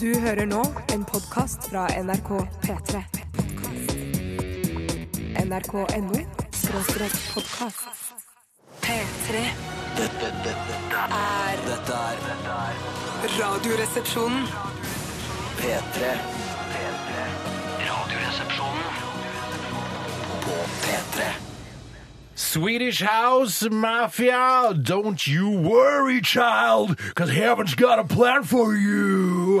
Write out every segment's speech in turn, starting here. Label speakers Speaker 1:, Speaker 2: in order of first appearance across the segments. Speaker 1: Du hører nå en podkast fra NRK P3. NRK.no skråstrek podkast. P3
Speaker 2: Dette, dette,
Speaker 1: er
Speaker 2: dette er dette er
Speaker 1: Radioresepsjonen.
Speaker 2: P3. P3. Radioresepsjonen på P3.
Speaker 3: Swedish House Mafia, don't you worry, child, cause heaven's got a plan for you.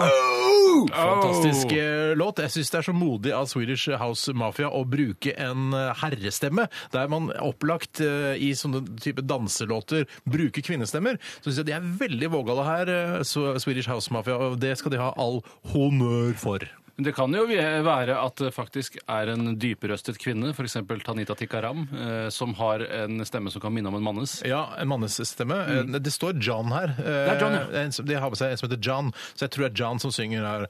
Speaker 3: Fantastisk eh, låt. Jeg syns det er så modig av Swedish House Mafia å bruke en eh, herrestemme, der man opplagt eh, i sånne type danselåter bruker kvinnestemmer. Så syns jeg de er veldig vågale her, eh, Sw- Swedish House Mafia, og det skal de ha all honnør for.
Speaker 4: Men Det kan jo være at det faktisk er en dyprøstet kvinne, f.eks. Tanita Tikaram, eh, som har en stemme som kan minne om en mannes.
Speaker 3: Ja, en mannesstemme. Eh, Det står John her.
Speaker 4: er John, ja.
Speaker 3: Eh, en som- De har med seg en som heter John, så jeg tror det er John som synger her.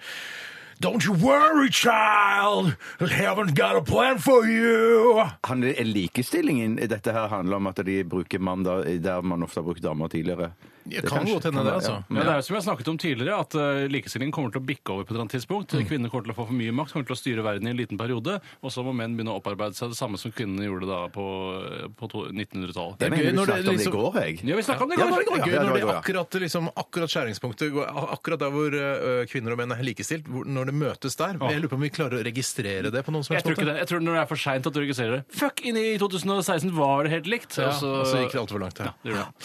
Speaker 3: Don't you worry, child! Heaven's got a plan for you!
Speaker 5: Han, likestillingen dette her handler om at de bruker mann da, der man ofte har brukt damer tidligere.
Speaker 3: Det kan
Speaker 5: kanskje-
Speaker 3: godt hende, det,
Speaker 5: kan være,
Speaker 3: altså.
Speaker 5: Ja.
Speaker 4: Men det er jo som jeg har snakket om tidligere, at eh, likestillingen kommer til å bikke over på et eller annet tidspunkt.
Speaker 3: Mm.
Speaker 4: Kvinner kommer til å få for mye makt, kommer til å styre verden i en liten periode, og så må menn begynne å opparbeide seg det samme som kvinnene gjorde da på, eh, på to- 1900-tallet.
Speaker 3: gøy
Speaker 5: Jeg mener
Speaker 3: når
Speaker 5: du
Speaker 3: det
Speaker 5: snakket om det i
Speaker 3: liksom-
Speaker 5: går, jeg.
Speaker 4: Ja, vi snakket om det i
Speaker 3: Ja,
Speaker 4: går.
Speaker 3: det var gøy
Speaker 5: Ja, det
Speaker 3: når det
Speaker 5: var det, ja.
Speaker 3: akkurat, liksom, akkurat skjæringspunktet går, akkurat der hvor eh, kvinner og menn er likestilt, hvor, når det møtes der. Men Jeg lurer på om vi klarer å registrere det på noen som
Speaker 4: Jeg
Speaker 3: helst
Speaker 4: tror ikke det. Jeg tror når det er for seint at du registrerer det. Fuck, inne i 2016 var det helt likt.
Speaker 3: Ja,
Speaker 4: og så-
Speaker 3: og så gikk det altfor langt. Ja.
Speaker 4: det gjorde det.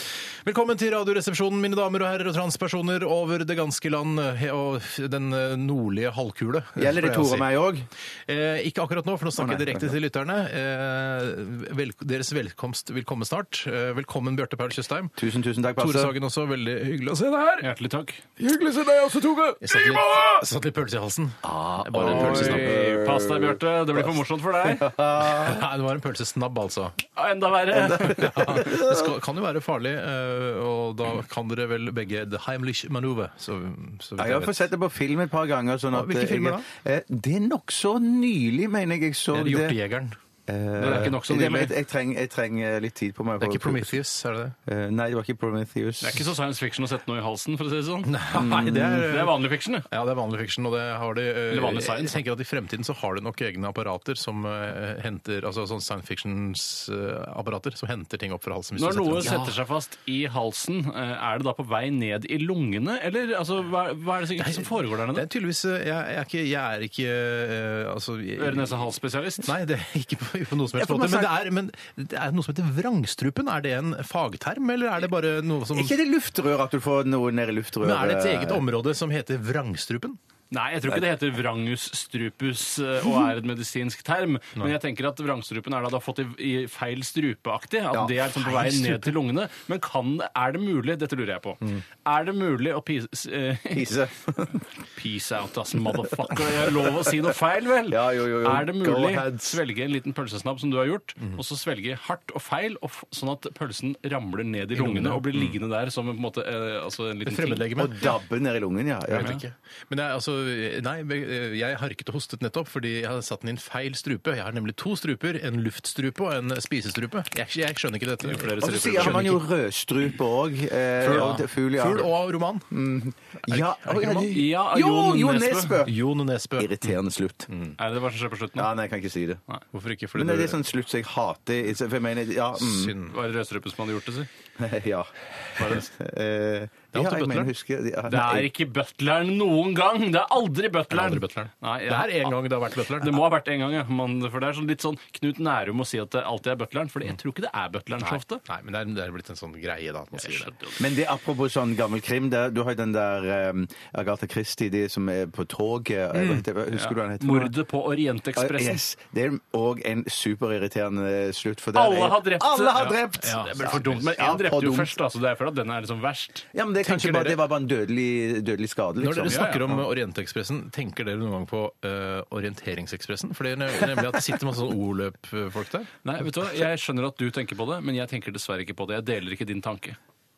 Speaker 3: Velkommen til Radioresepsjonen, mine damer og herrer og transpersoner over det ganske land he- og den eh, nordlige halvkule. pleier
Speaker 5: Gjelder det
Speaker 3: jeg å
Speaker 5: Tore
Speaker 3: si.
Speaker 5: og meg òg?
Speaker 3: Eh, ikke akkurat nå, for nå snakker
Speaker 5: Å, nei,
Speaker 3: jeg direkte
Speaker 5: nei.
Speaker 3: til lytterne. Eh, vel, deres velkomst vil komme snart. Eh, velkommen, Bjarte Paul Tjøstheim.
Speaker 5: Tusen, tusen takk,
Speaker 3: Tore
Speaker 5: Basse.
Speaker 3: Sagen også, veldig hyggelig å se deg her.
Speaker 4: Hjertelig takk.
Speaker 3: Hyggelig å se deg også, Tore! Jeg satt litt, jeg satt litt pølse i halsen. Bare en pølsesnabb.
Speaker 4: Oi, pass deg, Bjarte. Det blir for morsomt for deg.
Speaker 3: Nei, det var en pølsesnabb, altså.
Speaker 4: Ja, Enda verre.
Speaker 3: Ja, det skal, kan jo være farlig, eh, og da kan dere vel begge The Heimlich Maneuver. Så, så vidt
Speaker 5: Ja, jeg har
Speaker 3: jeg
Speaker 5: fått
Speaker 3: vet.
Speaker 5: sett det på film et par ganger. Sånn
Speaker 3: Ja,
Speaker 5: at
Speaker 3: hvilke
Speaker 5: jeg-
Speaker 3: filmer da?
Speaker 5: Eh, Det er nokså nylig, mener jeg. jeg så det.
Speaker 3: Hjortejegeren.
Speaker 4: Det er ikke nok så
Speaker 5: Det- men
Speaker 4: nylig.
Speaker 5: Jeg, jeg, trenger, jeg trenger litt tid på meg.
Speaker 3: Det er
Speaker 5: for-
Speaker 3: ikke Prometheus, er det det?
Speaker 5: Eh, Nei, det var ikke Prometheus.
Speaker 4: Det er ikke så science fiction å sette noe i halsen, for å si det sånn.
Speaker 3: Nei, det er,
Speaker 4: Det er vanlig fiction, det.
Speaker 3: Ja, det er vanlig fiksjon, og det har de eh,
Speaker 4: Eller vanlig science,
Speaker 3: Jeg tenker at i fremtiden så har de nok egne apparater som eh, henter Altså sånn science fictions-apparater som henter ting opp fra halsen. hvis du setter
Speaker 4: Når noe
Speaker 3: den.
Speaker 4: setter seg fast i halsen, eh, er det da på vei ned i lungene, eller altså, hva, hva er det som- som foregår der
Speaker 3: Det
Speaker 4: nede?
Speaker 3: er tydeligvis eh, Jeg, jeg er ikke, jeg er ikke eh, Altså jeg-
Speaker 4: Øre-nese-hals-spesialist?
Speaker 3: Nei, det er ikke på, på noe som helst
Speaker 5: Ja, for
Speaker 3: måte.
Speaker 5: man
Speaker 3: Men det, er, men det er noe som heter vrangstrupen. Er det en fagterm, eller er det bare noe som
Speaker 5: Er ikke det luftrør at du får noe ned i luftrøret?
Speaker 3: men er det et eget område som heter vrangstrupen?
Speaker 4: Nei, jeg tror ikke det heter vrangus strupus eh, og er et medisinsk term. Men jeg tenker at vrangstrupen er da det har fått i, i feil strupeaktig. At det er liksom på vei
Speaker 3: feil
Speaker 4: ned til lungene. Men kan, er det mulig Dette lurer jeg på.
Speaker 3: Mm.
Speaker 4: Er det mulig å pise eh,
Speaker 5: Pise.
Speaker 4: Peace out, ass, motherfucker. Jeg har lov å si noe feil, vel?
Speaker 5: Ja, jo, jo, jo.
Speaker 4: Er det
Speaker 5: Go
Speaker 4: mulig
Speaker 5: ahead.
Speaker 4: svelge en liten pølsesnabb som du har gjort, og så svelge hardt og feil, og f sånn at pølsen ramler ned i lungene og blir liggende der som en, på en måte, eh, altså en liten ting?
Speaker 3: Fremmedlegeme?
Speaker 5: Og dabbe ned i lungen, ja. ja.
Speaker 3: Jeg vet ikke. Men det er altså Nei, eh, jeg harket og hostet nettopp fordi jeg hadde satt den i en feil strupe. Jeg har nemlig to struper. En luftstrupe og en spisestrupe. Jeg, jeg skjønner ikke dette. Altså,
Speaker 4: flere
Speaker 5: Og så
Speaker 4: struper.
Speaker 5: sier
Speaker 3: Skjønner
Speaker 5: har man jo
Speaker 3: ikke.
Speaker 5: rødstrupe òg. Eh,
Speaker 3: Fugl,
Speaker 5: og-
Speaker 3: ja.
Speaker 5: Fugl, ja. Mm.
Speaker 3: Fugl og roman.
Speaker 5: ja.
Speaker 3: er det ikke
Speaker 5: Å,
Speaker 3: roman?
Speaker 5: ja,
Speaker 4: Ja,
Speaker 5: Jo,
Speaker 4: Jon
Speaker 5: Jon
Speaker 4: Nesbø. Mm.
Speaker 5: Nesbø!
Speaker 3: Jon Nesbø.
Speaker 5: Irriterende slutt.
Speaker 4: Er det hva som skjer på slutten?
Speaker 5: Ja,
Speaker 4: da?
Speaker 5: nei, jeg kan ikke si det.
Speaker 3: Hvorfor ikke? Fordi
Speaker 5: Men det er
Speaker 3: det
Speaker 5: sånn slutt som jeg hater. For jeg mener, ja, mm,
Speaker 3: synd.
Speaker 4: Var det rødstrupen som hadde gjort det, si?
Speaker 5: ja.
Speaker 4: Var det
Speaker 3: er
Speaker 5: Eh,
Speaker 3: alltid
Speaker 5: ja, jeg
Speaker 3: butleren.
Speaker 5: mener, husker, ja,
Speaker 4: Det er
Speaker 5: nei,
Speaker 4: ikke butleren noen gang! Det er aldri
Speaker 5: Mm.
Speaker 4: butleren!
Speaker 3: Aldri butleren.
Speaker 4: Nei,
Speaker 3: Det er en gang det har vært
Speaker 4: Det
Speaker 3: butleren.
Speaker 4: må ha vært en gang, ja. Man, for det er sånn litt sånn Knut Nærum å si at det alltid er butleren, for jeg tror ikke det er butleren så ofte.
Speaker 3: Nei, men det er, det er blitt en sånn greie, da. at man sier det.
Speaker 5: men det er apropos sånn gammel krim. Det, er- du har jo den der um, Agatha Christie, de som er på toget eh, hva heter- hva- Husker du hva den heter?
Speaker 4: Mordet på
Speaker 5: Ah,
Speaker 4: Orientekspressen.
Speaker 5: Yes, det er òg en superirriterende slutt. For der
Speaker 4: Alle
Speaker 5: er-
Speaker 4: har drept!
Speaker 5: Alle har drept!
Speaker 4: Ja, det ble for dumt. Men
Speaker 5: Ja,
Speaker 4: én drepte
Speaker 5: for
Speaker 4: jo
Speaker 5: dumt.
Speaker 4: først, da, så det er derfor at den er liksom verst.
Speaker 5: Ja, men det er
Speaker 3: Tenker
Speaker 5: kanskje bare,
Speaker 3: dere-
Speaker 5: det var bare en dødelig, dødelig skade,
Speaker 3: Når
Speaker 5: liksom.
Speaker 3: dere
Speaker 4: Ja, ja,
Speaker 3: snakker
Speaker 4: ja.
Speaker 3: om Orientekspressen, tenker dere noen gang på eh, Orienteringsekspressen? For det er ne- nemlig at det sitter masse sånn O-løp-folk der.
Speaker 4: Nei, vet du hva? Jeg skjønner at du tenker på det, men jeg tenker dessverre ikke på det. Jeg deler ikke din tanke.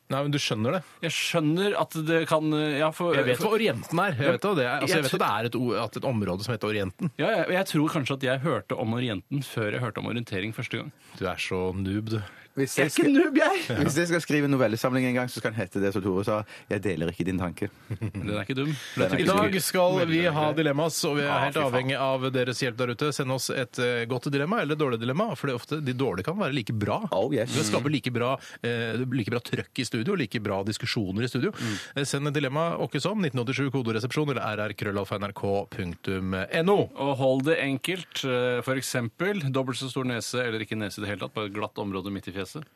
Speaker 3: Nei, men du skjønner det.
Speaker 4: Jeg skjønner at det kan ja, for,
Speaker 3: Jeg vet hva Orienten er. Jeg vet, hva det er. Altså, jeg vet at det er et, o- at et område som heter Orienten.
Speaker 4: Ja, jeg, jeg tror kanskje at jeg hørte om Orienten før jeg hørte om orientering første gang.
Speaker 3: Du er så noob, du.
Speaker 5: Hvis
Speaker 4: Jeg er ikke noob, jeg!
Speaker 5: Hvis jeg skal skrive novellesamling en gang, så skal den hete det som Tore sa. Jeg deler ikke din tanke.
Speaker 4: Den er ikke dum.
Speaker 5: er
Speaker 3: I
Speaker 5: ikke
Speaker 3: dag skal vi ha dilemmas, og vi er Ah,
Speaker 4: Ja,
Speaker 3: helt
Speaker 4: fy faen.
Speaker 3: avhengig av deres hjelp der ute. Send oss et eh, godt dilemma eller et dårlig dilemma, for det er ofte de dårlige kan være like bra.
Speaker 5: Oh, yes.
Speaker 3: Det skaper like bra, eh, like bra trøkk i studio, like bra diskusjoner i studio. Eh, Send et dilemma åkke som 1987 kodoresepsjon eller rrkrøllalfa.nrk.no.
Speaker 4: Og hold det enkelt. eh, For eksempel dobbelt så stor nese eller ikke nese i det hele tatt, bare et glatt område midt i fjeset. Ja, det er,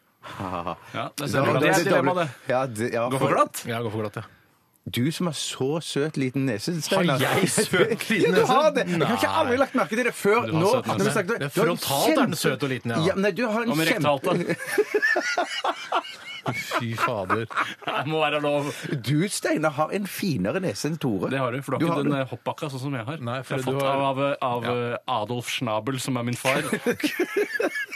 Speaker 5: Ja,
Speaker 4: det er
Speaker 5: litt
Speaker 4: dilemma,
Speaker 5: dobbelt.
Speaker 4: det.
Speaker 5: Ja, det- ja,
Speaker 4: Gå for glatt.
Speaker 3: Ja, gå for glatt, ja.
Speaker 5: Du som har så søt liten nese, Steinar.
Speaker 3: Har jeg søt liten
Speaker 5: Ja, du har
Speaker 3: nese?
Speaker 5: det. Jeg har ikke
Speaker 3: Nei.
Speaker 5: aldri lagt merke til det før
Speaker 4: Du har
Speaker 5: nå.
Speaker 4: søt nese.
Speaker 5: Når vi snakket-
Speaker 3: Det er
Speaker 5: du har en
Speaker 3: frontalt er den søt og liten, ja.
Speaker 5: ja. Nei, du har en
Speaker 4: Og med
Speaker 5: kjempe...
Speaker 4: rektalte.
Speaker 3: Fy fader.
Speaker 4: Det må være lov.
Speaker 5: Du, Steinar, har en finere nese enn Tore.
Speaker 4: Det har du, for du har ikke den eh, hoppbakka sånn som jeg har.
Speaker 3: Nei, for
Speaker 4: jeg
Speaker 3: du
Speaker 4: har fått
Speaker 3: har-
Speaker 4: av, av eh, Adolf Schnabel, som er min far.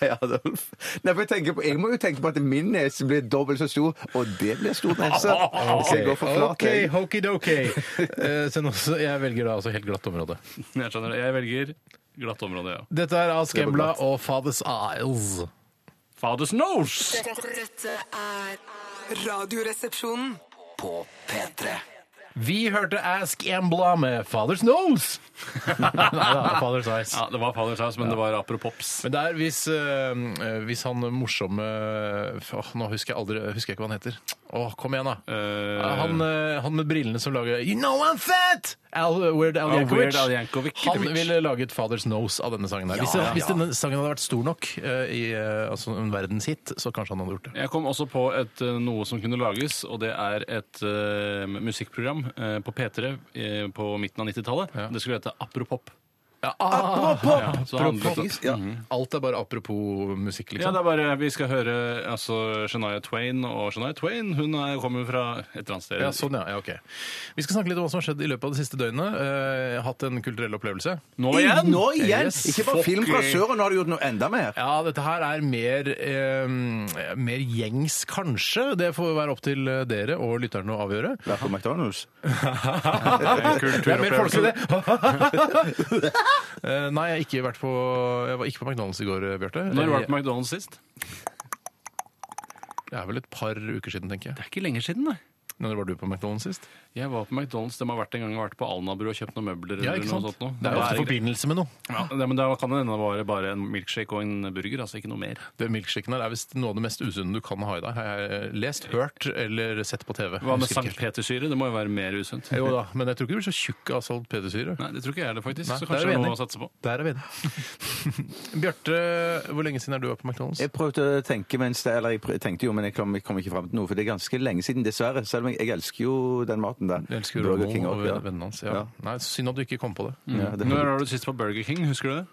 Speaker 5: Ja, Adolf. Nei, for jeg, tenker på, jeg må jo tenke på at min nese blir dobbelt så stor, og det blir stor nese. Så jeg går for flat.
Speaker 3: OK,
Speaker 5: jeg.
Speaker 3: hokidoki. Eh, Send oss Jeg velger da altså helt glatt område.
Speaker 4: Jeg skjønner det. Jeg velger glatt område, ja.
Speaker 3: Dette er Ask
Speaker 5: er på
Speaker 3: Embla
Speaker 5: glatt.
Speaker 3: og Fathers Isles.
Speaker 4: Fathers nose!
Speaker 6: Dette er Radioresepsjonen.
Speaker 2: På P3.
Speaker 3: Vi hørte Ask Embla med Father's Nose! Nei da, Father's Eyes.
Speaker 4: Ja, det var Fathers house, men det var apropops.
Speaker 3: Men det er hvis, eh, hvis han morsomme åh, Nå husker jeg aldri husker jeg ikke hva han heter. Åh, kom igjen, da.
Speaker 4: Eh,
Speaker 3: han, eh, han med brillene som lager You know I'm fat! Al, Weird Al
Speaker 4: Ja,
Speaker 3: Yankovic.
Speaker 4: Weird Al Yankovic.
Speaker 3: Han ville laget Father's Nose av denne sangen. her. Hvis, hvis denne sangen hadde vært stor nok eh, i eh, altså en verdenshit, så kanskje han hadde gjort det.
Speaker 4: Jeg kom også på et, eh, noe som kunne lages, og det er et eh, musikkprogram eh, på P3 eh, på midten av 90-tallet. Det skulle hete Apropop.
Speaker 3: Ja, ah,
Speaker 4: Ja, så det handlet om-
Speaker 3: apropos. Alt er bare apropos musikk,
Speaker 4: Ja,
Speaker 3: liksom.
Speaker 4: det er bare Vi skal høre altså, Shania Twain, og Shania Twain hun er, kommer jo fra et eller annet sted.
Speaker 3: Ja, sånn, ja. ja. Ok. Vi skal snakke litt om hva som har skjedd i løpet av det siste døgnet. Eh, Jeg har hatt en kulturell opplevelse.
Speaker 4: Nå igjen!
Speaker 5: Nå igjen!
Speaker 3: Yes,
Speaker 5: Ikke bare
Speaker 4: fuck
Speaker 5: film fra
Speaker 4: you.
Speaker 5: sør, og nå har du gjort noe enda mer.
Speaker 3: Ja, dette her er mer, eh, mer gjengs, kanskje. Det får være opp til eh, dere og lytterne å avgjøre.
Speaker 5: Vært på McDonald's.
Speaker 3: Det er mer folkelig, det! Eh, Nei, jeg, har ikke vært på, jeg var ikke på McDonald's i går, eh, Bjarte.
Speaker 4: Når var det på McDonald's sist?
Speaker 3: Det er vel et par uker siden, tenker jeg.
Speaker 4: Det er ikke lenge siden, nei.
Speaker 3: Når var du på McDonald's sist?
Speaker 4: Jeg var på McDonald's. De har vært en gang jeg har vært på Alnabru og kjøpt noen møbler.
Speaker 3: Ja,
Speaker 4: eller
Speaker 3: ikke
Speaker 4: noe
Speaker 3: sant?
Speaker 4: sånt nå.
Speaker 3: Det er ofte i forbindelse med noe.
Speaker 4: ja, det- men da kan det hende det var bare en milkshake og en burger, altså ikke noe mer.
Speaker 3: Det Milkshaken her er visst noe av det mest usunne du kan ha i deg. Har jeg eh, lest, hørt eller sett på TV.
Speaker 4: Hva med
Speaker 3: Husker ikke
Speaker 4: Sankt
Speaker 3: helt.
Speaker 4: Petersyre? Det må jo være mer usunt.
Speaker 3: Jo da, men jeg tror ikke du blir så tjukk av salpetersyre.
Speaker 4: Nei, det tror ikke jeg er det, faktisk.
Speaker 3: Nei,
Speaker 4: så
Speaker 3: der er
Speaker 4: kanskje
Speaker 3: vi
Speaker 4: det er noe
Speaker 3: enige.
Speaker 4: å satse på.
Speaker 3: Der er vi enige. Bjarte, hvor lenge siden er du vært på McDonald's?
Speaker 5: Jeg prøvde å tenke mens det, eller jeg prø- tenkte jo, men jeg kom, jeg kom ikke fram til noe, for det er ganske lenge siden, dessverre. Selv om jeg, jeg elsker jo den maten der.
Speaker 3: Jeg elsker
Speaker 5: Burger
Speaker 3: Romo
Speaker 5: King
Speaker 3: og
Speaker 5: også, ja.
Speaker 3: vennene hans. Ja.
Speaker 5: Ja.
Speaker 3: Nei, Synd at du ikke kom på det.
Speaker 4: Mm.
Speaker 5: Ja, det
Speaker 4: Når var du sist på Burger King? Husker du det?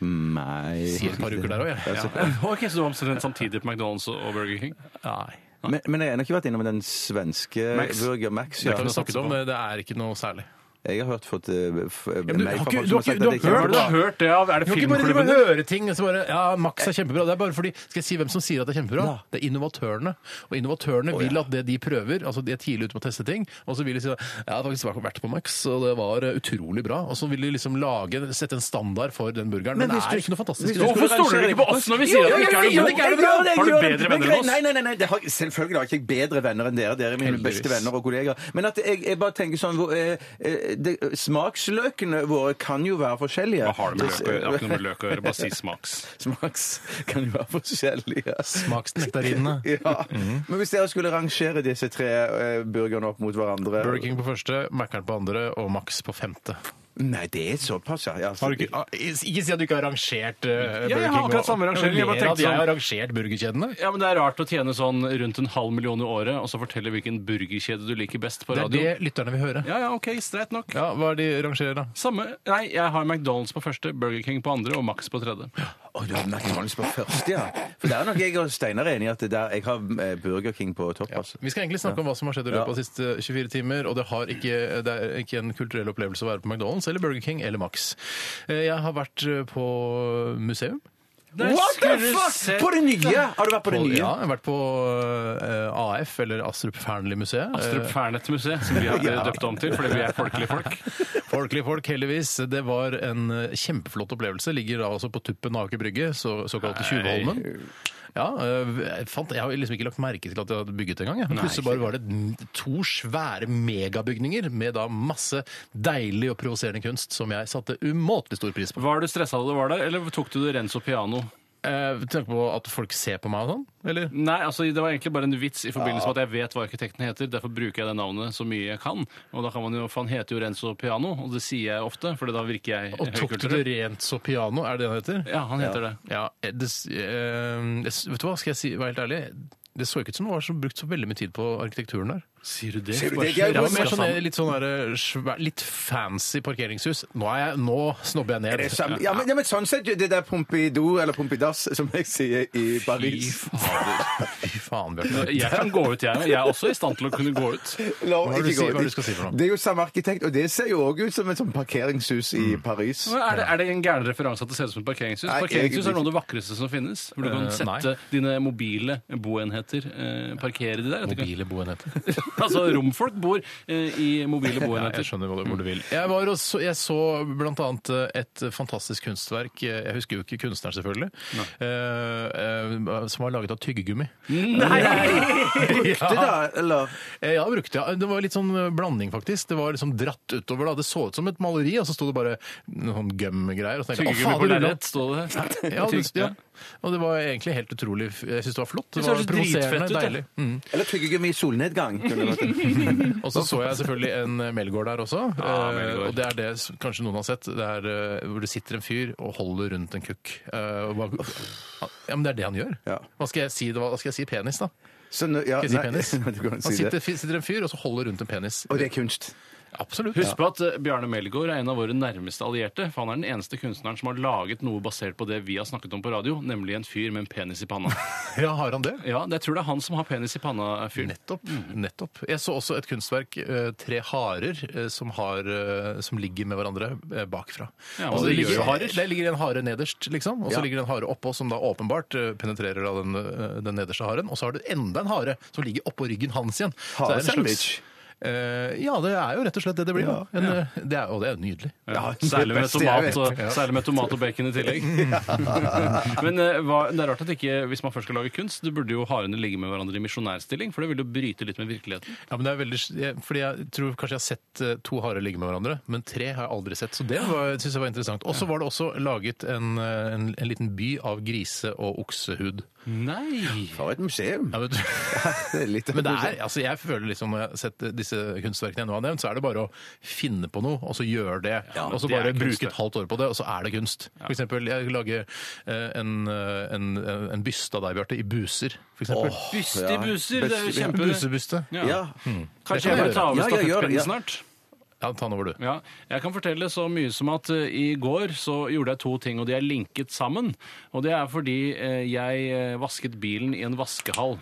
Speaker 5: Nei
Speaker 3: Si et par uker der òg, jeg.
Speaker 5: Ja, så-
Speaker 4: Ok, Så du var omtrent samtidig på McDonald's og Burger King?
Speaker 3: Nei.
Speaker 5: Men, men jeg har ennå ikke vært innom den svenske
Speaker 4: Max.
Speaker 5: Burger Max.
Speaker 3: Det
Speaker 5: Ja.
Speaker 3: kan vi snakke om, eh, det er ikke noe særlig.
Speaker 5: Jeg har hørt fått eh, f-
Speaker 3: men du
Speaker 5: mail
Speaker 3: har
Speaker 5: fra
Speaker 3: ikke-
Speaker 5: folk
Speaker 3: du har
Speaker 5: som har sagt
Speaker 3: ikke-
Speaker 5: at jeg
Speaker 3: du har
Speaker 4: Har
Speaker 5: ikke
Speaker 3: hørt
Speaker 5: har
Speaker 4: du
Speaker 5: det.
Speaker 4: hørt det av Er det
Speaker 3: Du kan ikke bare drive og
Speaker 4: filmklubben?
Speaker 3: høre ting og så bare Ja, Max er kjempebra. Det er bare fordi Skal jeg si hvem som sier at det er kjempebra?
Speaker 5: Ja.
Speaker 3: Det er innovatørene. Og innovatørene vil at det de prøver Altså, de er tidlig ute med å teste ting, og så vil de si at Jeg har faktisk vært- vært på Max, og det var eh, utrolig bra. Og så vil de liksom lage Sette en standard for den burgeren. Men,
Speaker 5: Men
Speaker 3: det
Speaker 5: hvis
Speaker 3: er
Speaker 5: du-
Speaker 3: ikke noe fantastisk. Det er
Speaker 5: hvis du-
Speaker 4: Hvorfor stoler du ikke på oss når vi sier at vi ikke er
Speaker 5: Jo,
Speaker 4: noe bra?
Speaker 5: jeg gjør det, jeg
Speaker 4: Har du
Speaker 5: gjør det.
Speaker 4: bedre
Speaker 5: Men
Speaker 4: venner enn
Speaker 5: greit,
Speaker 4: oss?
Speaker 5: Nei, nei, nei, nei det har, jeg- selvfølgelig har ikke jeg bedre venner enn dere. Dere er mine
Speaker 3: Heldigvis.
Speaker 5: beste venner og kollegaer. Men at jeg, jeg bare tenker sånn hvor, eh, eh, det, Smaksløkene våre kan jo være forskjellige.
Speaker 4: Hva har det med løk å gjøre? Det har ikke noe med
Speaker 5: løk
Speaker 4: løk å gjøre, bare si smaks.
Speaker 5: Smaks kan jo være forskjellige.
Speaker 3: Smaksnektarinene.
Speaker 5: Ja. Men hvis dere skulle rangere disse tre eh, burgerne opp mot hverandre
Speaker 3: Burger King på første, Mækkern på andre og Max på femte.
Speaker 5: Nei, det er såpass, ja. ja.
Speaker 3: Har du ikke, ah, ikke si at du ikke har rangert uh, Burger King.
Speaker 4: jeg har akkurat
Speaker 3: og-
Speaker 4: samme rangering, jeg
Speaker 3: Jeg
Speaker 4: bare
Speaker 3: mener at
Speaker 4: tenkte
Speaker 3: jeg har
Speaker 4: sånn-
Speaker 3: rangert burgerkjedene.
Speaker 4: Ja, men Det er rart å tjene sånn rundt en halv million i året, og så fortelle hvilken burgerkjede du liker best på
Speaker 3: Det er det
Speaker 4: radio.
Speaker 3: lytterne vil høre.
Speaker 4: Ja, ja, ok, streit nok.
Speaker 3: Ja, Hva er de rangerer, da?
Speaker 4: Samme. Nei, jeg har McDonald's på første, Burger King på andre og Max på tredje.
Speaker 5: Å, du har McDonald's på første, ja. For der er nok jeg og Steinar enige at det der, jeg har eh, Burger King på topp. altså.
Speaker 3: Vi skal egentlig snakke om hva som har skjedd i løpet av de siste 24 timer, og det, har ikke, det er ikke en kulturell opplevelse å være på McDonald's eller Burger King eller Max. Eh, Jeg har vært eh, på museum.
Speaker 4: Nei,
Speaker 5: What the
Speaker 4: skulle
Speaker 5: fuck?
Speaker 4: sett-
Speaker 5: På det nye! Har du vært på det nye?
Speaker 3: Ja, jeg har vært på eh, AF, eller Astrup Fearnley-museet.
Speaker 4: Astrup Fearnett-museet, Eh, som vi har døpt om til fordi vi er folkelige folk.
Speaker 3: Folkelige folk, heldigvis. Det var en eh, kjempeflott opplevelse. Ligger da altså på tuppen av Aker Brygge, så, såkalt Tjuvholmen. Ja, eh, jeg, fant, jeg har liksom ikke lagt merke til at det hadde bygget engang. jeg. Men Plutselig bare var det n- to svære megabygninger med da masse deilig og provoserende kunst som jeg satte umåtelig stor pris på.
Speaker 4: Var du stressa da du var der, eller tok du det Renzo Piano?
Speaker 3: Eh, Tenk på at folk ser på meg og sånn, eller?
Speaker 4: Nei, altså Det var egentlig bare en vits i forbindelse med at jeg vet hva arkitekten heter. Derfor bruker jeg det navnet så mye jeg kan. Og da kan man jo, for Han heter jo Renzo Piano, og det sier jeg ofte, for da virker jeg
Speaker 3: Og tok du det
Speaker 4: høykulturell.
Speaker 3: rent så piano, er det det han heter?
Speaker 4: Ja, han heter det.
Speaker 3: Ja, det, s- eh, det, s- vet du hva, skal jeg si, være helt ærlig? Det så ikke ut som det var så brukt så veldig mye tid på arkitekturen der.
Speaker 4: Sier du det?
Speaker 5: Sier du det?
Speaker 4: Bare
Speaker 5: Jeg
Speaker 3: Det var
Speaker 5: bare
Speaker 3: mer
Speaker 5: skal
Speaker 3: sånn eh, litt sånn der, eh, svær- litt fancy parkeringshus. Nå, er jeg, nå snobber jeg ned.
Speaker 5: Er det samme? Ja, men, ja, men sånn sett, det der Pompidou, eller Pompidas, som jeg sier i Paris
Speaker 4: Fy fader.
Speaker 3: Fy faen, Bjarte.
Speaker 4: Jeg kan gå ut, jeg. Jeg er også i stand til å kunne gå ut.
Speaker 5: La,
Speaker 3: Hva er det
Speaker 5: ikke
Speaker 3: du sier- hva er
Speaker 5: gå
Speaker 3: det
Speaker 5: dit.
Speaker 3: du skal si for noe?
Speaker 5: Det er jo samme arkitekt, og det ser jo òg ut som et sånt parkeringshus
Speaker 3: Mm.
Speaker 5: i Paris.
Speaker 4: Men Er det, er det en gæren referanse at det ser ut som et parkeringshus?
Speaker 5: Nei,
Speaker 4: Parkeringshus
Speaker 5: egentlig
Speaker 4: er noe av det vakreste som finnes. Hvor du kan
Speaker 3: Eh,
Speaker 4: sette
Speaker 3: nei.
Speaker 4: dine mobile boenheter, eh, parkere de der. At du kan-
Speaker 3: Mobile boenheter.
Speaker 4: Altså, romfolk bor eh, i mobile
Speaker 3: Ja, jeg
Speaker 4: boenheter.
Speaker 3: skjønner hva du, hvor du vil. Jeg, var og så, jeg så blant annet eh, et fantastisk kunstverk, jeg husker jo ikke kunstneren selvfølgelig, eh, eh, som var laget av tyggegummi.
Speaker 4: Nei!
Speaker 5: Det da, eller?
Speaker 3: Eh, Ja, det brukte jeg. Det var litt sånn eh, blanding, faktisk. Det var liksom dratt utover. da. Det så ut som et maleri, og så sto det bare noen sånn gum-greier. og så tenkte jeg,
Speaker 4: Tyggegummi
Speaker 3: «Å,
Speaker 4: på
Speaker 3: fader,
Speaker 4: lerret, står det her.
Speaker 3: Ja, det, ja. Og det var egentlig helt utrolig. f- Jeg syns det var flott. Det
Speaker 4: Det
Speaker 3: var
Speaker 4: ser så
Speaker 3: provoserende,
Speaker 4: dritfett ut, ja.
Speaker 3: deilig. Mm.
Speaker 5: eller tyggegummi i solnedgang. kunne det vært.
Speaker 3: Og så så jeg selvfølgelig en eh, Melgaard der også.
Speaker 4: Ja,
Speaker 3: eh,
Speaker 4: Melgaard.
Speaker 3: og det er det s- kanskje noen har sett. Det er eh, hvor det sitter en fyr og holder rundt en kukk. Eh, og bare, ja, men det er det han gjør.
Speaker 5: Ja.
Speaker 3: Hva skal jeg si? Hva skal jeg si? Penis, da?
Speaker 5: Så nå- ja,
Speaker 3: Skal jeg si
Speaker 5: nei,
Speaker 3: penis?
Speaker 5: du kan
Speaker 3: Han
Speaker 5: si
Speaker 3: sitter,
Speaker 5: det.
Speaker 3: fi- sitter en fyr og så holder rundt en penis.
Speaker 5: Og det er kunst.
Speaker 3: Absolutt.
Speaker 4: Husk på at eh, Bjarne Melgaard er en av våre nærmeste allierte. For han er den eneste kunstneren som har laget noe basert på det vi har snakket om på radio, nemlig en fyr med en penis i panna.
Speaker 3: Ja, har han det?
Speaker 4: Ja, det- jeg tror det er han som har penis i panna-fyren.
Speaker 3: Nettopp.
Speaker 4: Mm.
Speaker 3: nettopp. Jeg så også et kunstverk, eh, tre harer, eh, som, har, eh, som ligger med hverandre eh, bakfra.
Speaker 4: Ja,
Speaker 3: Altså,
Speaker 4: og det gjør jo harer.
Speaker 3: ligger, det ligger en hare nederst, liksom, og så
Speaker 5: Ja.
Speaker 3: ligger det en hare oppå, som da åpenbart eh, penetrerer av den, eh, den nederste haren. Og så har du enda en hare som ligger oppå ryggen hans igjen. Så det er en
Speaker 5: Haresandwich.
Speaker 3: slags- Eh, ja, det er jo rett og slett det det blir. da. En, eh, Det er, og det er jo nydelig.
Speaker 4: Ja,
Speaker 5: det er
Speaker 4: særlig, med
Speaker 5: best jeg
Speaker 4: tomat
Speaker 5: vet.
Speaker 4: og, særlig med tomat og bacon i tillegg. Men eh, hva, det er rart at ikke, hvis man først skal lage kunst, du burde jo harene ligge med hverandre i misjonærstilling, for det vil jo bryte litt med virkeligheten.
Speaker 3: Ja, men det er veldig, jeg, fordi jeg tror kanskje jeg har sett eh, to harer ligge med hverandre, men tre har jeg aldri sett. Så det var- synes jeg var interessant. Og så var det også laget en, eh, en, en liten by av grise- og oksehud.
Speaker 4: Nei!
Speaker 5: For et museum.
Speaker 3: Ja, vet du.
Speaker 5: Det er litt av
Speaker 3: Men
Speaker 5: et
Speaker 3: det
Speaker 5: museum.
Speaker 3: er, altså jeg føler liksom når jeg har sett disse kunstverkene jeg nå har nevnt, så er det bare å finne på noe, og så gjøre det.
Speaker 4: Ja, men
Speaker 3: og så
Speaker 4: det er
Speaker 3: bare
Speaker 4: kunst,
Speaker 3: bruke
Speaker 4: det.
Speaker 3: et halvt år på det, og så er det kunst. For eksempel, jeg lager eh, en, eh, en, en byste av deg, Bjarte, i buser, for eksempel.
Speaker 4: Busti
Speaker 5: Ja,
Speaker 4: buser, det er jo
Speaker 5: busti-
Speaker 4: kjempe...
Speaker 3: Busebyste.
Speaker 4: Ja.
Speaker 5: Ja.
Speaker 4: Kanskje
Speaker 3: Det kan
Speaker 4: jeg bør
Speaker 3: jeg
Speaker 4: ta over
Speaker 5: gjøre. Ja, ja, gjør det,
Speaker 4: stafettpinnen
Speaker 5: ja.
Speaker 4: snart?
Speaker 3: Ja, ta den over, du.
Speaker 4: Ja, jeg kan fortelle så mye som at eh, i går så gjorde jeg to ting, og de er linket sammen. Og det er fordi eh, jeg eh, vasket bilen i en vaskehall.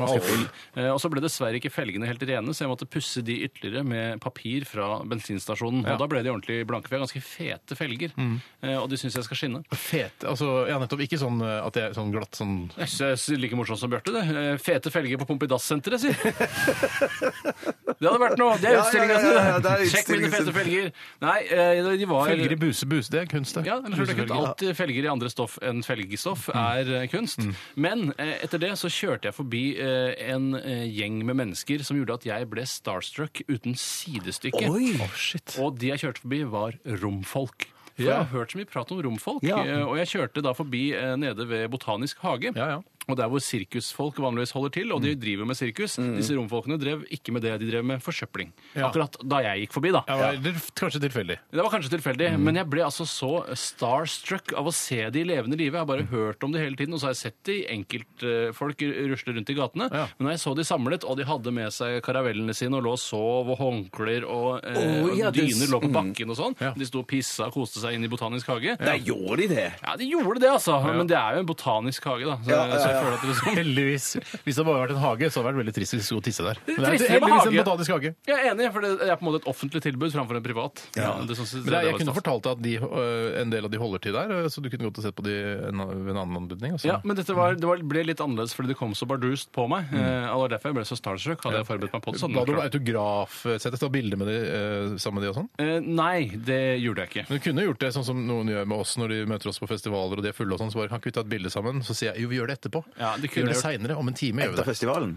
Speaker 4: Eh, og så ble dessverre ikke felgene helt rene, så jeg måtte pusse de ytterligere med papir fra bensinstasjonen. Og da ble de ordentlig blanke, for jeg har ganske fete felger,
Speaker 5: Mm.
Speaker 4: eh, og de syns jeg skal skinne.
Speaker 3: Fete, altså, ja, nettopp, ikke sånn eh, at jeg er sånn glatt sånn...
Speaker 4: Jeg synes det er Like morsomt som Bjarte, det. Eh, Fete felger på Pompidassenteret, sier Det hadde vært noe! Det er
Speaker 5: Ja, ja, ja,
Speaker 4: utstillingen! altså.
Speaker 5: ja, ja, det
Speaker 4: Sjekk
Speaker 5: er
Speaker 4: mine
Speaker 5: utstillingen
Speaker 4: fete
Speaker 5: sin.
Speaker 4: felger! Nei, eh, de var
Speaker 3: Felger i busebus, det er kunst, det.
Speaker 4: Ja, eller så er det ikke
Speaker 3: Busefelger.
Speaker 4: alltid felger i andre stoff enn felgestoff
Speaker 3: Mm.
Speaker 4: er eh, kunst. Men eh, etter det så kjørte jeg forbi eh, en eh, gjeng med mennesker som gjorde at jeg ble starstruck uten sidestykke.
Speaker 5: Oi!
Speaker 3: Å, shit.
Speaker 4: Og de jeg kjørte forbi, var romfolk. For Jeg har hørt så mye prat om romfolk,
Speaker 5: Ja.
Speaker 4: eh, og jeg kjørte da forbi eh, nede ved Botanisk hage.
Speaker 3: Ja, Mm. ja.
Speaker 4: Og der hvor sirkusfolk vanligvis holder til, og de driver med sirkus. Disse romfolkene drev ikke med det, de drev med forsøpling.
Speaker 3: Ja.
Speaker 4: Akkurat da jeg gikk forbi, da.
Speaker 3: Ja, eller kanskje tilfeldig.
Speaker 4: Det var kanskje tilfeldig, men jeg ble altså så starstruck av å se de i levende live. Jeg har bare hørt om det hele tiden, og så har jeg sett de enkeltfolk rusle rundt i gatene.
Speaker 3: Ja.
Speaker 4: Men når jeg så de samlet, og de hadde med seg karavellene sine og lå og sov, og håndklær og, eh,
Speaker 5: Å, ja,
Speaker 4: og
Speaker 5: det-
Speaker 4: dyner lå på bakken og sånn,
Speaker 3: Ja.
Speaker 4: de sto og pissa og koste seg inn i botanisk hage.
Speaker 5: Nei, gjorde de det?
Speaker 4: Ja, de gjorde det, altså. Men det er jo en botanisk hage, da. Så,
Speaker 5: Ja, ja,
Speaker 4: så Jeg føler at det liksom...
Speaker 3: Heldigvis. Hvis det bare hadde vært en hage, så hadde det vært veldig trist hvis vi skulle tisse der. Men det er
Speaker 4: Tristere med
Speaker 3: heldigvis en
Speaker 4: hage.
Speaker 3: botanisk hage.
Speaker 4: Jeg er enig, for det er på en måte et offentlig tilbud framfor en privat. Ja, det synes jeg-
Speaker 3: Men det, er-
Speaker 4: det
Speaker 3: jeg
Speaker 4: var
Speaker 3: kunne
Speaker 4: stas.
Speaker 3: fortalt deg at de, øh, en del av de holder til der, øh, så du kunne godt ha sett på de en- ved en annen anledning. Altså.
Speaker 4: Ja, men dette var, det var, ble litt annerledes fordi det kom så bardust på meg. Mm. det var derfor jeg ble så starstruck. Hadde jeg forberedt meg på det sånn.
Speaker 3: Bla, du ble autograf, øh, sett et bilde med de øh, sammen med de og sånn.
Speaker 4: Eh, nei, det gjorde jeg ikke.
Speaker 3: Men du kunne gjort det sånn som noen gjør med oss når de møter oss på festivaler og de er fulle og sånn, så bare kan ikke vi ta et bilde sammen? Så sier jeg jo, vi gjør det etterpå.
Speaker 4: Ja, det
Speaker 3: vi
Speaker 4: kunne
Speaker 3: gjør det
Speaker 4: jeg
Speaker 3: seinere, om en time gjør vi
Speaker 5: Etter
Speaker 3: det.
Speaker 5: festivalen.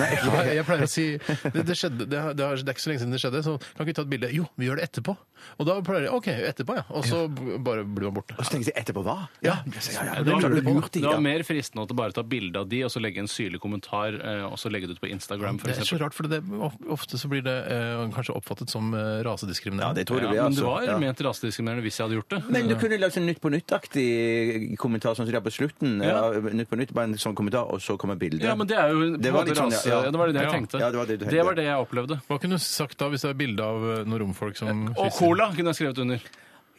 Speaker 3: Nei, jeg pleier å si det, det, skjedde, det, har- det, har- det er ikke så lenge siden det skjedde, så kan ikke vi ta et bilde? Jo, vi gjør det etterpå. Og da pleier jeg OK, etterpå, ja. Og så b- bare blir man borte.
Speaker 5: Og så tenkte jeg etterpå hva?
Speaker 3: Ja.
Speaker 5: ja,
Speaker 4: Det var,
Speaker 5: lurer
Speaker 4: det,
Speaker 5: du på. Lurt, de,
Speaker 4: var
Speaker 5: ja.
Speaker 4: mer fristende å bare ta bilde av de og så legge en syrlig kommentar eh, og så legge det ut på Instagram. For
Speaker 3: Det er så
Speaker 4: eksempel.
Speaker 3: rart, for det, of- ofte så blir det eh, kanskje oppfattet som eh, rasediskriminering.
Speaker 5: Ja, det tror jeg
Speaker 4: ja,
Speaker 5: det blir,
Speaker 4: men det
Speaker 5: altså.
Speaker 4: var
Speaker 5: Ja.
Speaker 4: ment rasediskriminerende hvis jeg hadde gjort det.
Speaker 5: Men du kunne lagd en Nytt på nytt-aktig kommentar, sånn som de har på slutten.
Speaker 4: Ja.
Speaker 5: Ja. Nytt på nytt, bare en sånn kommentar, og så kommer bildet.
Speaker 4: Ja, men det er jo
Speaker 5: Det
Speaker 4: på en
Speaker 5: var
Speaker 4: måte
Speaker 5: litt sånn,
Speaker 4: rase-
Speaker 5: ja, ja.
Speaker 4: ja, det var det jeg
Speaker 5: Ja.
Speaker 4: tenkte.
Speaker 5: Ja, det var det du tenkte.
Speaker 4: det var det jeg opplevde.
Speaker 3: Hva kunne du sagt da, hvis det er bilde av eh, noen romfolk som
Speaker 4: Og
Speaker 3: kysser?
Speaker 4: cola kunne jeg skrevet under.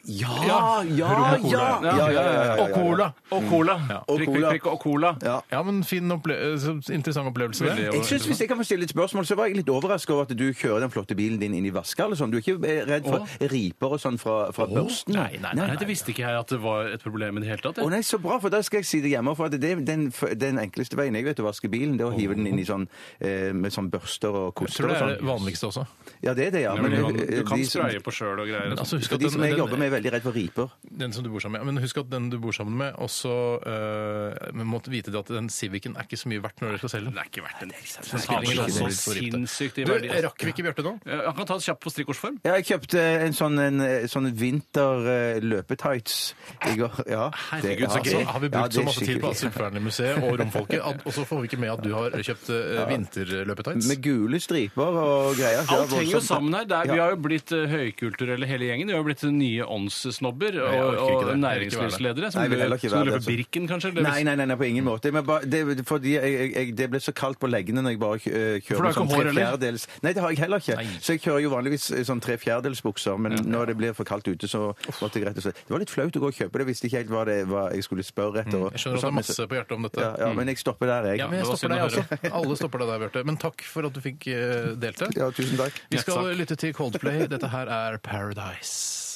Speaker 5: Ja, ja,
Speaker 3: Ja,
Speaker 5: Ah, ja!
Speaker 3: rom og cola.
Speaker 5: ja, ja, ja, ja, ja, ja.
Speaker 3: Og cola!
Speaker 4: Og cola.
Speaker 5: Og
Speaker 4: Prikk,
Speaker 5: cola.
Speaker 4: prikk, prikk, og cola.
Speaker 5: Ja.
Speaker 3: Mm. Ja, men fin opple eh, så interessant opplevelse.
Speaker 4: Veldig,
Speaker 3: Det.
Speaker 4: ja.
Speaker 5: Jeg synes, Hvis jeg kan få stille et spørsmål, så var jeg litt overraska over at du kjører den flotte bilen din inn i vaska. Eller sånn. Du er ikke eh, redd for riper og sånn fra, fra børsten?
Speaker 4: Nei, nei, nei, det visste ikke jeg at det var et problem i det hele tatt.
Speaker 5: Å
Speaker 4: jeg.
Speaker 5: nei, Så bra, for da skal jeg si det hjemme. For at det er den, f- den enkleste veien jeg vet å vaske bilen, det er å hive den inn i sånn eh, med sånn børster og
Speaker 3: Jeg
Speaker 5: koster
Speaker 3: tror det
Speaker 5: og
Speaker 3: er det
Speaker 5: sånn.
Speaker 3: vanligste også.
Speaker 5: Ja, det er det, ja.
Speaker 4: Men,
Speaker 5: eh,
Speaker 4: du kan
Speaker 5: de, som-
Speaker 4: spraye på sjøl og greier.
Speaker 3: Altså, husk
Speaker 5: for
Speaker 3: at
Speaker 5: de
Speaker 3: den,
Speaker 5: som jeg jobber
Speaker 3: den,
Speaker 5: med, er veldig redd for riper.
Speaker 3: den som du bor sammen med, men husk at den du bor sammen med, også eh, men måtte vite det at den Civicen er ikke så mye verdt når dere skal selge den.
Speaker 4: er ikke verdt en
Speaker 3: Saken er så
Speaker 4: sinnssykt i
Speaker 3: Du,
Speaker 4: verdi. altså.
Speaker 3: rakk vi ikke Bjarte nå?
Speaker 4: Eh, Han kan ta et kjapt på strikkordsform.
Speaker 5: Ja, jeg kjøpte en sånn, en, eh, sånn vinter-løpetights i går. Ja, det-
Speaker 4: Herregud, så
Speaker 3: Så
Speaker 4: gøy.
Speaker 5: ja, det-
Speaker 3: altså, har vi
Speaker 5: ja,
Speaker 3: brukt
Speaker 5: det
Speaker 3: så
Speaker 5: er
Speaker 3: masse tid på altså.
Speaker 5: skikkelig-
Speaker 3: Asylfjernmuseet og romfolket, at- og så får vi ikke med at du har kjøpt uh, vinterløpetights.
Speaker 5: Med gule striper og greier. så det
Speaker 4: Alt
Speaker 5: var
Speaker 4: henger jo
Speaker 5: voldsomt.
Speaker 4: sammen her. Det er,
Speaker 5: Ja.
Speaker 4: Vi har jo blitt eh, høykulturelle hele gjengen. Vi har jo blitt nye åndssnobber
Speaker 3: jeg
Speaker 4: og,
Speaker 3: orker ikke
Speaker 4: og
Speaker 3: det. Jeg vil ikke være
Speaker 4: næringslivsledere.
Speaker 5: Nei,
Speaker 4: Som
Speaker 5: jeg vil
Speaker 4: du
Speaker 5: heller ikke
Speaker 4: som
Speaker 5: være
Speaker 4: du
Speaker 5: det,
Speaker 4: løper
Speaker 5: altså.
Speaker 4: Birken, kanskje? eller
Speaker 5: Nei,
Speaker 4: hvis-
Speaker 5: nei, nei, nei, på ingen måte. Men bare, det, fordi jeg, jeg, jeg, det ble så kaldt på leggene når jeg bare eh,
Speaker 4: For
Speaker 5: kjører
Speaker 4: du har ikke hår, eller?
Speaker 5: fjerdedels Nei, det har jeg heller ikke.
Speaker 3: Nei.
Speaker 5: Så jeg kjører jo vanligvis eh, sånn tre fjerdedelsbukser, men når det blir for kaldt ute, så måtte jeg rett og slett Det var litt flaut å gå og kjøpe det, visste ikke helt hva, det, hva jeg skulle spørre etter. og-
Speaker 3: Mm. Jeg skjønner at det
Speaker 5: og sånn,
Speaker 3: er
Speaker 5: men så-
Speaker 3: masse på hjertet om dette.
Speaker 5: Ja, ja, men jeg stopper der, jeg.
Speaker 3: Ja, men jeg
Speaker 4: det var
Speaker 3: stopper deg altså.
Speaker 4: synd å
Speaker 3: også. Alle stopper deg der, Bjarte. Men takk for at du fikk eh, delta.
Speaker 5: Ja, tusen takk.
Speaker 3: Vi skal
Speaker 4: Takk.
Speaker 3: lytte til Coldplay. Dette her er Paradise.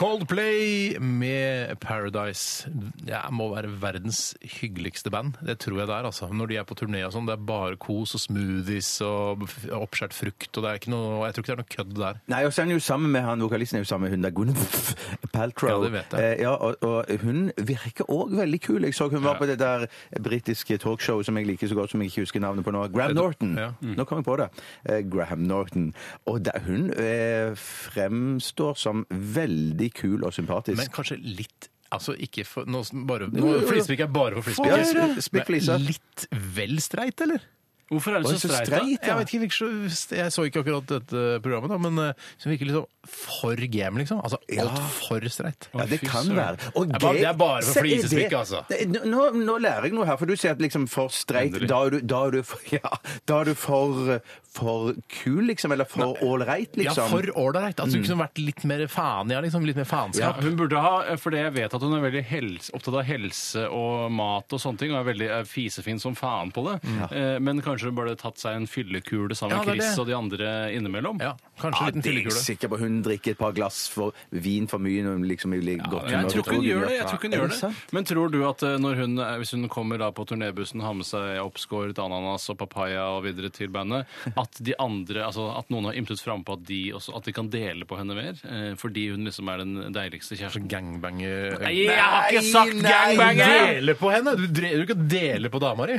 Speaker 3: Coldplay med Paradise. Det må være verdens hyggeligste band. Det tror jeg det er. altså. Når de er på turné og sånn, det er bare kos og smoothies og f- oppskåret frukt. og det er ikke noe, Jeg tror ikke det er noe kødd der.
Speaker 5: Nei, og så er han jo sammen med han, vokalisten er jo sammen med hun der Gwyneth Paltrow.
Speaker 3: Ja, det vet jeg.
Speaker 5: Eh, ja, og, og hun virker òg veldig kul. Jeg så hun var på det der britiske talkshowet som jeg liker så godt som jeg ikke husker navnet på nå. Graham Norton.
Speaker 3: ja. Mm.
Speaker 5: Nå kom jeg på det. Eh, Graham Norton. Og da, hun eh, fremstår som veldig kul og sympatisk.
Speaker 3: Men kanskje litt Altså ikke for Nå, s- bare, nå flisespikk er bare for
Speaker 5: Ja,
Speaker 3: flisespikk.
Speaker 5: ja, ja. Spikkflisa.
Speaker 3: Men Litt vel streit, eller?
Speaker 4: Hvorfor er
Speaker 5: Oi,
Speaker 4: du så
Speaker 5: så
Speaker 4: streit? da?
Speaker 5: streit. Litt, ja.
Speaker 3: Jeg vet ikke, virker så, jeg så ikke akkurat dette programmet, da, men eh, som virker liksom for game, liksom. Altså altfor streit.
Speaker 5: Ja, det
Speaker 4: fy
Speaker 5: kan
Speaker 4: søren.
Speaker 5: være. Og
Speaker 3: Det er bare- det er bare for
Speaker 5: Se, er det-
Speaker 3: flisespikke, altså.
Speaker 5: Nei, Nå, nå- nå lærer jeg noe her, for du sier at liksom for streit
Speaker 4: Endelig.
Speaker 5: da er, du, da er du for ja, Da er du for, eh, for kul, liksom? Eller for ålreit, liksom?
Speaker 3: Ja, for ålreit. At du kunne vært litt mer faen, Mm. ja, liksom. Litt mer
Speaker 4: Ja,
Speaker 3: faenskap.
Speaker 4: hun burde ha, eh, fordi jeg vet at hun er veldig helse, opptatt av helse og mat og sånne ting, og er veldig er fisefin som faen på det. Eh, Men kanskje hun burde tatt seg en fyllekule sammen
Speaker 3: Ja,
Speaker 4: med
Speaker 3: det er
Speaker 4: Chris
Speaker 3: det.
Speaker 4: og de andre innimellom.
Speaker 3: Ja, kanskje
Speaker 5: Ja,
Speaker 3: en liten
Speaker 5: det er jeg
Speaker 3: fyllekule.
Speaker 5: sikker på. Hun drikker et par glass for vin for mye når hun liksom vil ligge godt
Speaker 4: Jeg tror ikke hun gjør det. jeg tror ikke hun
Speaker 5: Er
Speaker 4: gjør
Speaker 5: det
Speaker 4: det.
Speaker 5: sant?
Speaker 4: Men tror du at eh, når hun, eh, hvis hun kommer da på turnébussen, har med seg oppskåret ananas og papaya og videre til bandet, at de andre, altså at noen har ymtet frampå at, de også- at de kan dele på henne mer? eh, Fordi hun liksom er den deiligste kjæresten?
Speaker 3: Gangbanger
Speaker 4: Nei, jeg har ikke sagt
Speaker 5: nei,
Speaker 4: gangbanger!
Speaker 3: Dele på henne! Du dre- du kan ikke dele på dama di.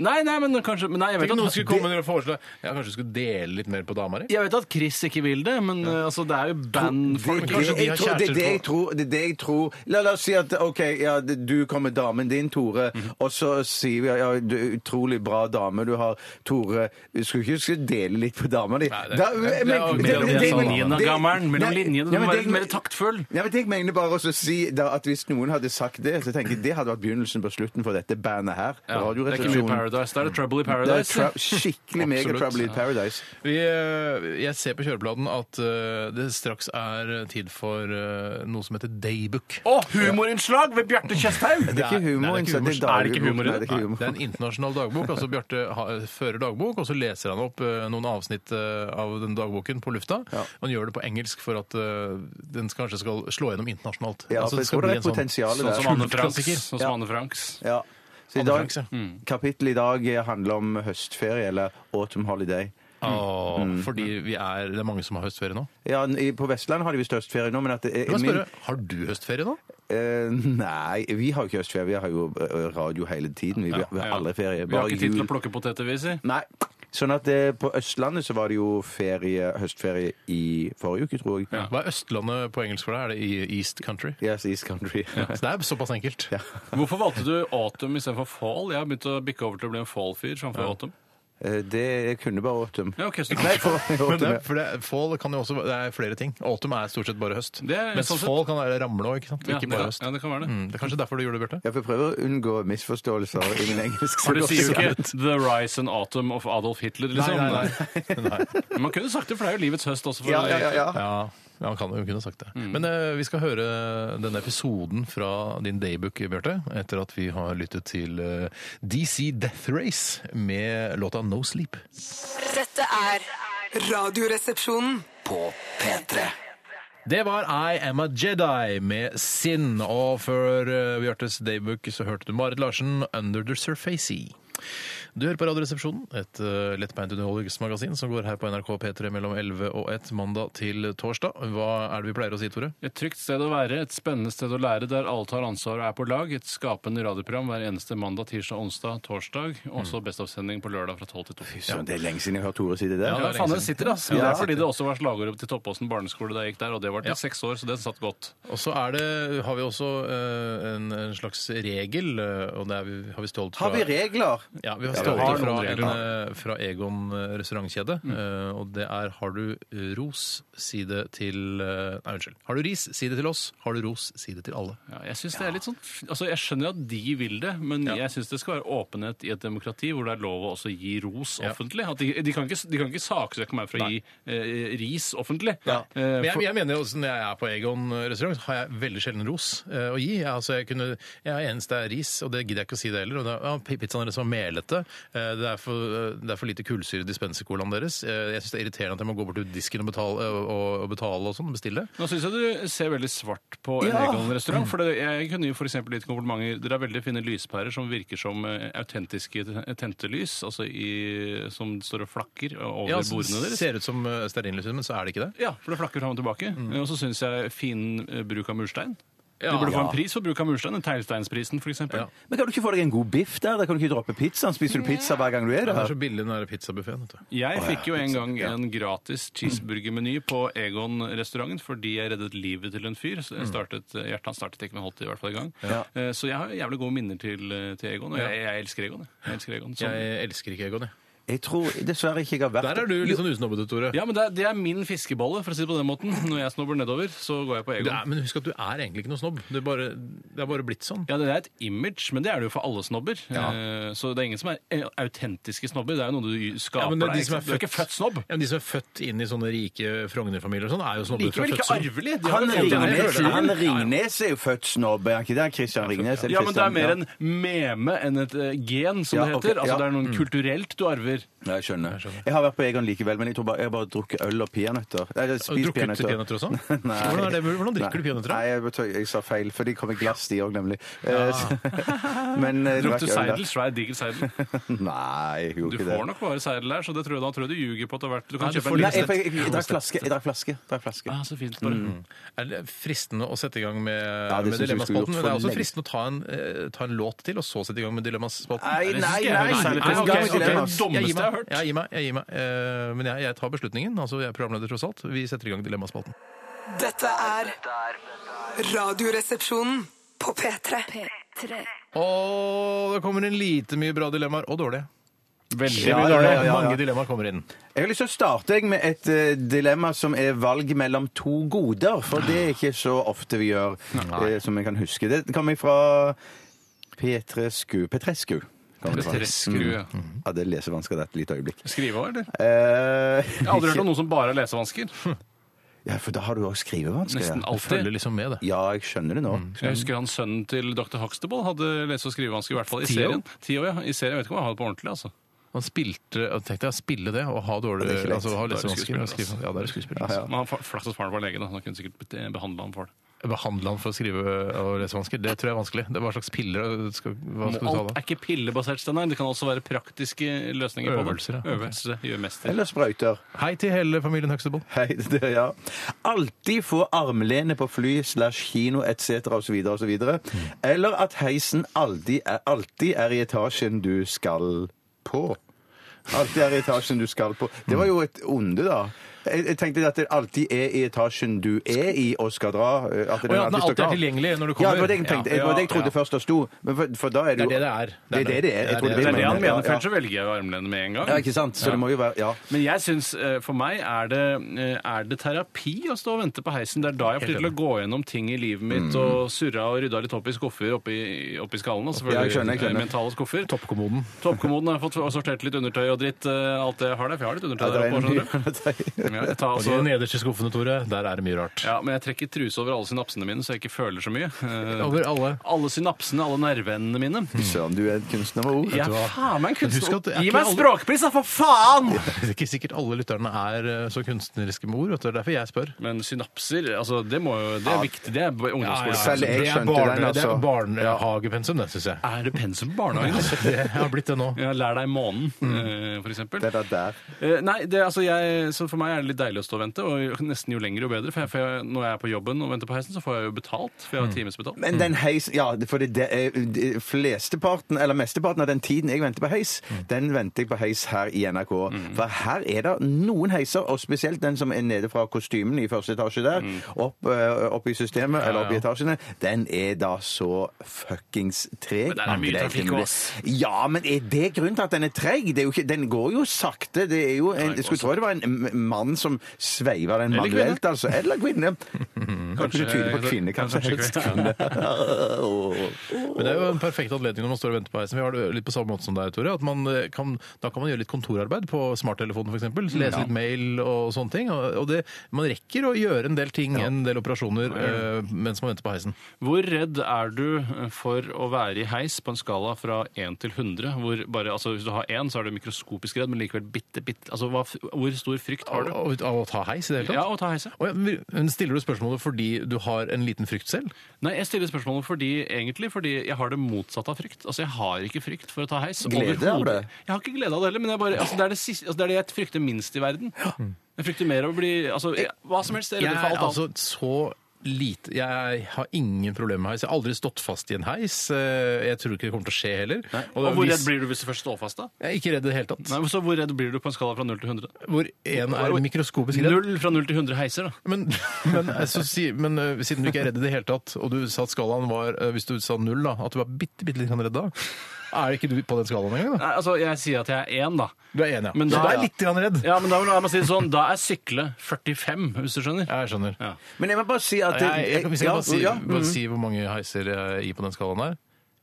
Speaker 4: Nei, nei, men kanskje men nei, jeg, vet
Speaker 3: Tenk om noen
Speaker 4: at,
Speaker 3: skulle komme og foreslå Ja, kanskje du skulle dele litt mer på dama di?
Speaker 4: jeg vet at Chris ikke vil det, men eh, altså, det er jo
Speaker 5: Det,
Speaker 4: bandfolk
Speaker 5: det,
Speaker 3: kanskje de har
Speaker 5: jeg tror, det, er
Speaker 3: kjærester
Speaker 5: det, jeg
Speaker 3: på-
Speaker 5: tror, det er det jeg tror La, la oss si at OK, ja, det- du kommer med damen din, Tore,
Speaker 3: Mhm.
Speaker 5: og så sier vi ja, du er utrolig bra dame du har, Tore. Skulle ikke huske å dele litt på dama di.
Speaker 3: Nei, det-
Speaker 5: Da-
Speaker 3: det-
Speaker 5: men-
Speaker 3: det er jo
Speaker 5: men-
Speaker 3: mellom
Speaker 5: det- det-
Speaker 3: linjene,
Speaker 5: men- det-
Speaker 4: gammelen, mellom
Speaker 5: Nei,
Speaker 4: linjene, du
Speaker 5: ja,
Speaker 4: må
Speaker 5: men
Speaker 4: være
Speaker 5: det-
Speaker 4: litt mer taktfull.
Speaker 5: Ja, men jeg mener bare også å si da, at hvis noen hadde sagt det, så tenker jeg det hadde vært begynnelsen på slutten for dette bandet her.
Speaker 4: Ja, det er ikke mye
Speaker 5: Radioresepsjonen.
Speaker 4: Paradise. Da er det Trouble in
Speaker 5: Det er
Speaker 4: Paradise.
Speaker 5: trou- skikkelig mega
Speaker 3: Absolutt.
Speaker 5: trouble in paradise.
Speaker 3: Vi, eh, jeg ser på kjørebladen at eh, det straks er tid for eh, noe som heter Daybook.
Speaker 4: Å, humorinnslag ved Bjarte Tjøstheim!
Speaker 5: Det er ikke humor,
Speaker 3: nei, det
Speaker 5: ikke sant? Det er
Speaker 3: er ikke humor. Er det ikke
Speaker 5: dagbok. Nei, det er ikke
Speaker 3: humor?
Speaker 5: humor.
Speaker 3: Nei, det er en internasjonal dagbok. altså Bjarte ha- fører dagbok, og så leser han opp eh, noen avsnitt eh, av den dagboken på lufta.
Speaker 5: Ja.
Speaker 3: Han gjør det på engelsk for at eh, den skal, kanskje skal slå gjennom internasjonalt.
Speaker 5: Ja,
Speaker 3: Altså,
Speaker 5: for jeg tror det er
Speaker 3: sånn-
Speaker 5: potensialet
Speaker 4: Sånn
Speaker 5: der.
Speaker 4: som Anne Franks.
Speaker 3: Kultklassiker.
Speaker 4: Sånn som
Speaker 5: Ja.
Speaker 4: Anne Franks.
Speaker 5: Ja. Så i
Speaker 3: Anne
Speaker 5: dag,
Speaker 3: Franks, ja.
Speaker 4: Mm.
Speaker 5: kapittelet i dag handler om høstferie, eller autumn holiday.
Speaker 3: Åh,
Speaker 5: Mm.
Speaker 3: Fordi vi er, det er mange som har høstferie nå.
Speaker 5: Ja, i- På Vestlandet har de visst høstferie nå, men at det
Speaker 3: Kan
Speaker 5: er
Speaker 3: jeg spørre, Har du høstferie nå?
Speaker 5: Eh, nei, vi har jo ikke høstferie. Vi har jo eh, radio hele tiden. Vi, vi har aldri ferie.
Speaker 4: Vi har
Speaker 5: Bare
Speaker 4: ikke tid til å
Speaker 5: jul.
Speaker 4: plukke poteter, vi sier.
Speaker 5: Nei. Sånn at eh, på Østlandet så var det jo ferie, høstferie i forrige uke, tror jeg.
Speaker 4: Ja.
Speaker 3: Hva er Østlandet på engelsk for deg? Er det i East Country?
Speaker 5: Yes, East Country.
Speaker 3: Så det er såpass enkelt.
Speaker 4: Hvorfor valgte du autumn istedenfor fall? Jeg har begynt å bikke over til å bli en fall-fyr framfor autumn.
Speaker 5: Eh, det jeg kunne bare autumn.
Speaker 4: Ja, ok, så
Speaker 5: Nei, for,
Speaker 3: Men det,
Speaker 5: autumn.
Speaker 3: for det, fall kan jo også, det er flere ting. Autumn er stort sett bare høst.
Speaker 4: Det er
Speaker 3: Mens
Speaker 4: sånn sett-
Speaker 3: fall kan være ramle òg, ikke sant?
Speaker 4: Ja,
Speaker 3: Ikke
Speaker 4: det
Speaker 3: bare
Speaker 4: kan-
Speaker 3: høst.
Speaker 4: ja, det kan være det.
Speaker 3: Mm, det er kanskje derfor du gjorde det, Bjarte.
Speaker 5: Jeg prøver å unngå misforståelser i min engelsk.
Speaker 4: For du sier jo ikke 'The Rise and Autumn of Adolf Hitler', liksom.
Speaker 3: sånn-
Speaker 4: Men Man kunne sagt det, for det er jo livets høst også. For
Speaker 5: Ja, ja, ja, ja.
Speaker 3: Ja, ja, han kan, hun kunne sagt det. Men eh, vi skal høre denne episoden fra din daybook, Bjarte, etter at vi har lyttet til eh, DC Death Race med låta No Sleep.
Speaker 6: Dette er Radioresepsjonen.
Speaker 2: På P3
Speaker 3: Det var I Am A Jedi med Sin, og før eh, Bjartes daybook så hørte du Marit Larsen, Under The Surface. Du hører på Radioresepsjonen, et uh, lettbeint underholdningsmagasin som går her på NRK P3 mellom 11 og 1 mandag til torsdag. Hva er det vi pleier å si, Tore?
Speaker 4: Et trygt sted å være, et spennende sted å lære, der alle tar ansvar og er på lag. Et skapende radioprogram hver eneste mandag, tirsdag, onsdag, torsdag. Og så bestavsending på lørdag fra 12 til 2.
Speaker 5: Søren, Det er lenge siden jeg har hørt Tore si det der.
Speaker 4: Ja, det er
Speaker 3: lenge
Speaker 4: faen det
Speaker 3: siden.
Speaker 4: sitter, altså. ass. Men
Speaker 5: Ja,
Speaker 4: det
Speaker 5: det
Speaker 4: er fordi det også var slagordet til Toppåsen barneskole da jeg gikk der, og det var til seks år, så det satt godt.
Speaker 3: Og så er det, har vi også eh, en, en slags regel, eh, og det er vi, har vi stålt fra
Speaker 5: Har vi regler?
Speaker 3: Ja, vi har stått
Speaker 5: Ja, vi har Mm.
Speaker 3: fra,
Speaker 4: noen
Speaker 3: en,
Speaker 4: regler,
Speaker 3: eh, fra Egon eh, restaurantkjede, eh, og det er har du eh, ros, si det til eh, Nei, unnskyld. Har du ris, si det til oss. Har du ros, si det til alle.
Speaker 4: Ja, jeg synes det er litt sånn, altså jeg skjønner at de vil det, men jeg syns det skal være åpenhet i et demokrati hvor det er lov å også gi ros offentlig. At de, de, kan ikke, de kan ikke saksøke meg for å gi eh, ris offentlig. Eh,
Speaker 3: Men jeg,
Speaker 4: for,
Speaker 3: jeg mener jo, også, Når jeg er på Egon restaurant, så har jeg veldig sjelden ros eh, å gi. Jeg, altså, jeg, kunne, jeg er eneste er ris, og det gidder jeg ikke å si det heller. Og det er, ja, pi- pizzaen deres var melete. eh, Det er for, eh, det er for lite kullsyre i dispensercolaen deres. eh, Jeg syns det er irriterende at jeg må gå bort til disken og betale eh, og, og betale og sånn, og bestille.
Speaker 4: nå syns jeg du ser veldig svart på en
Speaker 5: Ja.
Speaker 4: Egon-restaurant. For det, jeg kunne jo f.eks. gitt komplimenter. Dere har veldig fine lyspærer som virker som eh, autentiske te- tentelys, altså i, som står og flakker over
Speaker 3: Ja, altså,
Speaker 4: bordene
Speaker 3: det
Speaker 4: deres.
Speaker 3: ser ut som eh, stearinlys, men så er det ikke det.
Speaker 4: Ja, for det flakker fram og tilbake.
Speaker 3: Mm.
Speaker 4: Eh, Og så syns jeg fin eh, bruk av murstein. Du burde få en pris for bruk av murstein. Den Teglsteinsprisen, f.eks.
Speaker 3: Ja.
Speaker 4: eksempel
Speaker 5: Men kan du ikke få deg en god biff der? Da kan du ikke droppe pizzaen. Spiser du pizza hver gang du er
Speaker 3: Det
Speaker 5: der?
Speaker 3: er så billig den der pizzabuffeen. vet du.
Speaker 4: Jeg fikk jo en gang en gratis cheeseburgermeny på Egon-restauranten fordi jeg reddet livet til en fyr. Så jeg
Speaker 3: Mm.
Speaker 4: startet, eh, hjertet hans startet ikke, men holdt det i hvert fall i gang. Eh, Så jeg har jævlig gode minner til, eh, til Egon, og jeg, jeg elsker Egon. jeg. Jeg elsker Egon. Så,
Speaker 3: Jeg elsker ikke Egon, jeg.
Speaker 5: Jeg tror dessverre ikke jeg har vært
Speaker 3: Der er du litt sånn usnobbete, Tore.
Speaker 4: ja, men det er, det er min fiskebolle, for å si det på den måten. Når jeg snobber nedover, så går jeg på
Speaker 3: Du
Speaker 4: Egon.
Speaker 3: er, men husk at du er egentlig ikke noe snobb. Det er bare, det er bare blitt sånn.
Speaker 4: Ja, Det er et image, men det er det jo for alle snobber. Eh, Så det er ingen som er eh, autentiske snobber. Det er jo noe du skaper
Speaker 3: men det er de
Speaker 4: deg.
Speaker 3: som er
Speaker 4: ikke sant? Du er
Speaker 3: født-
Speaker 4: ikke født snobb.
Speaker 3: Ja, men de som er født inn i sånne rike Frogner-familier og sånn, er jo snobber fra
Speaker 4: Likevel ikke
Speaker 3: fødselen.
Speaker 4: arvelig. De har
Speaker 5: Han
Speaker 4: jo
Speaker 3: sånn-
Speaker 4: fått det her
Speaker 5: Ringnes,
Speaker 4: før.
Speaker 5: han Ringnes er jo født snobb, er han ikke det? Christian Ringnes? eller
Speaker 4: Ja, men det er
Speaker 5: Christian,
Speaker 4: mer en
Speaker 5: ja.
Speaker 4: meme enn et eh, gen, som
Speaker 5: Ja,
Speaker 4: det
Speaker 5: ok,
Speaker 4: heter. Altså
Speaker 5: ja.
Speaker 4: det er noe
Speaker 3: Mm.
Speaker 4: kulturelt du arver.
Speaker 5: Ja, jeg skjønner. Jeg har vært på Egon likevel, men jeg tror bare, jeg har bare drukket øl og peanøtter.
Speaker 3: Har du
Speaker 5: Eller spist
Speaker 3: drukket
Speaker 5: peanøtter.
Speaker 3: peanøtter også?
Speaker 5: Nei.
Speaker 3: Hvordan, er det, mulig? hvordan drikker du peanøtter?
Speaker 5: Nei,
Speaker 3: da?
Speaker 5: jeg, betyr, jeg sa feil, for de kom i glass, de òg, nemlig. Eh, så- men eh,
Speaker 4: Brukte
Speaker 5: drakk øl,
Speaker 4: seidel, svær diger seidel.
Speaker 5: da. Nei, jeg
Speaker 4: Du
Speaker 5: gjorde ikke det.
Speaker 4: får nok bare seidel her, så det tror jeg, da tror jeg du ljuger på at det har vært Du kan
Speaker 3: Nei, du
Speaker 4: kjøpe
Speaker 3: får
Speaker 4: en
Speaker 5: Nei,
Speaker 3: litt-
Speaker 4: liten
Speaker 5: jeg, jeg, jeg, jeg drakk flaske. Jeg drakk flaske. Jeg drakk flaske.
Speaker 4: ah, Så fint, bare.
Speaker 3: Er det fristende å sette i gang med,
Speaker 5: Mm. det
Speaker 3: med
Speaker 5: synes jeg vi skulle gjort
Speaker 3: Dilemmaspalten? Men det er
Speaker 5: for
Speaker 3: også
Speaker 5: lenge.
Speaker 3: fristende å ta en, eh, ta en låt til, og så sette i gang med Dilemmaspalten.
Speaker 5: Nei,
Speaker 4: det synes jeg
Speaker 5: nei,
Speaker 4: er
Speaker 5: nei!
Speaker 4: litt særlig.
Speaker 5: Nei,
Speaker 4: Ok,
Speaker 5: gang med
Speaker 4: ok,
Speaker 5: dilemmas.
Speaker 4: dummeste
Speaker 3: Jeg gir
Speaker 4: jeg har
Speaker 3: meg.
Speaker 4: hørt.
Speaker 3: Jeg gir meg, jeg gir meg. Eh, Men jeg, jeg tar beslutningen. Altså, jeg er programleder tross alt. Vi setter i gang Dilemmaspalten.
Speaker 6: Dette er Radioresepsjonen på P3.
Speaker 3: Og det kommer inn lite mye bra dilemmaer, og dårlige.
Speaker 4: Veldig
Speaker 5: Ja,
Speaker 3: mye
Speaker 5: ja,
Speaker 3: dårlige.
Speaker 5: ja, ja, ja.
Speaker 3: Mange dilemmaer kommer inn.
Speaker 5: Jeg har lyst til å starte jeg, med et eh, dilemma som er valg mellom to goder. For det er ikke så ofte vi gjør, eh, som jeg kan huske. Det kommer fra Petrescu. Petrescu. Kan man faktisk-
Speaker 4: Petreskru.
Speaker 5: Ja, det lesevansker det et lite øyeblikk.
Speaker 4: Skrive òg, eller?
Speaker 5: Eh,
Speaker 4: Jeg har aldri hørt om noen som bare har lesevansker.
Speaker 5: Ja, for da har du òg skrivevansker.
Speaker 4: Nesten Mm.
Speaker 5: Ja.
Speaker 3: Følger
Speaker 4: alltid.
Speaker 3: liksom med, det.
Speaker 5: ja, jeg skjønner det nå.
Speaker 4: Jeg husker han sønnen til dr. Huxtable hadde lese- og skrivevansker, i hvert fall i
Speaker 3: Theo?
Speaker 4: serien. Theo, ja. I serien, Jeg vet ikke om han har det på ordentlig, altså.
Speaker 3: Man spilte, jeg tenkte jeg, spille det og ha dårlig
Speaker 5: Det er ikke lett.
Speaker 3: altså, ha
Speaker 4: Da er det
Speaker 3: lesevansker. og
Speaker 4: skuespiller,
Speaker 3: skrive- Ja, det er skuespiller. altså.
Speaker 4: Men han fa- Flaks at faren var lege, da. Han kunne sikkert be- behandle ham for det.
Speaker 3: Behandle han for å skrive og lesevansker, det tror jeg er vanskelig. Det er Hva slags piller skal, hva skal du ta
Speaker 4: Alt
Speaker 3: da?
Speaker 4: er ikke pillebasert, Steinar. Det kan også være praktiske løsninger
Speaker 3: Øvelser, ja.
Speaker 4: på det.
Speaker 3: Ok.
Speaker 4: Øvelser. Gjør mest til.
Speaker 5: Eller sprøyter.
Speaker 3: Hei til hele familien Huxtable.
Speaker 5: Hei, det er ja. Alltid få armlene på fly slash kino etc. osv. osv. Eller at heisen alltid er, alltid er i etasjen du skal på. Alltid er i etasjen du skal på. Det var jo et onde, da. Jeg, jeg tenkte at det alltid er i etasjen du er i og skal dra. eh, At
Speaker 3: Å ja, den alltid er tilgjengelig når du
Speaker 5: Ja,
Speaker 3: kommer.
Speaker 5: det var det jeg tenkte. Det var det jeg trodde
Speaker 3: Ja.
Speaker 5: først det sto. Men for, for da er det jo
Speaker 3: Det er det det er.
Speaker 5: Det er det det er. Jeg tror det
Speaker 4: Det er det han
Speaker 5: Ja,
Speaker 4: mener, for
Speaker 5: ja.
Speaker 4: ellers så velger jeg armlenet med en gang.
Speaker 5: Ja, ikke sant? Så det må jo være Ja.
Speaker 4: Men jeg syns, eh, for meg, er det, eh, er det terapi å stå og vente på heisen? Det er da jeg
Speaker 3: Helt
Speaker 4: plikter til å gå gjennom ting i livet mitt og surra og rydda litt opp i skuffer oppi, oppi skallen. og
Speaker 5: Ja,
Speaker 4: Selvfølgelig
Speaker 5: jeg skjønner, jeg skjønner.
Speaker 4: eh, mentale skuffer.
Speaker 3: Toppkommoden.
Speaker 4: Toppkommoden har jeg fått og sortert litt undertøy og dritt. eh, alt det jeg har der, for jeg har litt undertøy
Speaker 5: Ja, det
Speaker 4: der
Speaker 5: er
Speaker 4: oppe. skjønner du?
Speaker 5: en-
Speaker 4: Ja, jeg tar
Speaker 3: Og de
Speaker 4: altså...
Speaker 3: nederste skuffene, Tore, der er det mye rart.
Speaker 4: Ja, men jeg trekker truse over alle synapsene mine, så jeg ikke føler så mye. Eh,
Speaker 3: Over alle.
Speaker 4: Alle synapsene, alle nerveendene mine.
Speaker 5: Søren, du er en kunstner med ord.
Speaker 4: Jeg er faen meg en
Speaker 3: Husk at det
Speaker 4: kunstner.
Speaker 3: er
Speaker 4: Gi
Speaker 3: ikke
Speaker 4: meg en
Speaker 3: alle-
Speaker 4: språkpris, da, for faen!
Speaker 3: Det er ikke sikkert alle lytterne er eh, så kunstneriske med ord, vet du. Det er derfor jeg spør.
Speaker 4: Men synapser, altså, det, må jo, det er viktig. Det er ungdomsskole.
Speaker 5: ja. Selv jeg
Speaker 3: altså, Det er
Speaker 5: skjønte
Speaker 3: barne-
Speaker 5: den, altså.
Speaker 3: Det er barnehagepensum, det syns jeg.
Speaker 4: Er det pensum på barnehagen? altså?
Speaker 3: Det har blitt det nå.
Speaker 4: Ja, lær deg månen,
Speaker 3: Mm.
Speaker 4: eh, for eksempel.
Speaker 5: Det er der.
Speaker 4: Eh, Nei, det, er altså jeg, så for meg er det litt deilig å stå og vente, og nesten jo lenger jo bedre. For, jeg, for jeg, når jeg er på jobben og venter på heisen, så får jeg jo betalt, for jeg
Speaker 3: Mm.
Speaker 4: har timesbetalt.
Speaker 5: Men den heis, ja, for det, det er, det, flesteparten, eller mesteparten av den tiden jeg venter på heis,
Speaker 4: Mm.
Speaker 5: den venter jeg på heis her i NRK. For her er det noen heiser, og spesielt den som er nede fra kostymen i første etasje der,
Speaker 4: Mm.
Speaker 5: opp, eh, opp i systemet, eller opp i etasjene, den er da så fuckings treg.
Speaker 4: Men der er mye
Speaker 5: Det
Speaker 4: trafikk
Speaker 5: ikke mulig.
Speaker 4: også.
Speaker 5: Ja, men er det grunnen til at den er treg? Det er jo ikke, den går jo sakte. Det er jo en,
Speaker 4: den går
Speaker 5: jeg skulle tro det var en m- mann som sveiver den
Speaker 4: Eller kvinne.
Speaker 5: manuelt, altså. Eller kvinne. Kanskje tydelig på kvinne, kanskje helst
Speaker 4: kvinne.
Speaker 5: kvinne. Åh.
Speaker 3: Men det er jo en perfekt anledning når man står og venter på heisen. Vi har det litt på samme måte som deg, Tore. At man eh, kan, da kan man gjøre litt kontorarbeid på smarttelefonen f.eks. Lese litt mail og sånne ting. Og og det, man rekker å gjøre en del ting, en del operasjoner, eh, mens man venter på heisen.
Speaker 4: Hvor redd er du eh, for å være i heis på en skala fra 1 til 100? Hvor bare, altså, hvis du har 1, så er du mikroskopisk redd, men likevel bitte, bitte altså, hva, Hvor stor frykt har du?
Speaker 3: Av av- av å ta heis i det hele
Speaker 4: Ja,
Speaker 3: tatt?
Speaker 4: å ta heisen.
Speaker 3: Å ja, men men Stiller du spørsmålet fordi du har en liten frykt selv?
Speaker 4: Nei, jeg stiller spørsmålet fordi, egentlig fordi jeg har det motsatte av frykt. Altså, jeg har ikke frykt for å ta heis.
Speaker 5: Glede
Speaker 4: overhodet.
Speaker 5: er det.
Speaker 4: Jeg har ikke glede av det heller, men jeg bare, altså, det, er det, siste, altså, det er det jeg frykter minst i verden. Mm. Jeg frykter mer av å bli altså, jeg, Hva som helst. Jeg er
Speaker 3: Jeg
Speaker 4: redd for
Speaker 3: er
Speaker 4: alt annet.
Speaker 3: altså så lite Jeg har ingen problemer med heis. Jeg har aldri stått fast i en heis. Eh, Jeg tror ikke det kommer til å skje heller.
Speaker 4: Og hvor redd blir du hvis du først står fast, da?
Speaker 3: Jeg er ikke redd i det hele tatt.
Speaker 4: Nei, men så Hvor redd blir du på en skala fra 0 til 100?
Speaker 3: Hvor én er mikroskopisk redd.
Speaker 4: Null fra 0 til 100 heiser, da.
Speaker 3: Men, men, jeg så si, men eh, siden du ikke er redd i det hele tatt, og du sa at skalaen var eh, Hvis du sa null, da, at du var bitte, bitte litt redd da, er ikke du på den skalaen engang? da?
Speaker 4: Nei, altså, Jeg sier at jeg er én, da.
Speaker 3: Du er enig, ja.
Speaker 4: Men da-
Speaker 3: så du er litt grann redd?
Speaker 4: Ja, men da vil jeg bare si det sånn, da er sykle 45, hvis du skjønner.
Speaker 3: Jeg skjønner.
Speaker 4: Ja. mm.
Speaker 5: Men jeg må bare si at
Speaker 3: Jeg, jeg, jeg, hvis jeg
Speaker 5: Ja,
Speaker 3: bare, si,
Speaker 5: ja,
Speaker 3: bare si hvor mange heiser jeg gir på den skalaen her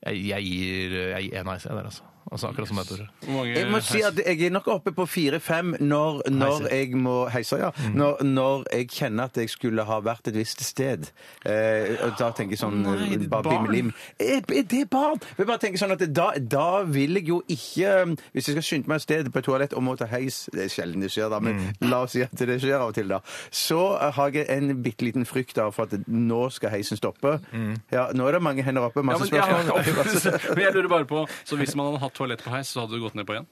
Speaker 3: Jeg, jeg gir eh, jeg gir én heis jeg, der, altså. altså. Akkurat som deg, Tore.
Speaker 4: Hvor mange
Speaker 5: Jeg må si at jeg er nok oppe på fire-fem når, når
Speaker 3: Heiser.
Speaker 5: jeg må heiser, ja.
Speaker 4: Mm.
Speaker 5: Når, når jeg kjenner at jeg skulle ha vært et visst sted. Eh, og da tenker jeg sånn
Speaker 4: Nei, ditt
Speaker 5: bare
Speaker 4: barn.
Speaker 5: bimlim. Er, er det barn? Jeg bare tenker sånn at da, da vil jeg jo ikke eh, Hvis jeg skal skynde meg et sted på et toalett og må ta heis Det er sjelden det skjer, da, men
Speaker 4: Mm.
Speaker 5: la oss si at det skjer av og til, da. Så eh, har jeg en bitte liten frykt av for at nå skal heisen stoppe. Ja, nå er det mange hender oppe,
Speaker 4: Mm. Ja,
Speaker 5: masse
Speaker 4: men, jeg har-
Speaker 5: spørsmål.
Speaker 4: men jeg lurer bare på, så Hvis man hadde hatt toalett på heis, så hadde du gått ned på én?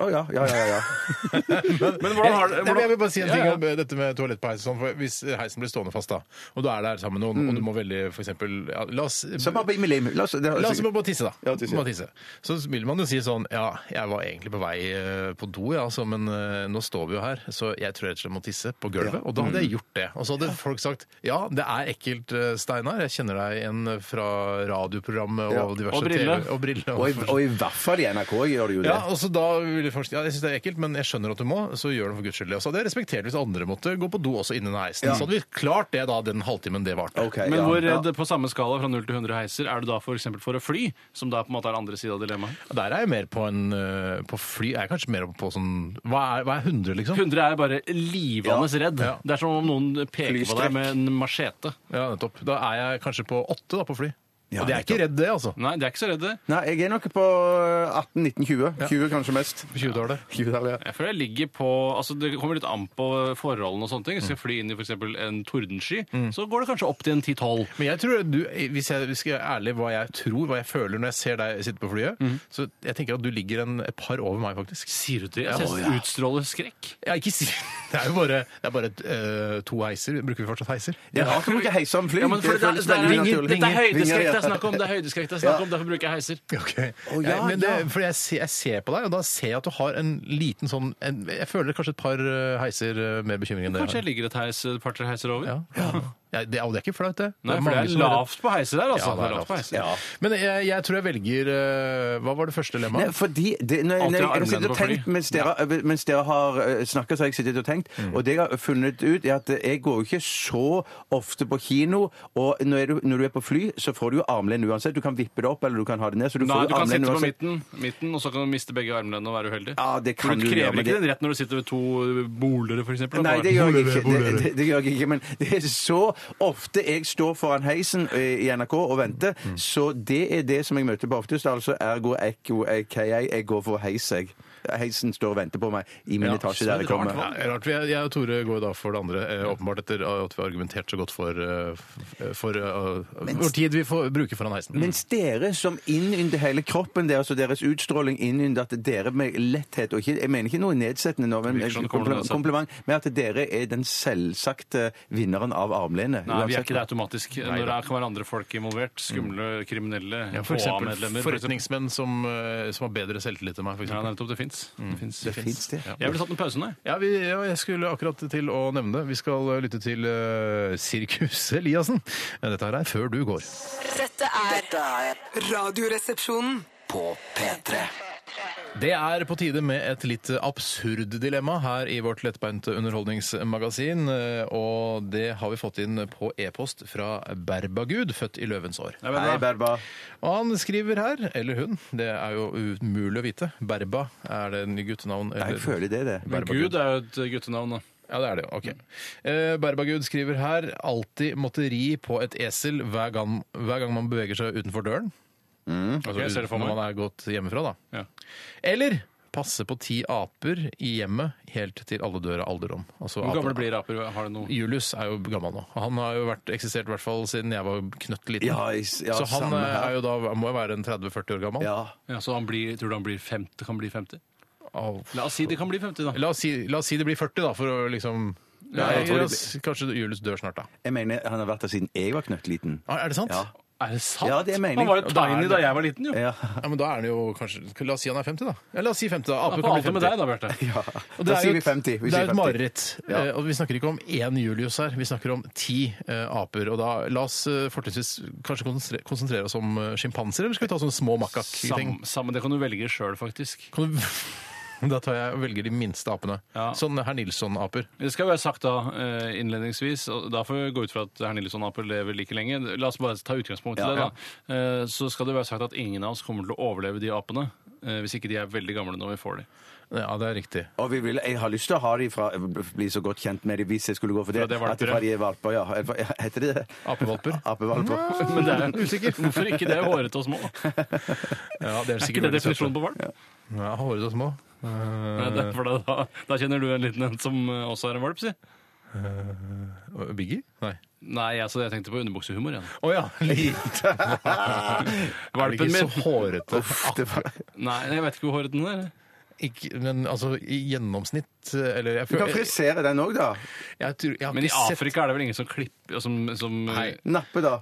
Speaker 5: Å ja, ja, ja, ja.
Speaker 4: Men hvordan har
Speaker 3: Nei,
Speaker 4: det
Speaker 3: men jeg vil bare si en ting
Speaker 4: Ja, ja.
Speaker 3: om eh, dette med toalett på heisen. sånn, For hvis heisen blir stående fast, da, og du er der sammen med noen,
Speaker 4: Mm.
Speaker 3: og du må veldig for eksempel, ja, La oss
Speaker 5: Så bare bimlim. La oss, det,
Speaker 3: La oss bare tisse, da.
Speaker 5: Ja, tisse.
Speaker 3: Bare tisse. Så vil man jo si sånn Ja, jeg var egentlig på vei eh, på do, ja, altså, men eh, nå står vi jo her, så jeg tror jeg rett og slett må tisse på gulvet. Og da hadde jeg
Speaker 5: Mm.
Speaker 3: gjort det. Og så hadde folk sagt Ja, det er ekkelt, eh, Steinar. Jeg kjenner deg igjen fra radioprogrammet og
Speaker 5: Ja.
Speaker 3: diverse
Speaker 4: Og brille.
Speaker 3: TV og brille.
Speaker 5: Og i, og i hvert fall i NRK gjør det jo det.
Speaker 3: ja, og så da ville blir faktisk, ja, jeg synes det er ekkelt, men jeg skjønner at du må, så gjør det for guds skyld. Og så hadde jeg respektert hvis andre måtte gå på do også innen heisen. Så hadde vi klart det da, den halvtimen det varte.
Speaker 5: Ok,
Speaker 4: Men
Speaker 5: ja,
Speaker 4: hvor eh,
Speaker 5: ja.
Speaker 4: redd på samme skala fra 0 til 100 heiser er du da for eksempel for å fly, som da på en måte er andre siden av dilemmaet?
Speaker 3: Der er jeg mer på en øh, På fly er jeg kanskje mer på sånn Hva er, hva er 100, liksom?
Speaker 4: 100 er bare livende redd.
Speaker 3: Ja.
Speaker 4: Det er som om noen peker på
Speaker 5: Flystrekk.
Speaker 4: deg med en machete.
Speaker 3: Ja, nettopp. Da er jeg kanskje på 8 da, på fly.
Speaker 5: Ja,
Speaker 3: Og det er ikke
Speaker 5: nettopp.
Speaker 3: redd, det, altså.
Speaker 4: Nei, de er ikke så redde.
Speaker 5: Nei, jeg er nok på 18, 19, 20. 20 kanskje mest.
Speaker 3: På 20-tallet.
Speaker 5: 20-tallet, ja.
Speaker 4: Jeg føler jeg ligger på altså Det kommer litt an på forholdene og sånne ting. Skal jeg fly inn i f.eks. en tordensky, så går det kanskje opp til en 10-12.
Speaker 3: Men jeg tror du, hvis jeg hvis jeg er ærlig hva jeg tror, hva jeg føler når jeg ser deg sitte på flyet, så jeg tenker at du ligger en, et par over meg, faktisk.
Speaker 4: Mhm. Sier du det? Jeg
Speaker 3: Å,
Speaker 4: synes det utstråler skrekk.
Speaker 3: Ja, ikke si Det er jo bare, det er bare øh, to heiser. Bruker vi fortsatt heiser?
Speaker 5: Det er rart å bruke heis om fly.
Speaker 4: Ja, men for det,
Speaker 5: føles
Speaker 4: det,
Speaker 5: veldig
Speaker 4: er-
Speaker 5: naturlig.
Speaker 4: dette er høydeskrekk det
Speaker 5: Vinger,
Speaker 4: er
Speaker 5: ja.
Speaker 4: snakk om, det er høydeskrekk det er snakk om, derfor bruker jeg heiser.
Speaker 3: Ok.
Speaker 5: Å, ja,
Speaker 3: Jeg- men det,
Speaker 5: ja.
Speaker 3: for jeg, ser- jeg ser på deg, og da ser jeg at du har en liten sånn en, Jeg føler kanskje et par øh, heiser øh, mer bekymring enn det.
Speaker 4: Kanskje jeg ligger et heis, et par-tre heiser over?
Speaker 3: Ja. Ja, det, er- og det er ikke flaut, det.
Speaker 4: Nei,
Speaker 3: er
Speaker 4: for det
Speaker 3: mange
Speaker 4: er
Speaker 3: som har-
Speaker 4: lavt på heiser der, altså.
Speaker 3: Ja, det er lavt.
Speaker 4: heiser.
Speaker 5: Ja.
Speaker 3: Men jeg, jeg tror jeg velger øh, Hva var det første lemmaet?
Speaker 5: Nei, fordi det, nei,
Speaker 4: Alltid ha
Speaker 5: nei, jeg sitter
Speaker 4: armlenet
Speaker 5: og
Speaker 4: på fly.
Speaker 5: tenkt mens dere, mens dere har snakka, så har jeg sittet og tenkt.
Speaker 4: Mm.
Speaker 5: Og det jeg har funnet ut, er at jeg går jo ikke så ofte på kino. Og når du, når du er på fly, så får du jo armlen uansett. Du kan vippe det opp, eller du kan ha det ned. Så du
Speaker 4: Nei,
Speaker 5: får
Speaker 4: du
Speaker 5: jo
Speaker 4: kan
Speaker 5: armlen
Speaker 4: sitte på
Speaker 5: uansett.
Speaker 4: midten, midten, og så kan du miste begge armlenene og være uheldig.
Speaker 5: Ja, det
Speaker 4: For
Speaker 5: kan
Speaker 4: du
Speaker 5: du gjøre,
Speaker 4: krever
Speaker 5: men
Speaker 4: ikke
Speaker 5: det-
Speaker 4: den rett når du sitter ved to bolere, f.eks.
Speaker 5: Nei, det gjør jeg ikke. Det, det, det gjør jeg ikke. Men det er så ofte jeg står foran heisen eh, i NRK og venter,
Speaker 4: Mm.
Speaker 5: så det er det som jeg møter på oftest. Altså ergo ekko KI. Jeg går for heis, jeg. Heisen står og venter på meg i min
Speaker 3: Ja,
Speaker 5: etasje
Speaker 3: så
Speaker 5: der
Speaker 3: det er
Speaker 5: jeg kommer.
Speaker 3: rart, hva? Ja, rart. Vi er- Jeg og Tore går jo da for det andre, eh, åpenbart etter at vi har argumentert så godt for, eh, f- for eh, hvor tid vi får bruke foran heisen.
Speaker 5: Mens dere som innynder hele kroppen deres og deres utstråling innynder at dere med letthet og ikke, Jeg mener ikke noe nedsettende nå, men
Speaker 4: Virker som det kommer noe
Speaker 5: kompliment,
Speaker 4: nedsettende.
Speaker 5: kompliment men at dere er den selvsagte vinneren av armlenet.
Speaker 4: Nei, vi er
Speaker 5: uansett.
Speaker 4: ikke det automatisk. Når det kan være andre folk involvert, skumle kriminelle,
Speaker 3: Ja, for eksempel
Speaker 4: HA-medlemmer Mm. for eksempel.
Speaker 3: forretningsmenn som, eh, som har bedre selvtillit enn meg. For
Speaker 4: Ja,
Speaker 3: eksempel.
Speaker 4: nettopp. Mm. Det fins.
Speaker 5: Det fins, det.
Speaker 4: Jeg ville tatt en pause nå. jeg.
Speaker 3: ja, vi, ja, jeg skulle akkurat til å nevne det. Vi skal eh, lytte til eh, Sirkus Eliassen. Ja, Dette her er Før du går.
Speaker 6: Dette er
Speaker 2: Dette er
Speaker 6: Radioresepsjonen.
Speaker 2: på P3.
Speaker 3: Det er på tide med et litt absurd dilemma her i vårt lettbeinte underholdningsmagasin. eh, Og det har vi fått inn på e-post fra Berbagud, født i løvens år.
Speaker 4: Det er
Speaker 5: Hei,
Speaker 4: veldig bra.
Speaker 5: Berba.
Speaker 3: Og han skriver her, eller hun, det er jo umulig å vite. Berba, er det en guttenavn?
Speaker 5: Nei,
Speaker 3: eller-
Speaker 5: Jeg føler det, det.
Speaker 4: Men Gud er jo et eh, guttenavn, da.
Speaker 3: Ja, det er det jo. Ok. Eh, Berbagud skriver her alltid måtte ri på et esel hver gang, hver gang man beveger seg utenfor døren. Altså,
Speaker 4: Ok, jeg ser det for
Speaker 3: når
Speaker 4: meg.
Speaker 3: man er gått hjemmefra, da.
Speaker 4: Ja.
Speaker 3: Eller passe på ti aper i hjemmet helt til alle dør av alderdom. Altså,
Speaker 4: Hvor
Speaker 3: aper-
Speaker 4: gamle blir aper? Har det noe
Speaker 3: Julius er jo gammel nå. Han har jo vært, eksistert i hvert fall siden jeg var knøttliten.
Speaker 5: Ja, jeg s- ja,
Speaker 3: så han
Speaker 5: samme
Speaker 3: eh,
Speaker 5: her.
Speaker 3: er jo da, må jo være en 30-40 år gammel.
Speaker 5: Ja.
Speaker 4: ja, Så han blir, tror du han blir 50, kan bli 50?
Speaker 3: Au.
Speaker 4: La oss si de kan bli 50, da.
Speaker 3: La, oss si, la oss si det blir 40, da, for å liksom Nei,
Speaker 5: jeg tror
Speaker 3: la
Speaker 5: det
Speaker 3: oss, Kanskje Julius dør snart, da.
Speaker 5: Jeg mener, han har vært der siden jeg var knøttliten.
Speaker 3: Ah, Er det sant?
Speaker 5: Ja.
Speaker 4: Er det sant?
Speaker 5: Ja, det er mening.
Speaker 4: Han var jo
Speaker 3: Og da er
Speaker 4: tiny
Speaker 3: det-
Speaker 4: da jeg var liten, jo.
Speaker 5: Ja.
Speaker 3: Ja, men da er det jo kanskje La oss si han er 50, da. Ja, la oss si 50, da.
Speaker 4: Hva
Speaker 3: Aper kan bli
Speaker 4: er det
Speaker 3: 50.
Speaker 4: med deg, da, Bjarte?
Speaker 5: ja.
Speaker 3: Og
Speaker 5: Da
Speaker 3: er
Speaker 5: sier
Speaker 3: jo
Speaker 5: vi 50. Vi
Speaker 3: det er
Speaker 5: sier
Speaker 3: jo et
Speaker 5: 50.
Speaker 3: mareritt.
Speaker 5: Ja.
Speaker 3: Eh, Og vi snakker ikke om én Julius her, vi snakker om ti eh, aper. Og da la oss eh, fortrinnsvis kanskje konsentrere, konsentrere oss om eh, sjimpanser, eller skal vi ta sånne små makak-ting?
Speaker 4: Sam, sammen, det kan du velge sjøl, faktisk.
Speaker 3: Kan du... Da tar jeg og velger de minste apene.
Speaker 4: Ja.
Speaker 3: Sånn herr Nilsson-aper.
Speaker 4: Det skal være sagt da eh, innledningsvis, og da får vi gå ut fra at herr Nilsson Aper lever like lenge. La oss bare ta utgangspunkt i det, da. Eh, Så skal det være sagt at ingen av oss kommer til å overleve de apene. eh, Hvis ikke de er veldig gamle når vi får de.
Speaker 3: Ja, det er riktig.
Speaker 5: Og vi vil, jeg har lyst til å ha de fra, bli så godt kjent med de hvis jeg skulle gå for det.
Speaker 4: Fra det valper,
Speaker 5: at fra de er valper, ja. Eller hva- Heter det det?
Speaker 3: Apevalper.
Speaker 5: Apevalper.
Speaker 4: Men det er usikker. Hvorfor ikke det er hårete og små? Er
Speaker 3: Ja, det er
Speaker 4: ikke
Speaker 3: sikkert
Speaker 4: det definisjonen på valp?
Speaker 3: Ja, Hårete og små.
Speaker 4: Nei, det er for da, da, da kjenner du en liten en som eh, også er en valp, si.
Speaker 3: Og Biggie? Nei.
Speaker 4: Nei, altså, jeg tenkte på underbuksehumor igjen.
Speaker 3: Å ja! Lite. Er det
Speaker 4: Valpen
Speaker 3: ikke
Speaker 4: min.
Speaker 3: så hårete?
Speaker 5: Det var-
Speaker 4: Nei, jeg vet ikke hvor hårete den er.
Speaker 3: Ikke, men altså, i gjennomsnitt litt Eller jeg
Speaker 5: Du kan
Speaker 3: føler
Speaker 5: frisere den òg, da.
Speaker 3: jeg tror, jeg har
Speaker 4: Men i
Speaker 3: ikke sett-
Speaker 4: Afrika er det vel ingen som klipper som, som
Speaker 3: Nei.
Speaker 5: Nappe, da.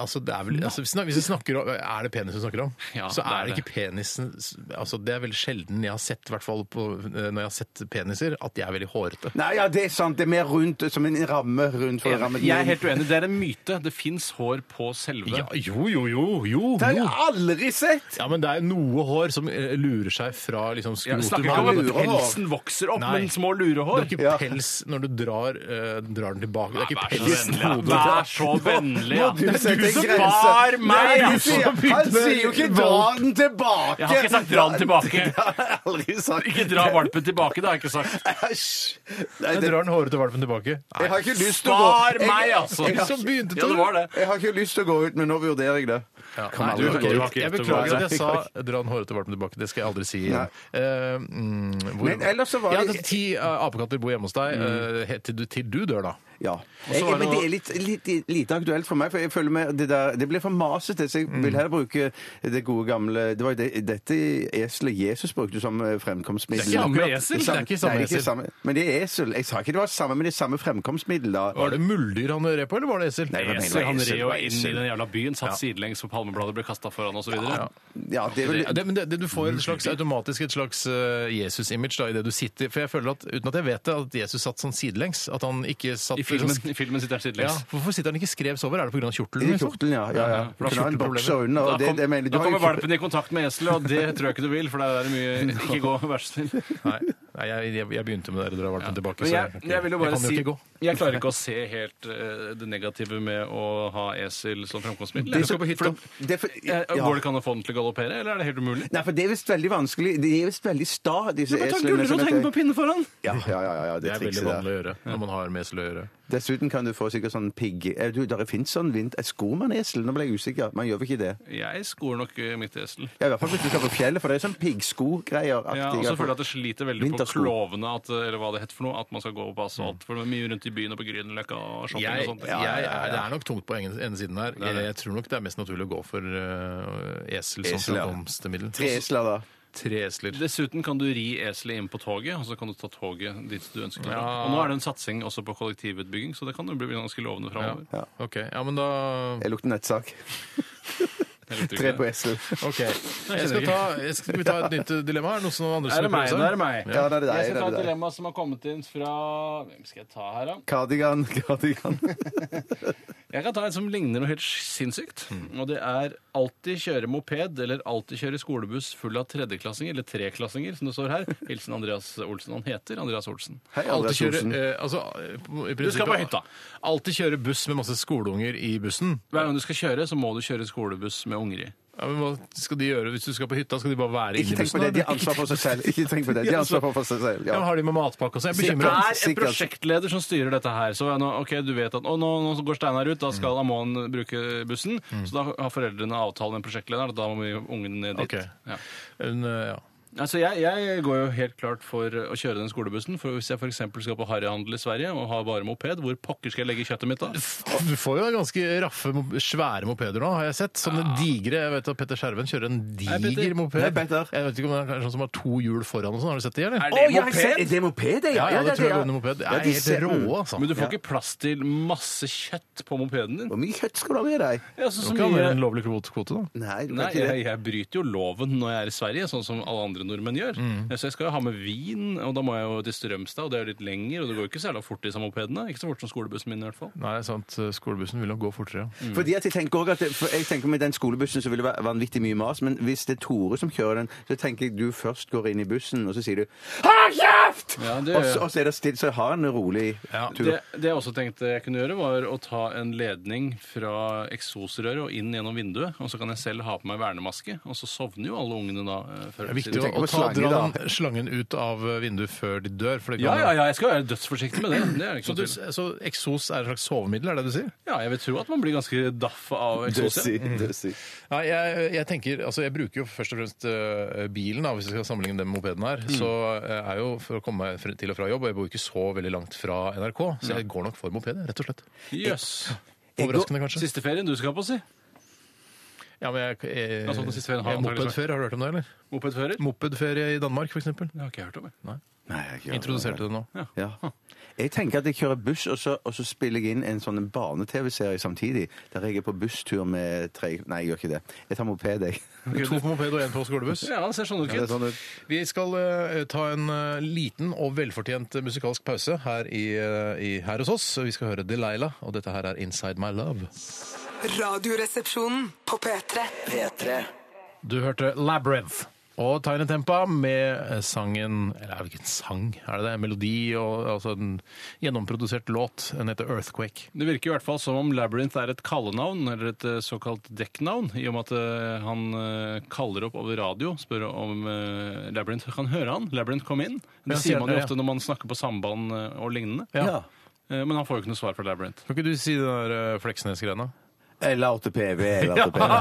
Speaker 3: Altså, det er vel, altså, hvis vi snakker om, er det penis vi snakker om,
Speaker 4: Ja,
Speaker 3: så
Speaker 4: det er
Speaker 3: er det ikke penisen altså, Det er veldig sjelden jeg har sett, i hvert fall på, eh, når jeg har sett peniser, at de er veldig hårete.
Speaker 5: Nei, ja, det er sant. Det er mer rundt, som en ramme rundt for å ramme den
Speaker 4: Jeg er
Speaker 5: inn.
Speaker 4: helt uenig. Det er en myte. Det fins hår på selve
Speaker 3: Ja, jo, jo, jo, jo,
Speaker 5: Det har
Speaker 3: jo!
Speaker 5: jeg aldri sett!
Speaker 3: Ja, men det er noe hår som eh, lurer seg fra liksom
Speaker 4: Jeg
Speaker 3: skrotum.
Speaker 4: snakker ikke om at
Speaker 5: lurehår.
Speaker 4: pelsen vokser opp,
Speaker 3: Nei.
Speaker 4: men små
Speaker 3: Det er
Speaker 4: lurehår.
Speaker 3: ikke
Speaker 5: Ja.
Speaker 3: pels når du drar, eh, drar den tilbake. Det er ikke
Speaker 4: Vær så
Speaker 3: pels
Speaker 4: vennlig.
Speaker 3: på hodet.
Speaker 4: Vær så vennlig, ja.
Speaker 5: Må du sette en
Speaker 4: som
Speaker 5: grense.
Speaker 4: bar meg!
Speaker 5: Nei,
Speaker 4: ja.
Speaker 5: du sier, han sier jo ikke 'dra den tilbake'!
Speaker 4: Jeg har ikke sagt 'dra den tilbake'.
Speaker 5: Det har jeg aldri sagt.
Speaker 4: Ikke dra valpen tilbake, det har jeg ikke sagt.
Speaker 5: Æsj! Nei,
Speaker 3: Jeg
Speaker 5: det,
Speaker 3: drar den hårete valpen tilbake.
Speaker 5: jeg har ikke lyst til å gå
Speaker 4: Spar
Speaker 5: Jeg-
Speaker 4: meg, altså!
Speaker 5: jeg har-
Speaker 3: Så begynte
Speaker 4: Ja, det var det.
Speaker 5: Jeg har ikke lyst til å gå ut, men nå vurderer jeg det.
Speaker 4: Nei,
Speaker 5: aldri
Speaker 4: du,
Speaker 5: gå
Speaker 4: du
Speaker 5: ut.
Speaker 4: har ikke
Speaker 3: Jeg
Speaker 4: rett til å
Speaker 3: beklager
Speaker 4: være
Speaker 3: at jeg sa 'dra den hårete valpen tilbake'. Det skal jeg aldri si igjen. Eh, mm, hvor-
Speaker 5: Men ellers så var
Speaker 3: Ja,
Speaker 5: det-
Speaker 3: det er ti eh, apekatter bor hjemme hos deg eh, helt til, du, til du dør, da.
Speaker 5: Ja. Eh,
Speaker 4: så var det
Speaker 5: men
Speaker 4: noe-
Speaker 5: det er litt, litt, lite aktuelt for meg, for jeg føler med det der Det blir for masete, så jeg
Speaker 4: Mm.
Speaker 5: vil heller bruke det gode gamle Det var jo det, dette eselet Jesus brukte som eh, fremkomstmiddel.
Speaker 4: Det er ikke samme esel.
Speaker 3: Det er ikke samme
Speaker 5: Nei,
Speaker 3: esel.
Speaker 5: samme. Men det er esel. Jeg sa ikke det var samme, men det er samme fremkomstmiddel, da.
Speaker 3: Var det muldyr han red på, eller var det esel?
Speaker 5: Nei, det var-
Speaker 4: Esel, han red jo
Speaker 5: Esel,
Speaker 4: inn i den jævla byen, satt sidelengs på palmebladet, ble kasta foran osv.
Speaker 3: Ja.
Speaker 5: Ja, det er vel
Speaker 3: Ja, det, men det, det, du får et slags, automatisk et slags eh, Jesus-image da, i det du sitter. For jeg føler at, uten at jeg vet det, at Jesus satt sånn sidelengs. At han ikke satt liksom
Speaker 4: I filmen, I filmen sitter han
Speaker 3: Ja,
Speaker 4: sidelengs.
Speaker 3: hvorfor sitter han ikke skrevs over? Er det pga. kjortelen?
Speaker 5: I
Speaker 3: liksom?
Speaker 5: kjortelen, ja. ja, ja. Du kunne ha en bokser under.
Speaker 4: Da,
Speaker 5: og det,
Speaker 4: kom,
Speaker 5: det mener, du
Speaker 4: da
Speaker 5: har jo
Speaker 4: kommer
Speaker 5: ikke-
Speaker 4: valpen i kontakt med eselet, og det tror jeg ikke du vil, for det er mye Ikke gå, vær så snill.
Speaker 3: Nei, Nei jeg, jeg, jeg begynte med dere drar valpen tilbake.
Speaker 4: Men
Speaker 3: så
Speaker 4: jeg,
Speaker 3: kan ikke-
Speaker 4: jeg vil jo bare
Speaker 3: kan
Speaker 4: si
Speaker 3: ikke gå.
Speaker 4: Jeg klarer ikke å se helt eh, det negative med å ha esel som framkomstmiddel.
Speaker 5: Det er
Speaker 4: Jeg skal
Speaker 5: så-
Speaker 4: på hytta.
Speaker 5: for det- det er for-
Speaker 4: Eh,
Speaker 5: ja.
Speaker 4: Går det ikke an å få den til å galoppere, eller er det helt umulig?
Speaker 5: Nei, for det er visst veldig vanskelig. De er visst veldig sta, disse eslene. som heter-
Speaker 4: pinne foran!
Speaker 5: Ja, ja, ja, ja,
Speaker 3: Det
Speaker 5: det
Speaker 3: er veldig
Speaker 5: trikset
Speaker 3: vanlig
Speaker 5: der.
Speaker 3: å gjøre når man har med esel å gjøre.
Speaker 5: Dessuten kan du få sikkert sånn pigg... Eh, Du, der fins sånn vint... Et skomanesel? Nå ble jeg usikker. Man gjør vel ikke det?
Speaker 4: Jeg skoer nok eh, mitt esel.
Speaker 5: Ja, I hvert fall hvis du skal på fjellet, for det er sånn piggskogreier.
Speaker 4: Ja, og så føler jeg at det sliter veldig på
Speaker 5: Vintersko.
Speaker 4: klovene, at, eh, eller hva det heter for noe, at man skal gå på asfalt. For det er mye rundt i byen og på Grünerløkka og shopping
Speaker 3: Jeg,
Speaker 4: og sånt.
Speaker 3: jeg, er- Det er nok tungt på ene ene siden her. Jeg, jeg tror nok det er mest naturlig å gå for eh, esel som
Speaker 5: Esel, ja.
Speaker 3: framkomstmiddel.
Speaker 5: Tre esler, da.
Speaker 3: Tre esler.
Speaker 4: Dessuten kan du ri eselet inn på toget, og så kan du ta toget dit du ønsker. deg. Og nå er det en satsing også på kollektivutbygging, så det kan jo bli ganske lovende framover.
Speaker 3: Ja. OK. Ja, men da
Speaker 5: Jeg lukter nettsak. Tre på esel.
Speaker 3: OK. Jeg skal ta, jeg skal, skal vi ta et nytt eh, dilemma? Er det noen som andre som
Speaker 4: Er det meg?
Speaker 3: prøve
Speaker 4: Nå
Speaker 3: seg?
Speaker 4: er det meg.
Speaker 5: Ja, det er det deg.
Speaker 4: Jeg skal ta
Speaker 5: det er
Speaker 4: et
Speaker 5: det deg.
Speaker 4: dilemma som har kommet inn fra Hvem skal jeg ta her, da?
Speaker 5: Kardigan, kardigan.
Speaker 4: Jeg kan ta en som ligner noe helt sinnssykt. Og det er alltid kjøre moped eller alltid kjøre skolebuss full av tredjeklassinger, eller treklassinger, som det står her. Hilsen Andreas Olsen. Han heter Andreas Olsen.
Speaker 5: Hei,
Speaker 3: Alltid
Speaker 5: Andreas
Speaker 3: kjøre,
Speaker 5: Olsen.
Speaker 3: eh, altså, i prinsippet-
Speaker 4: Du skal på hytta.
Speaker 3: Alltid kjøre buss med masse skoleunger i bussen.
Speaker 4: Hver gang du skal kjøre, så må du kjøre skolebuss med unger i.
Speaker 3: Ja, men hva skal de gjøre hvis du skal på hytta? Skal de bare være
Speaker 5: Ikke
Speaker 3: inne i
Speaker 5: tenk på
Speaker 3: bussen?
Speaker 5: det. De har
Speaker 3: eller?
Speaker 5: ansvar for seg selv. Ikke tenk på det. De har ansvar for seg selv.
Speaker 3: Ja, men
Speaker 5: Ja.
Speaker 3: har de med matpakke også? Jeg
Speaker 4: Det
Speaker 3: er
Speaker 4: er
Speaker 3: bekymra.
Speaker 4: en
Speaker 5: sikkert.
Speaker 4: prosjektleder som styrer dette her. Så er nå, ok, du vet at å, nå, nå går Steinar ut, da skal han må han bruke bussen. Så da har foreldrene avtale med prosjektlederen at da må vi ungen ned dit.
Speaker 3: Ok.
Speaker 4: Ja.
Speaker 3: Hun, eh, ja.
Speaker 4: Altså, jeg, jeg går jo helt klart for å kjøre den skolebussen. For hvis jeg f.eks. skal på harryhandel i Sverige og har bare moped, hvor pokker skal jeg legge kjøttet mitt da?
Speaker 3: Du får jo ganske raffe, mo- svære mopeder nå, har jeg sett. Sånne digre Jeg vet at Petter Skjerven kjører en
Speaker 4: Petter.
Speaker 3: diger moped.
Speaker 5: Nei, Petter.
Speaker 3: Jeg vet ikke om det er kanskje sånn som har to hjul foran og sånn. Har du sett det, eller?
Speaker 4: Er
Speaker 5: Å, ja, jeg ser- Er det moped,
Speaker 3: Ja, ja,
Speaker 5: det
Speaker 3: det
Speaker 5: er
Speaker 3: tror jeg
Speaker 5: ja.
Speaker 3: går under moped. Det
Speaker 5: Ja,
Speaker 3: er
Speaker 5: de
Speaker 3: helt
Speaker 5: ser-
Speaker 3: rå, altså.
Speaker 4: Men du får ikke plass til masse kjøtt på mopeden din.
Speaker 5: Hvor mye kjøtt skal du ha med deg?
Speaker 4: Ja, så,
Speaker 3: Du
Speaker 4: så
Speaker 3: kan ha en
Speaker 4: mye...
Speaker 3: lovlig kvote, kvote, da.
Speaker 5: Nei, du kan
Speaker 4: Nei,
Speaker 5: ikke det.
Speaker 4: jeg, jeg bryter jo loven når jeg er i Sverige, sånn som alle andre nordmenn gjør.
Speaker 3: Mm.
Speaker 4: Så jeg skal jo ha med vin, og da må jeg jo til Strømstad, og det er jo litt lenger, og det går jo ikke så jævla fort disse mopedene. Ikke så fort som skolebussen min i hvert fall.
Speaker 3: Nei, sant. Skolebussen vil nok gå fortere, ja.
Speaker 5: Fordi at jeg tenker også at det, for jeg tenker Med den skolebussen så vil det være vanvittig mye mas, men hvis det er Tore som kjører den, så tenker jeg du først går inn i bussen, og så sier du 'Hold kjeft!'
Speaker 4: Ja, det gjør
Speaker 5: og, så,
Speaker 3: Altså,
Speaker 4: jeg.
Speaker 5: og så er det stille, så har han en rolig tur.
Speaker 4: Det, det jeg også tenkte jeg kunne gjøre, var å ta en ledning fra eksosrøret og inn gjennom vinduet. Og så kan jeg selv ha på meg vernemaske, og så sovner jo alle ungene da. eh, Før
Speaker 3: Det er viktig å,
Speaker 5: tenker
Speaker 3: å
Speaker 5: på
Speaker 3: ta,
Speaker 5: slange,
Speaker 3: dra
Speaker 5: da.
Speaker 3: den slangen ut av vinduet før de dør. For det
Speaker 4: Ja,
Speaker 3: kan,
Speaker 4: ja, ja, jeg skal være dødsforsiktig med det. det er det
Speaker 3: Så, du,
Speaker 4: ikke noe tvil om.
Speaker 3: så eksos er et slags sovemiddel, er det det du sier?
Speaker 4: Ja, jeg vil tro at man blir ganske daff av eksos. ja.
Speaker 5: dødsig.
Speaker 3: Nei, jeg, jeg tenker, altså jeg bruker jo først og fremst øh, bilen, da, hvis jeg skal sammenligne den med mopeden her. Så jeg er jo for å komme meg fre- til og fra jobb, og jeg bor ikke så veldig langt fra NRK, så jeg går nok for moped, rett og slett.
Speaker 4: Jøss.
Speaker 3: Overraskende, kanskje.
Speaker 4: Siste ferien du skal på, si.
Speaker 3: Ja, men jeg, jeg,
Speaker 4: Ja, sånn den siste ferien har
Speaker 3: jeg-
Speaker 4: antageligvis
Speaker 3: Mopedferie, har du hørt om det, eller?
Speaker 4: Mopedfører?
Speaker 3: Mopedferie i Danmark, for eksempel.
Speaker 4: Det har ikke jeg hørt om. jeg.
Speaker 5: Nei, jeg gjør det.
Speaker 3: Introduserte du det nå?
Speaker 5: Ja. Jeg tenker at jeg kjører buss, og så, og så spiller jeg inn en sånn barne-TV-serie samtidig. Der jeg er på busstur med tre Nei, jeg gjør ikke det. Jeg tar moped, jeg.
Speaker 3: To på moped og én på skolebuss.
Speaker 4: Ja, det ser sånn ut.
Speaker 5: Ja, det er
Speaker 4: gitt.
Speaker 5: sånn det-
Speaker 3: Vi skal eh, ta en eh, liten og velfortjent eh, musikalsk pause her, i, eh, i, her hos oss. Vi skal høre Delilah, og dette her er Inside My Love.
Speaker 6: Radioresepsjonen på P3.
Speaker 2: P3
Speaker 3: Du hørte Labyrinth. Og Tiny Tempa med eh, sangen Eller er det ikke en sang? Er det det? En melodi og altså en gjennomprodusert låt. Den heter Earthquake.
Speaker 4: Det virker i hvert fall som om Labyrinth er et kallenavn, eller et eh, såkalt dekknavn, i og med at eh, han eh, kaller opp over radio, spør om eh, Labyrinth kan høre han. Labyrinth kom inn.
Speaker 3: Ja,
Speaker 4: Det sier
Speaker 3: sier-
Speaker 4: man jo
Speaker 3: ja.
Speaker 4: ofte når man snakker på samband eh, og lignende.
Speaker 3: Ja.
Speaker 4: Eh, Men han får jo ikke noe svar fra Labyrinth.
Speaker 3: Kan ikke du si den der eh, Fleksnes-grena?
Speaker 5: Eller 8PV. Eller 8PV.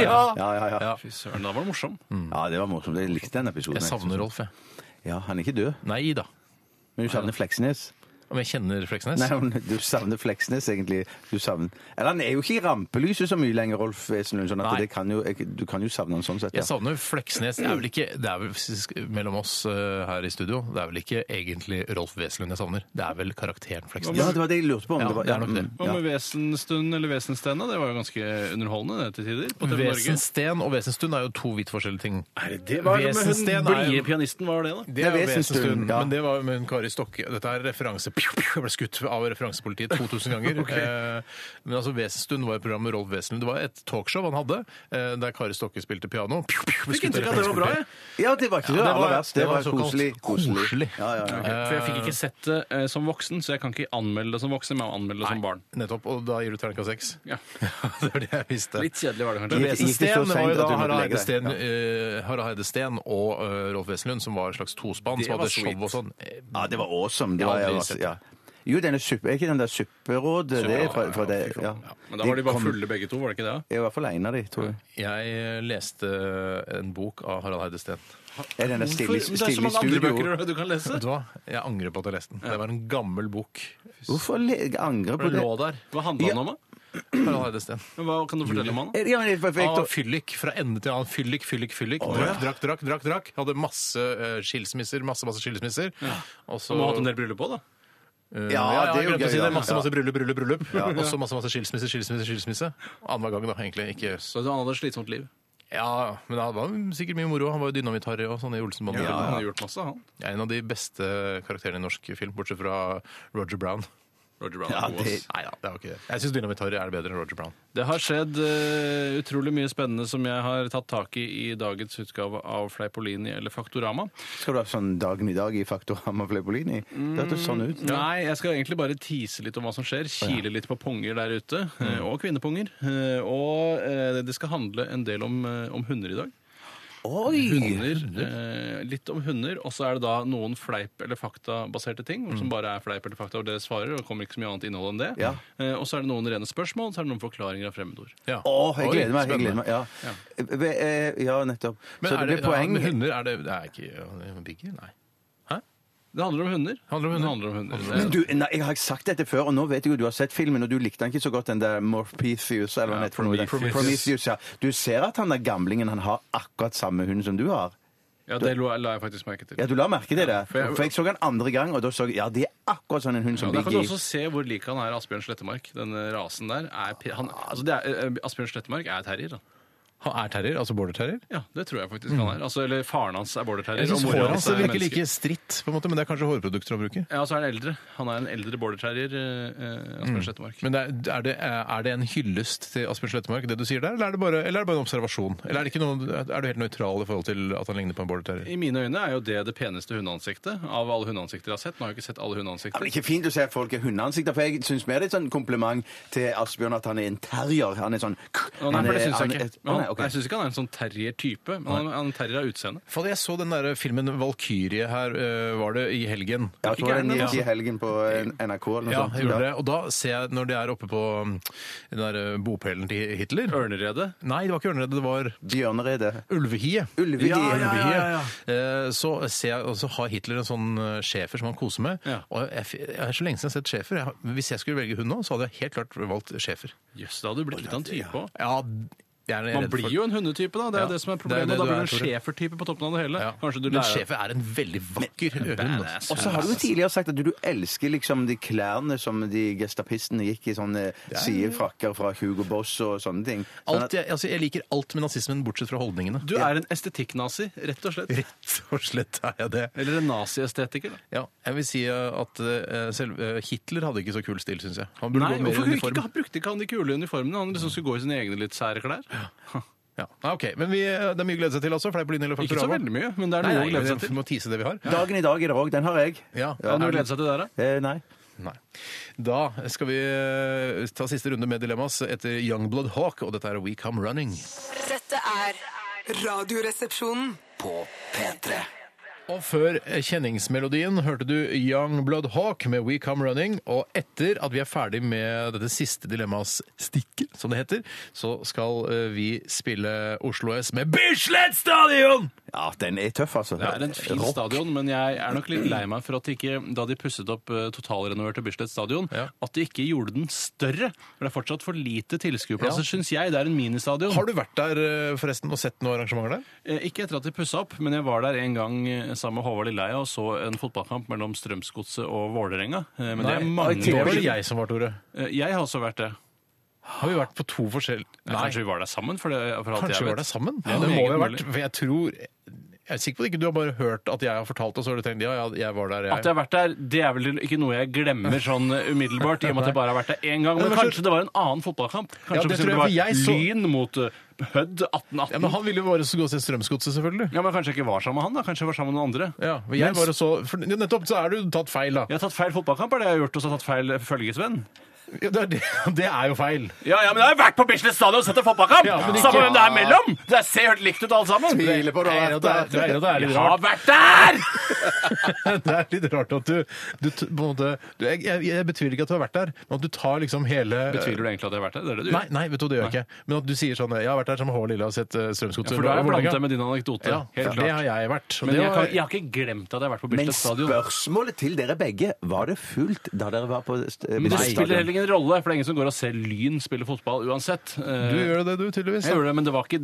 Speaker 3: Ja.
Speaker 5: Ja, ja, ja.
Speaker 4: Fy søren, da var det morsom.
Speaker 3: Mm.
Speaker 5: ja, det var morsomt. Jeg likte den episoden.
Speaker 3: Jeg savner Rolf, jeg.
Speaker 5: Ja, Han er ikke død,
Speaker 3: Nei da.
Speaker 5: men du savner Fleksnes.
Speaker 3: Om jeg kjenner Fleksnes?
Speaker 5: Nei, men du savner Fleksnes, egentlig. Du savner... Eller han er jo ikke i rampelyset så mye lenger, Rolf Wesenlund. Sånn at
Speaker 3: Nei.
Speaker 5: det kan jo, du kan jo savne han sånn sett.
Speaker 3: Jeg savner Fleksnes. Det er vel ikke det er vel, sk- Mellom oss eh, her i studio, det er vel ikke egentlig Rolf Wesenlund jeg savner. Det er vel karakteren Fleksnes.
Speaker 5: Ja, det var det jeg lurte på. Om
Speaker 3: Ja,
Speaker 5: det, var,
Speaker 3: det er nok det.
Speaker 5: mm,
Speaker 4: Hva med Vesenstund eller Vesenstena? Det var jo ganske underholdende det til tider. på TV Norge.
Speaker 3: Vesensten og Vesenstund er jo to vidt forskjellige ting.
Speaker 4: Er det det? Hva er det med hun
Speaker 3: Vesensten er
Speaker 4: blide
Speaker 3: jo-
Speaker 4: pianisten? Hva var det, da?
Speaker 3: Det er jo
Speaker 5: Vesenstund,
Speaker 3: Vesenstund,
Speaker 5: ja.
Speaker 3: men det var jo med en Kari Stokke. Dette er referanse pju, pju, Jeg ble skutt av referansepolitiet 2000 ganger. eh, men altså Vesenstund var et program med Rolf Wesenlund. Det var et talkshow han hadde, eh, der Kari Stokke spilte piano. Pju, pju, ble
Speaker 4: Fikk
Speaker 3: skutt av
Speaker 4: inntrykk av at det var bra,
Speaker 3: referansepolitiet.
Speaker 4: jeg.
Speaker 5: Ja, det var ikke det,
Speaker 3: det
Speaker 5: aller
Speaker 3: var-
Speaker 5: verst. Det,
Speaker 3: det var
Speaker 5: var,
Speaker 3: såkalt
Speaker 5: koselig.
Speaker 3: koselig.
Speaker 5: Ja, ja, ja.
Speaker 4: For jeg fikk ikke sett det eh, som voksen, så jeg kan ikke anmelde det som voksen, men jeg anmelde det som barn.
Speaker 3: Nettopp. Og da gir du terningkast seks?
Speaker 4: Ja.
Speaker 3: det var det jeg visste.
Speaker 4: Litt kjedelig var det
Speaker 3: Men
Speaker 5: Gikk-
Speaker 4: kanskje.
Speaker 5: gikk det så
Speaker 3: Vesensten var jo
Speaker 5: sent
Speaker 3: da
Speaker 5: at du måtte
Speaker 3: Harald Heide
Speaker 5: legge deg?
Speaker 3: Steen,
Speaker 5: Ja.
Speaker 3: eh, Harald Heide Steen og eh, Rolf Wesenlund, som var et slags tospann,
Speaker 4: Det
Speaker 3: som
Speaker 4: var
Speaker 3: hadde show
Speaker 4: sweet.
Speaker 3: og sånn. Eh,
Speaker 5: ja, det var awesome.
Speaker 3: Jeg
Speaker 5: Det
Speaker 3: har
Speaker 5: var,
Speaker 3: aldri
Speaker 5: ja,
Speaker 3: sett
Speaker 5: ja. Jo, denne suppe, er ikke den der supperådet? Det er fra, fra det, ja.
Speaker 4: Ja, men da var de bare
Speaker 5: kom-
Speaker 4: fulle begge to, var det ikke det?
Speaker 5: Jeg er i hvert fall en av de, tror jeg.
Speaker 3: Jeg leste en bok av Harald Heide Steen.
Speaker 5: Er den der stille,
Speaker 4: Men det er så
Speaker 5: stille i
Speaker 4: mange andre
Speaker 5: studio?
Speaker 4: bøker du kan lese.
Speaker 3: Vet du hva? Jeg angrer på at jeg leste den. Det var en gammel bok.
Speaker 5: Hvorfor le- jeg angrer på
Speaker 3: Den
Speaker 5: det?
Speaker 3: lå der.
Speaker 4: Hva handla den om, da?
Speaker 3: Harald Heide Steen.
Speaker 4: Hva kan du fortelle om han? da?
Speaker 5: Ja, men jeg- for- for jeg-
Speaker 3: Han var fyllik fra ende til annen. Fyllik, fyllik, fyllik. Drakk, drakk, drakk. drakk, drakk. Hadde masse eh, skilsmisser. Masse, masse skilsmisser. Og så
Speaker 4: Du må ha hatt en del bryllup òg, da.
Speaker 3: Eh,
Speaker 5: Ja, det er jo
Speaker 3: jeg glemte å
Speaker 5: gøy,
Speaker 3: si
Speaker 5: ja.
Speaker 3: det. Masse, masse bryllup, bryllup, bryllup.
Speaker 5: Ja.
Speaker 3: Og så masse, masse skilsmisse, skilsmisse, skilsmisse. Annenhver gang, da, egentlig. Ikke
Speaker 4: Så han hadde et slitsomt liv.
Speaker 3: Ja, men det var sikkert mye moro. Han var jo dynamitt-Harry og sånn i Olsenbanden.
Speaker 4: Han hadde gjort masse, han.
Speaker 3: En av de beste karakterene i norsk film, bortsett fra Roger Brown.
Speaker 4: Roger Brown.
Speaker 5: Ja,
Speaker 4: er god,
Speaker 5: det-
Speaker 4: ass.
Speaker 3: Nei da, det var ikke det. Jeg syns Dynamitt-Harry er bedre enn Roger Brown.
Speaker 4: Det har skjedd eh, utrolig mye spennende som jeg har tatt tak i i dagens utgave av Fleipolini eller Faktorama.
Speaker 5: Skal du ha sånn Dagen i dag i Faktorhammer Fleipolini? Det hørtes sånn ut.
Speaker 4: Nei, jeg skal egentlig bare tease litt om hva som skjer. Kile litt på punger der ute. eh, Og kvinnepunger. Eh, Og eh, det skal handle en del om, eh, om hunder i dag.
Speaker 5: Oi!
Speaker 4: Hunder, eh, litt om hunder, og så er det da noen fleip- eller faktabaserte ting, som bare er fleip eller fakta, og dere svarer, og det kommer ikke så mye annet innhold enn det.
Speaker 5: Ja.
Speaker 4: Eh, Og så er det noen rene spørsmål, og så er det noen forklaringer av fremmedord.
Speaker 3: Ja.
Speaker 5: Åh, jeg
Speaker 3: Oi,
Speaker 5: gleder meg. Jeg gleder
Speaker 3: spennende.
Speaker 5: meg. Ja, Ve- eh, ja nettopp.
Speaker 3: Men
Speaker 5: Så
Speaker 3: er
Speaker 5: det
Speaker 3: det,
Speaker 5: blir poeng.
Speaker 3: Ja, men hunder, er det, det er ikke ja, Biggie? Nei.
Speaker 4: Det handler om hunder.
Speaker 3: Handler om hunder.
Speaker 4: Det handler om hunder.
Speaker 5: Men du, nei, jeg har sagt dette før, og nå vet jeg jo du har sett filmen, og du likte den ikke så godt, den der Morpheus, eller hva
Speaker 4: Ja,
Speaker 5: den heter for noe, den-
Speaker 4: Prometheus.
Speaker 5: Prometheus, ja. Du ser at han der gamlingen, han har akkurat samme hund som du har.
Speaker 4: Ja, det lo- la jeg faktisk merke til.
Speaker 5: Ja, du la merke til det.
Speaker 4: for jeg-
Speaker 5: For jeg så han andre gang, og da så jeg, ja, det er akkurat sånn en hund
Speaker 4: Ja,
Speaker 5: som
Speaker 4: der kan du
Speaker 5: Biggie.
Speaker 4: også se hvor lik han er Asbjørn Slettemark. Denne rasen der. Er, pe- han, altså det er, eh, Asbjørn Slettemark er terrier. da.
Speaker 3: Han er terrier, altså border-terrier?
Speaker 4: Ja, det tror jeg faktisk han er. Altså, eller faren hans er border terrier.
Speaker 3: Jeg syns
Speaker 4: og moren
Speaker 3: håret hans
Speaker 4: er
Speaker 3: virker
Speaker 4: menneske.
Speaker 3: like stritt, på en måte, men det er kanskje hårprodukter han bruker.
Speaker 4: Ja, og så er han eldre. Han er en eldre border terrier, eh, eh, Asbjørn Slettemark.
Speaker 3: Men det er, er, det, er det en hyllest til Asbjørn Slettemark, det du sier der, eller er det bare, eller er det bare en observasjon? Eller er, det ikke noe, er du helt nøytral i forhold til at han ligner på en border-terrier?
Speaker 4: I mine øyne er jo det det peneste hundeansiktet av alle hundeansikter jeg har sett. Nå har jeg ikke sett alle
Speaker 5: Ja, men
Speaker 4: hundeansikter.
Speaker 5: det er ikke fint å se at folk er hundeansikter, for jeg synes mer det er et sånn kompliment til Asbjørn at han er en terrier. Han er sånn...
Speaker 4: Å, Nei, for det syns jeg
Speaker 5: han er-
Speaker 4: ikke.
Speaker 5: Å,
Speaker 4: Men
Speaker 5: nei,
Speaker 4: han,
Speaker 5: ok.
Speaker 4: jeg syns ikke han er en sånn terrier-type. Men han, han er en terrier av utseende.
Speaker 3: Fader, jeg så den der filmen Valkyrie her, øh, var det i helgen?
Speaker 5: Ja, Jeg tror
Speaker 4: Ikke
Speaker 5: den
Speaker 4: gjerne,
Speaker 5: gikk i helgen på eh, NRK eller noe
Speaker 3: Ja,
Speaker 5: sånt.
Speaker 3: jeg gjorde det. Og da ser jeg, når de er oppe på um, den der eh, bopelen til Hitler
Speaker 4: Ørneredet.
Speaker 3: Nei, det var ikke ørneredet, det var
Speaker 5: Bjørneredet.
Speaker 3: ulvehiet.
Speaker 5: Ulvehiet.
Speaker 3: Ja, ja, ja, ja,
Speaker 5: ja.
Speaker 3: Eh, Så, ser jeg, og så har Hitler en sånn eh, schæfer som han koser med.
Speaker 4: Ja.
Speaker 3: Og jeg, f- jeg er så lenge siden jeg har sett schæfer. Jeg har- Hvis jeg skulle velge hund nå, så hadde jeg helt klart valgt schæfer.
Speaker 4: Jøss, det hadde du blitt litt av en type òg.
Speaker 3: Ja, Jeg er
Speaker 4: Man
Speaker 3: redd
Speaker 4: blir
Speaker 3: for-
Speaker 4: jo en hundetype, da. Det er
Speaker 3: Ja.
Speaker 4: det som er
Speaker 3: Det er
Speaker 4: problemet.
Speaker 3: det
Speaker 4: da
Speaker 3: du
Speaker 4: blir du
Speaker 3: er,
Speaker 4: en
Speaker 3: Tore.
Speaker 4: schæfer-type på toppen av det hele.
Speaker 3: ja.
Speaker 4: Kanskje du
Speaker 3: Men
Speaker 4: lærer
Speaker 3: schæfer er en veldig vakker hund. altså.
Speaker 4: Badass.
Speaker 5: Og så har du jo tidligere sagt at du, du elsker liksom de klærne som de gestapistene gikk i, sånne sidefrakker fra Hugo Boss og sånne ting. Sånn
Speaker 3: Alt, jeg, altså, jeg liker alt med nazismen, bortsett fra holdningene.
Speaker 4: Du er en estetikknazi, rett og slett.
Speaker 3: Rett og slett er jeg det.
Speaker 4: Eller en naziestetiker. da.
Speaker 3: Ja, jeg vil si eh, at eh, selv, eh, Hitler hadde ikke så kul stil, syns jeg. Han burde
Speaker 4: Nei,
Speaker 3: gå mer
Speaker 4: hvorfor
Speaker 3: i
Speaker 4: ikke,
Speaker 3: uniform.
Speaker 4: ikke, brukte ikke han de kule uniformene? Han liksom skulle gå i sine egne litt sære klær.
Speaker 3: Ja. Ah, ok, Men vi, eh, det er mye å glede seg til også. Fleip, Lyn eller
Speaker 4: Ikke så
Speaker 3: Faktorama?
Speaker 4: veldig mye, men det er
Speaker 3: Nei,
Speaker 4: noe
Speaker 3: nei,
Speaker 4: å glede seg
Speaker 3: vi
Speaker 4: til.
Speaker 3: må tease det vi har.
Speaker 5: at- Dagen i dag i dag, den har jeg.
Speaker 3: Ja.
Speaker 4: Er det noe å
Speaker 5: er det-
Speaker 4: glede seg til der, da?
Speaker 5: Eh, nei.
Speaker 3: Nei. Da skal vi eh, ta siste runde med Dilemmas etter Youngblood Hawk, og dette er We Come Running.
Speaker 6: Dette er Radioresepsjonen.
Speaker 2: På P3
Speaker 3: Og før eh, kjenningsmelodien hørte du Young Blood Hawk med We Come Running. Og etter at vi er ferdig med dette siste dilemmas-stikket, som det heter, så skal eh, vi spille Oslo S med Bislett Stadion!
Speaker 5: Ja, den er tøff, altså.
Speaker 4: Det er en fin
Speaker 5: Rock.
Speaker 4: stadion, men jeg er nok litt lei meg for at de ikke, da de pusset opp eh, totalrenoverte Bislett stadion,
Speaker 3: Ja.
Speaker 4: at de ikke gjorde den større. For det er fortsatt for lite
Speaker 3: Ja.
Speaker 4: tilskuerplasser, synes syns jeg. Det er en ministadion.
Speaker 3: Har du vært der eh, forresten og sett noen arrangementer der?
Speaker 4: Eh, Ikke etter at de pussa opp, men jeg var der en gang eh, sammen med Håvard Lilleheie og så en fotballkamp mellom Strømsgodset og Vålerenga. Eh, Men det er mange
Speaker 3: det var
Speaker 4: år
Speaker 3: det
Speaker 4: siden.
Speaker 3: jeg som var, Tore.
Speaker 4: Eh, Jeg har også vært det.
Speaker 3: Har vi vært på to forskjellige
Speaker 4: Ja, Kanskje vi var der sammen? For det, for alt
Speaker 3: Kanskje
Speaker 4: jeg
Speaker 3: vi
Speaker 4: vet.
Speaker 3: var der sammen?
Speaker 4: Ja,
Speaker 3: det må
Speaker 4: meget
Speaker 3: vi ha vært.
Speaker 4: mulig.
Speaker 3: For jeg tror Jeg er sikker på at ikke du har bare hørt at jeg har fortalt det, og så har du tenkt ja, ja, jeg var der,
Speaker 4: At jeg
Speaker 3: jeg.
Speaker 4: har vært der, det er vel ikke noe jeg glemmer sånn eh, umiddelbart, i og med at jeg bare har vært der én gang. Men
Speaker 3: Men kanskje-
Speaker 4: kanskje det var en annen fotballkamp? Kanskje
Speaker 3: Ja, det
Speaker 4: for eksempel
Speaker 3: tror jeg, for
Speaker 4: det
Speaker 3: jeg så-
Speaker 4: var Lyn mot eh, Hødd 1818?
Speaker 3: Ja, men han ville jo bare gå og se Strømsgodset, selvfølgelig.
Speaker 4: Ja, men kanskje jeg ikke var sammen med han, da. Kanskje jeg var sammen med noen andre.
Speaker 3: Ja, men jeg
Speaker 4: Mens-
Speaker 3: bare så, for ja, Nettopp, så er du tatt feil, da.
Speaker 4: Jeg har tatt feil fotballkamp, er det jeg har gjort, og så har jeg tatt feil følgesvenn.
Speaker 3: Ja, det, er det, det er jo feil.
Speaker 4: Ja, ja, men jeg har vært på Bislett stadion og sett en fotballkamp!
Speaker 3: Ja, men ikke-
Speaker 4: Samme hvem det er mellom! Det ser helt likt ut, alle sammen!
Speaker 5: Tviler på det.
Speaker 3: Nei, det er- det er- det er litt
Speaker 4: Jeg
Speaker 3: rart.
Speaker 4: har vært der!
Speaker 3: Det er litt rart at du, du t- på en måte du, jeg, jeg, jeg betviler ikke at du har vært der, men at du tar liksom hele
Speaker 4: Betviler du egentlig at jeg har vært der? Det er det du
Speaker 3: Nei,
Speaker 4: gjør.
Speaker 3: nei, vet du, det gjør jeg ikke. Men at du sier sånn Jeg har vært der sammen med Håvard Lille og sett eh, Strømsgodset.
Speaker 4: For du har
Speaker 3: og Vålerenga.
Speaker 4: blandet deg med din anekdote.
Speaker 3: ja,
Speaker 4: Helt
Speaker 3: det
Speaker 4: klart.
Speaker 3: har jeg vært. og
Speaker 4: Men
Speaker 3: det
Speaker 4: jeg,
Speaker 3: var-
Speaker 4: kan, jeg har ikke glemt at jeg har vært på
Speaker 5: Men
Speaker 4: Bislett stadion.
Speaker 5: spørsmålet til dere begge var det fullt da dere var på st- eh,
Speaker 4: Men det
Speaker 5: Bislett
Speaker 4: spiller
Speaker 5: Stadion?
Speaker 4: heller ingen rolle, for det er ingen som går og ser Lyn spille fotball uansett.
Speaker 3: Du
Speaker 4: Eh,
Speaker 3: gjør det, du, tydeligvis.
Speaker 4: Jeg gjorde det, men det var ikke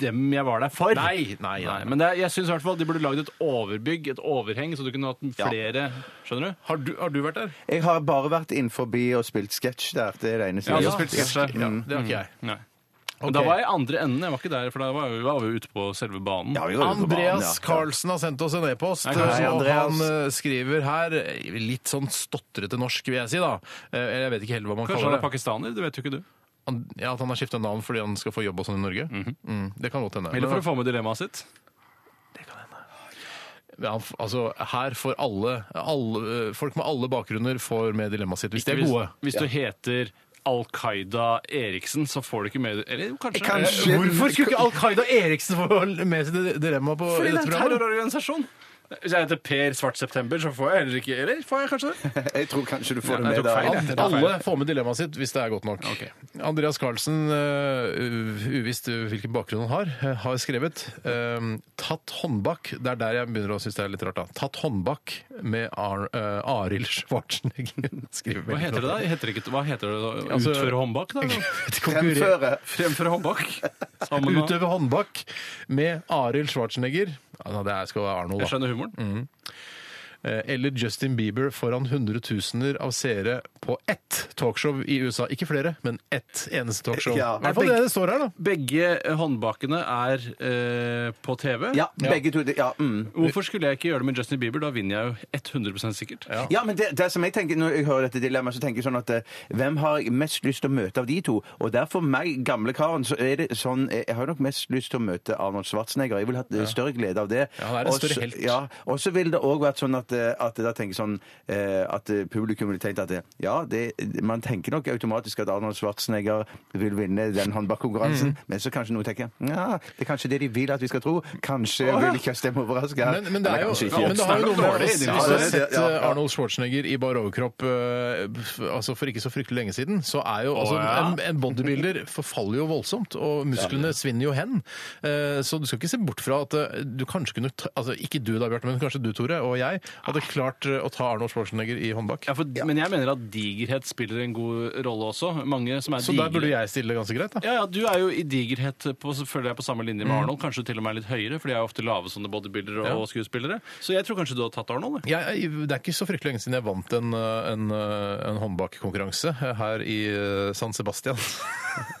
Speaker 4: dem jeg var der for.
Speaker 3: Nei, nei, nei.
Speaker 4: Men det, er- jeg syns i hvert fall de burde lagd et overbygg, et overheng, så du kunne hatt flere Skjønner du?
Speaker 3: Har du, har du vært der?
Speaker 5: Jeg har bare vært inn forbi og spilt sketsj der. Det er det eneste.
Speaker 4: Ja,
Speaker 5: jeg
Speaker 4: du
Speaker 5: har
Speaker 4: spilte
Speaker 5: gjort.
Speaker 4: sketsj der.
Speaker 3: Ja, det har ikke jeg.
Speaker 4: Nei. Men Da var jeg i andre enden. Jeg var ikke der, for da var vi, var vi ute på selve banen.
Speaker 5: Ja, vi var jo på banen, ja.
Speaker 3: Andreas Karlsen har sendt oss en e-post,
Speaker 4: Hei,
Speaker 3: og
Speaker 4: Karlsen.
Speaker 3: han
Speaker 5: Andreas.
Speaker 3: eh, skriver her eh, litt sånn stotrete norsk, vil jeg si, da. Eh, Jeg vet ikke helt hva man
Speaker 4: Kanskje han
Speaker 3: kaller det.
Speaker 4: er pakistaner? Det vet jo ikke du.
Speaker 3: Han- Ja, At han har skifta navn fordi han skal få jobb og sånn i Norge? mm, det kan godt hende.
Speaker 4: Eller
Speaker 3: Men-
Speaker 4: for å få med dilemmaet sitt.
Speaker 3: Ja, f- altså, her får alle, alle eh, Folk med alle bakgrunner får med dilemmaet sitt, hvis de er
Speaker 4: Hvis-
Speaker 3: gode.
Speaker 4: Hvis du heter Al Qaida Eriksen, så får du ikke med Eller jo, kanskje.
Speaker 5: Kanskje.
Speaker 3: Hvorfor skulle ikke Al Qaida Eriksen få med sitt dilemma på i
Speaker 4: Fordi det
Speaker 3: dette
Speaker 4: er en
Speaker 3: programmet?
Speaker 4: terrororganisasjon. Hvis jeg heter Per Svart September, så får jeg heller ikke Eller får jeg kanskje det?
Speaker 5: Jeg tror kanskje du får det
Speaker 4: nei, jeg
Speaker 5: med
Speaker 4: tok feil,
Speaker 5: deg.
Speaker 3: Al-
Speaker 4: jeg.
Speaker 3: Alle får med dilemmaet sitt hvis det er godt nok. Andreas Karlsen, eh, u- uvisst hvilken bakgrunn han har, eh, har skrevet eh, Tatt håndbak. Det er der jeg begynner å synes det er litt rart. da. Tatt håndbak med Ar eh, Arild Schwarzenegger. Skriver
Speaker 4: Hva
Speaker 3: veldig
Speaker 4: heter det da?
Speaker 3: rart.
Speaker 4: Heter det ikke, hva heter det da?
Speaker 3: Altså-
Speaker 4: Utføre håndbak? Da?
Speaker 3: Konkurrer-
Speaker 5: Fremføre.
Speaker 4: Fremføre håndbak? Sammen med
Speaker 3: Utøve håndbak med Arild Schwarzenegger. Ja, nei, det er- skal være Arnold, da.
Speaker 4: Jeg skjønner humoren.
Speaker 3: Eh, Eller Justin Bieber foran hundretusener av seere på ett talkshow i USA. Ikke flere, men ett eneste talkshow.
Speaker 5: Ja.
Speaker 3: I hvert fall det det står her, da.
Speaker 4: Begge håndbakene er eh, på TV.
Speaker 5: Ja, begge to. det- Ja, mm.
Speaker 4: Hvorfor skulle jeg ikke gjøre det med Justin Bieber? Da vinner jeg jo 100 sikkert.
Speaker 5: Ja, men det, det som jeg tenker Når jeg hører dette dilemmaet, så tenker jeg sånn at eh, hvem har jeg mest lyst til å møte av de to? Og der for meg, gamle karen, så er det sånn eh, Jeg har nok mest lyst til å møte Arnold Schwarzenegger. Jeg vil ha eh, større glede av det.
Speaker 3: Ja, han er en
Speaker 5: Og så-
Speaker 3: større helt.
Speaker 5: Ja, og så vil det òg vært sånn at, eh, at da tenker jeg sånn eh, at eh, publikum ville tenkt at eh, ja, det, man tenker nok automatisk at Arnold Schwarzenegger vil vinne den
Speaker 3: Mm.
Speaker 5: håndbakkonkurransen, men så kanskje noen tenker ja, det er kanskje det de vil at vi skal tro. Kanskje vil ikke Tjøstheim overraske her.
Speaker 3: Men, men det er
Speaker 5: Eller
Speaker 3: jo
Speaker 5: kanskje ikke.
Speaker 3: ja, men det har jo noe med
Speaker 4: Dårlig,
Speaker 3: oss.
Speaker 4: det
Speaker 5: er
Speaker 3: Hvis du har
Speaker 5: det,
Speaker 3: sett
Speaker 5: ja,
Speaker 3: eh,
Speaker 5: ja.
Speaker 3: Arnold Schwarzenegger i bar overkropp eh, f- altså for ikke så fryktelig lenge siden, så er jo altså,
Speaker 4: ja.
Speaker 3: en, en bodybuilder forfaller jo voldsomt, og musklene svinner jo hen. Eh, Så du skal ikke se bort fra at eh, du kanskje kunne ta, altså Ikke du da, Bjarte, men kanskje du, Tore, og jeg, hadde klart eh, å ta Arnold Schwarzenegger i håndbak.
Speaker 4: Ja, for, Men jeg mener at digerhet spiller en god rolle også. Mange som er
Speaker 3: Så der
Speaker 4: digre-
Speaker 3: burde jeg stille ganske greit, da.
Speaker 4: Ja, ja, Du er jo i digerhet på, føler jeg på samme linje med Arnold. Kanskje til og med litt høyere, for de er jo ofte lave sånne bodybuildere og
Speaker 3: Mm. Ja.
Speaker 4: skuespillere. Så jeg tror kanskje du har tatt Arnold. jeg.
Speaker 3: Jeg, jeg- det er ikke så fryktelig lenge siden jeg vant en, eh, en, eh, en håndbakkonkurranse her i eh, San Sebastian.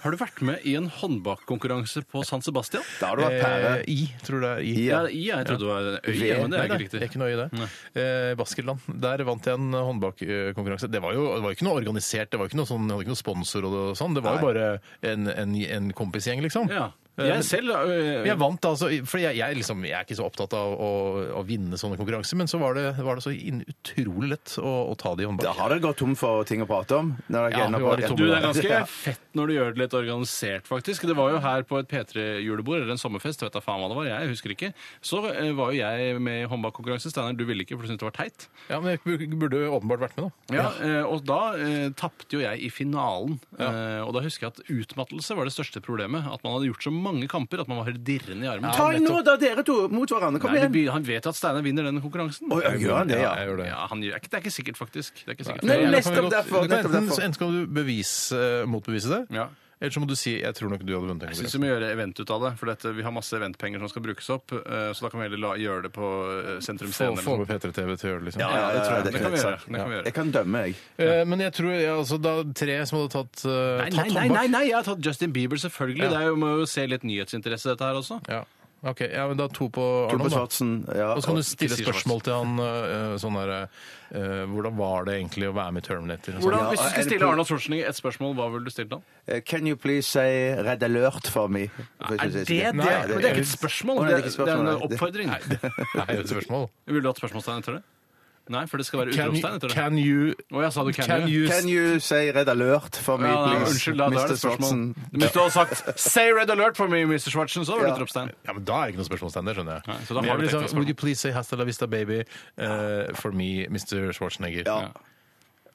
Speaker 4: Har du vært med i en håndbakkonkurranse på San Sebastian?
Speaker 5: Da har du vært pære.
Speaker 3: Eh, I, tror det er I.
Speaker 5: Ja.
Speaker 4: Ja, i, jeg trodde det var en øy,
Speaker 5: Ved-
Speaker 4: men det er
Speaker 3: Nei, nei,
Speaker 4: ikke
Speaker 3: det er
Speaker 4: riktig.
Speaker 3: ikke noe i det. Eh, Baskerland. Der vant jeg en håndbakkonkurranse. Det var jo det var jo ikke noe organisert, det var jo ikke noe sånn, jeg hadde ikke noe sponsor og det- sånn. Det var jo bare en, en, en kompisgjeng, liksom.
Speaker 4: Ja.
Speaker 3: Eh, men-
Speaker 4: Jeg selv øh,
Speaker 3: men jeg vant altså, for jeg, jeg, liksom, jeg er ikke så opptatt av å, å vinne sånne konkurranser, men så var det, var det så inn, utrolig lett å, å ta det i håndbak.
Speaker 5: Da har dere gått tom for ting å prate om. Når dere
Speaker 3: Ja,
Speaker 5: ender
Speaker 3: vi
Speaker 5: på-
Speaker 3: var litt
Speaker 5: Ja.
Speaker 3: tomme
Speaker 4: Du, det er ganske
Speaker 5: Ja.
Speaker 4: fett når du gjør det litt organisert, faktisk. Det var jo her på et P3-julebord, eller en sommerfest, vet da faen hva det var, jeg husker ikke. Så eh, var jo jeg med i håndbakkonkurranse. Steinar, du ville ikke, for du syntes det var teit.
Speaker 3: Ja, men jeg bur- burde åpenbart vært med, da.
Speaker 4: Ja, eh, og da eh, tapte jo jeg i finalen. Eh, og da husker jeg at utmattelse var det største problemet. At man hadde gjort så mange kamper at man var helt dirrende i armen.
Speaker 5: Ta i nå, da, dere to, mot hverandre. Kom
Speaker 4: Nei, det
Speaker 5: igjen.
Speaker 4: blir- han vet jo at Steinar vinner den konkurransen.
Speaker 5: Oi, ja, gjør han det, ja?
Speaker 3: jeg gjør det.
Speaker 4: Ja, han gjør, det er ikke sikkert, faktisk. Det er ikke sikkert.
Speaker 5: Nei,
Speaker 3: Eller kan vi
Speaker 5: nettopp
Speaker 3: godt-
Speaker 5: derfor,
Speaker 3: du kan
Speaker 5: nettopp
Speaker 3: enten,
Speaker 5: derfor.
Speaker 3: enten skal du bevise, eh, motbevise det,
Speaker 4: Ja.
Speaker 3: eller så må du si 'jeg tror nok du hadde vunnet'. den
Speaker 4: Jeg syns
Speaker 3: konkurransen».
Speaker 4: vi må gjøre event ut av det, for dette, vi har masse eventpenger som skal brukes opp. eh, Så da kan vi heller la, gjøre det på eh, Sentrum
Speaker 3: Få,
Speaker 4: Scene. eller
Speaker 3: få
Speaker 4: noe
Speaker 3: med P3 TV til å gjøre det, liksom.
Speaker 4: sånt. Ja, det tror jeg.
Speaker 5: det er
Speaker 4: Det kan vi
Speaker 5: helt
Speaker 4: gjøre.
Speaker 5: sant.
Speaker 4: Det kan vi gjøre.
Speaker 5: Jeg kan dømme, jeg.
Speaker 3: Eh, Men jeg tror ja, altså, da tre som hadde tatt, uh,
Speaker 4: Nei,
Speaker 3: tatt
Speaker 4: nei, nei,
Speaker 3: håndbak
Speaker 4: nei, nei, jeg har tatt Justin Bieber, selvfølgelig.
Speaker 3: Ja.
Speaker 4: Det er jo med å se litt nyhetsinteresse, dette her også.
Speaker 3: Ja. Ok, ja, men da to på
Speaker 5: To på
Speaker 3: Arnold, da.
Speaker 5: Svartsen. Ja.
Speaker 3: Og så kan du stille
Speaker 4: ikke si
Speaker 3: spørsmål til han øh, sånn der øh, Hvordan var det egentlig å være med i Terminator? og sånn?
Speaker 4: Hvordan,
Speaker 5: Ja,
Speaker 4: hvis du
Speaker 5: er
Speaker 4: skulle
Speaker 5: det
Speaker 4: stille
Speaker 5: på-
Speaker 4: Arnold Schwarzenegger et spørsmål, hva ville du stilt han?
Speaker 5: Eh, Can you please say red alert for me?
Speaker 4: Er det det?
Speaker 5: sånn. Nei,
Speaker 4: Men det er ikke et spørsmål, det
Speaker 5: Å, nei,
Speaker 4: er,
Speaker 5: det er ikke et
Speaker 4: det er en
Speaker 5: spørsmål, nei.
Speaker 4: oppfordring.
Speaker 3: Nei, det er et spørsmål.
Speaker 4: Ville du hatt spørsmålstegn etter det? Nei, for det skal være
Speaker 3: Can you,
Speaker 4: utropstegn etter det.
Speaker 3: can you,
Speaker 4: Å, jeg sa du can,
Speaker 3: can
Speaker 4: you.
Speaker 3: you,
Speaker 5: Can you say red alert for me,
Speaker 4: Ja, nei,
Speaker 5: please?
Speaker 4: unnskyld, da, da er det
Speaker 5: Mr.
Speaker 4: et spørsmål.
Speaker 5: Svartsen?
Speaker 4: Men Hvis du hadde sagt 'Say red alert for me, Mr. Schwartzen', så var det
Speaker 5: Ja.
Speaker 4: utropstegn.
Speaker 3: Ja, men Da er det ikke noe spørsmålstegn der, skjønner jeg.
Speaker 4: Nei, så da
Speaker 3: Men
Speaker 4: har
Speaker 3: jeg blir
Speaker 4: du tenkt
Speaker 3: sånn,
Speaker 4: deg spørsmål.
Speaker 3: Would you please say hasta la vista, baby, eh, for me, Mr. Schwarzenegger?
Speaker 5: Ja.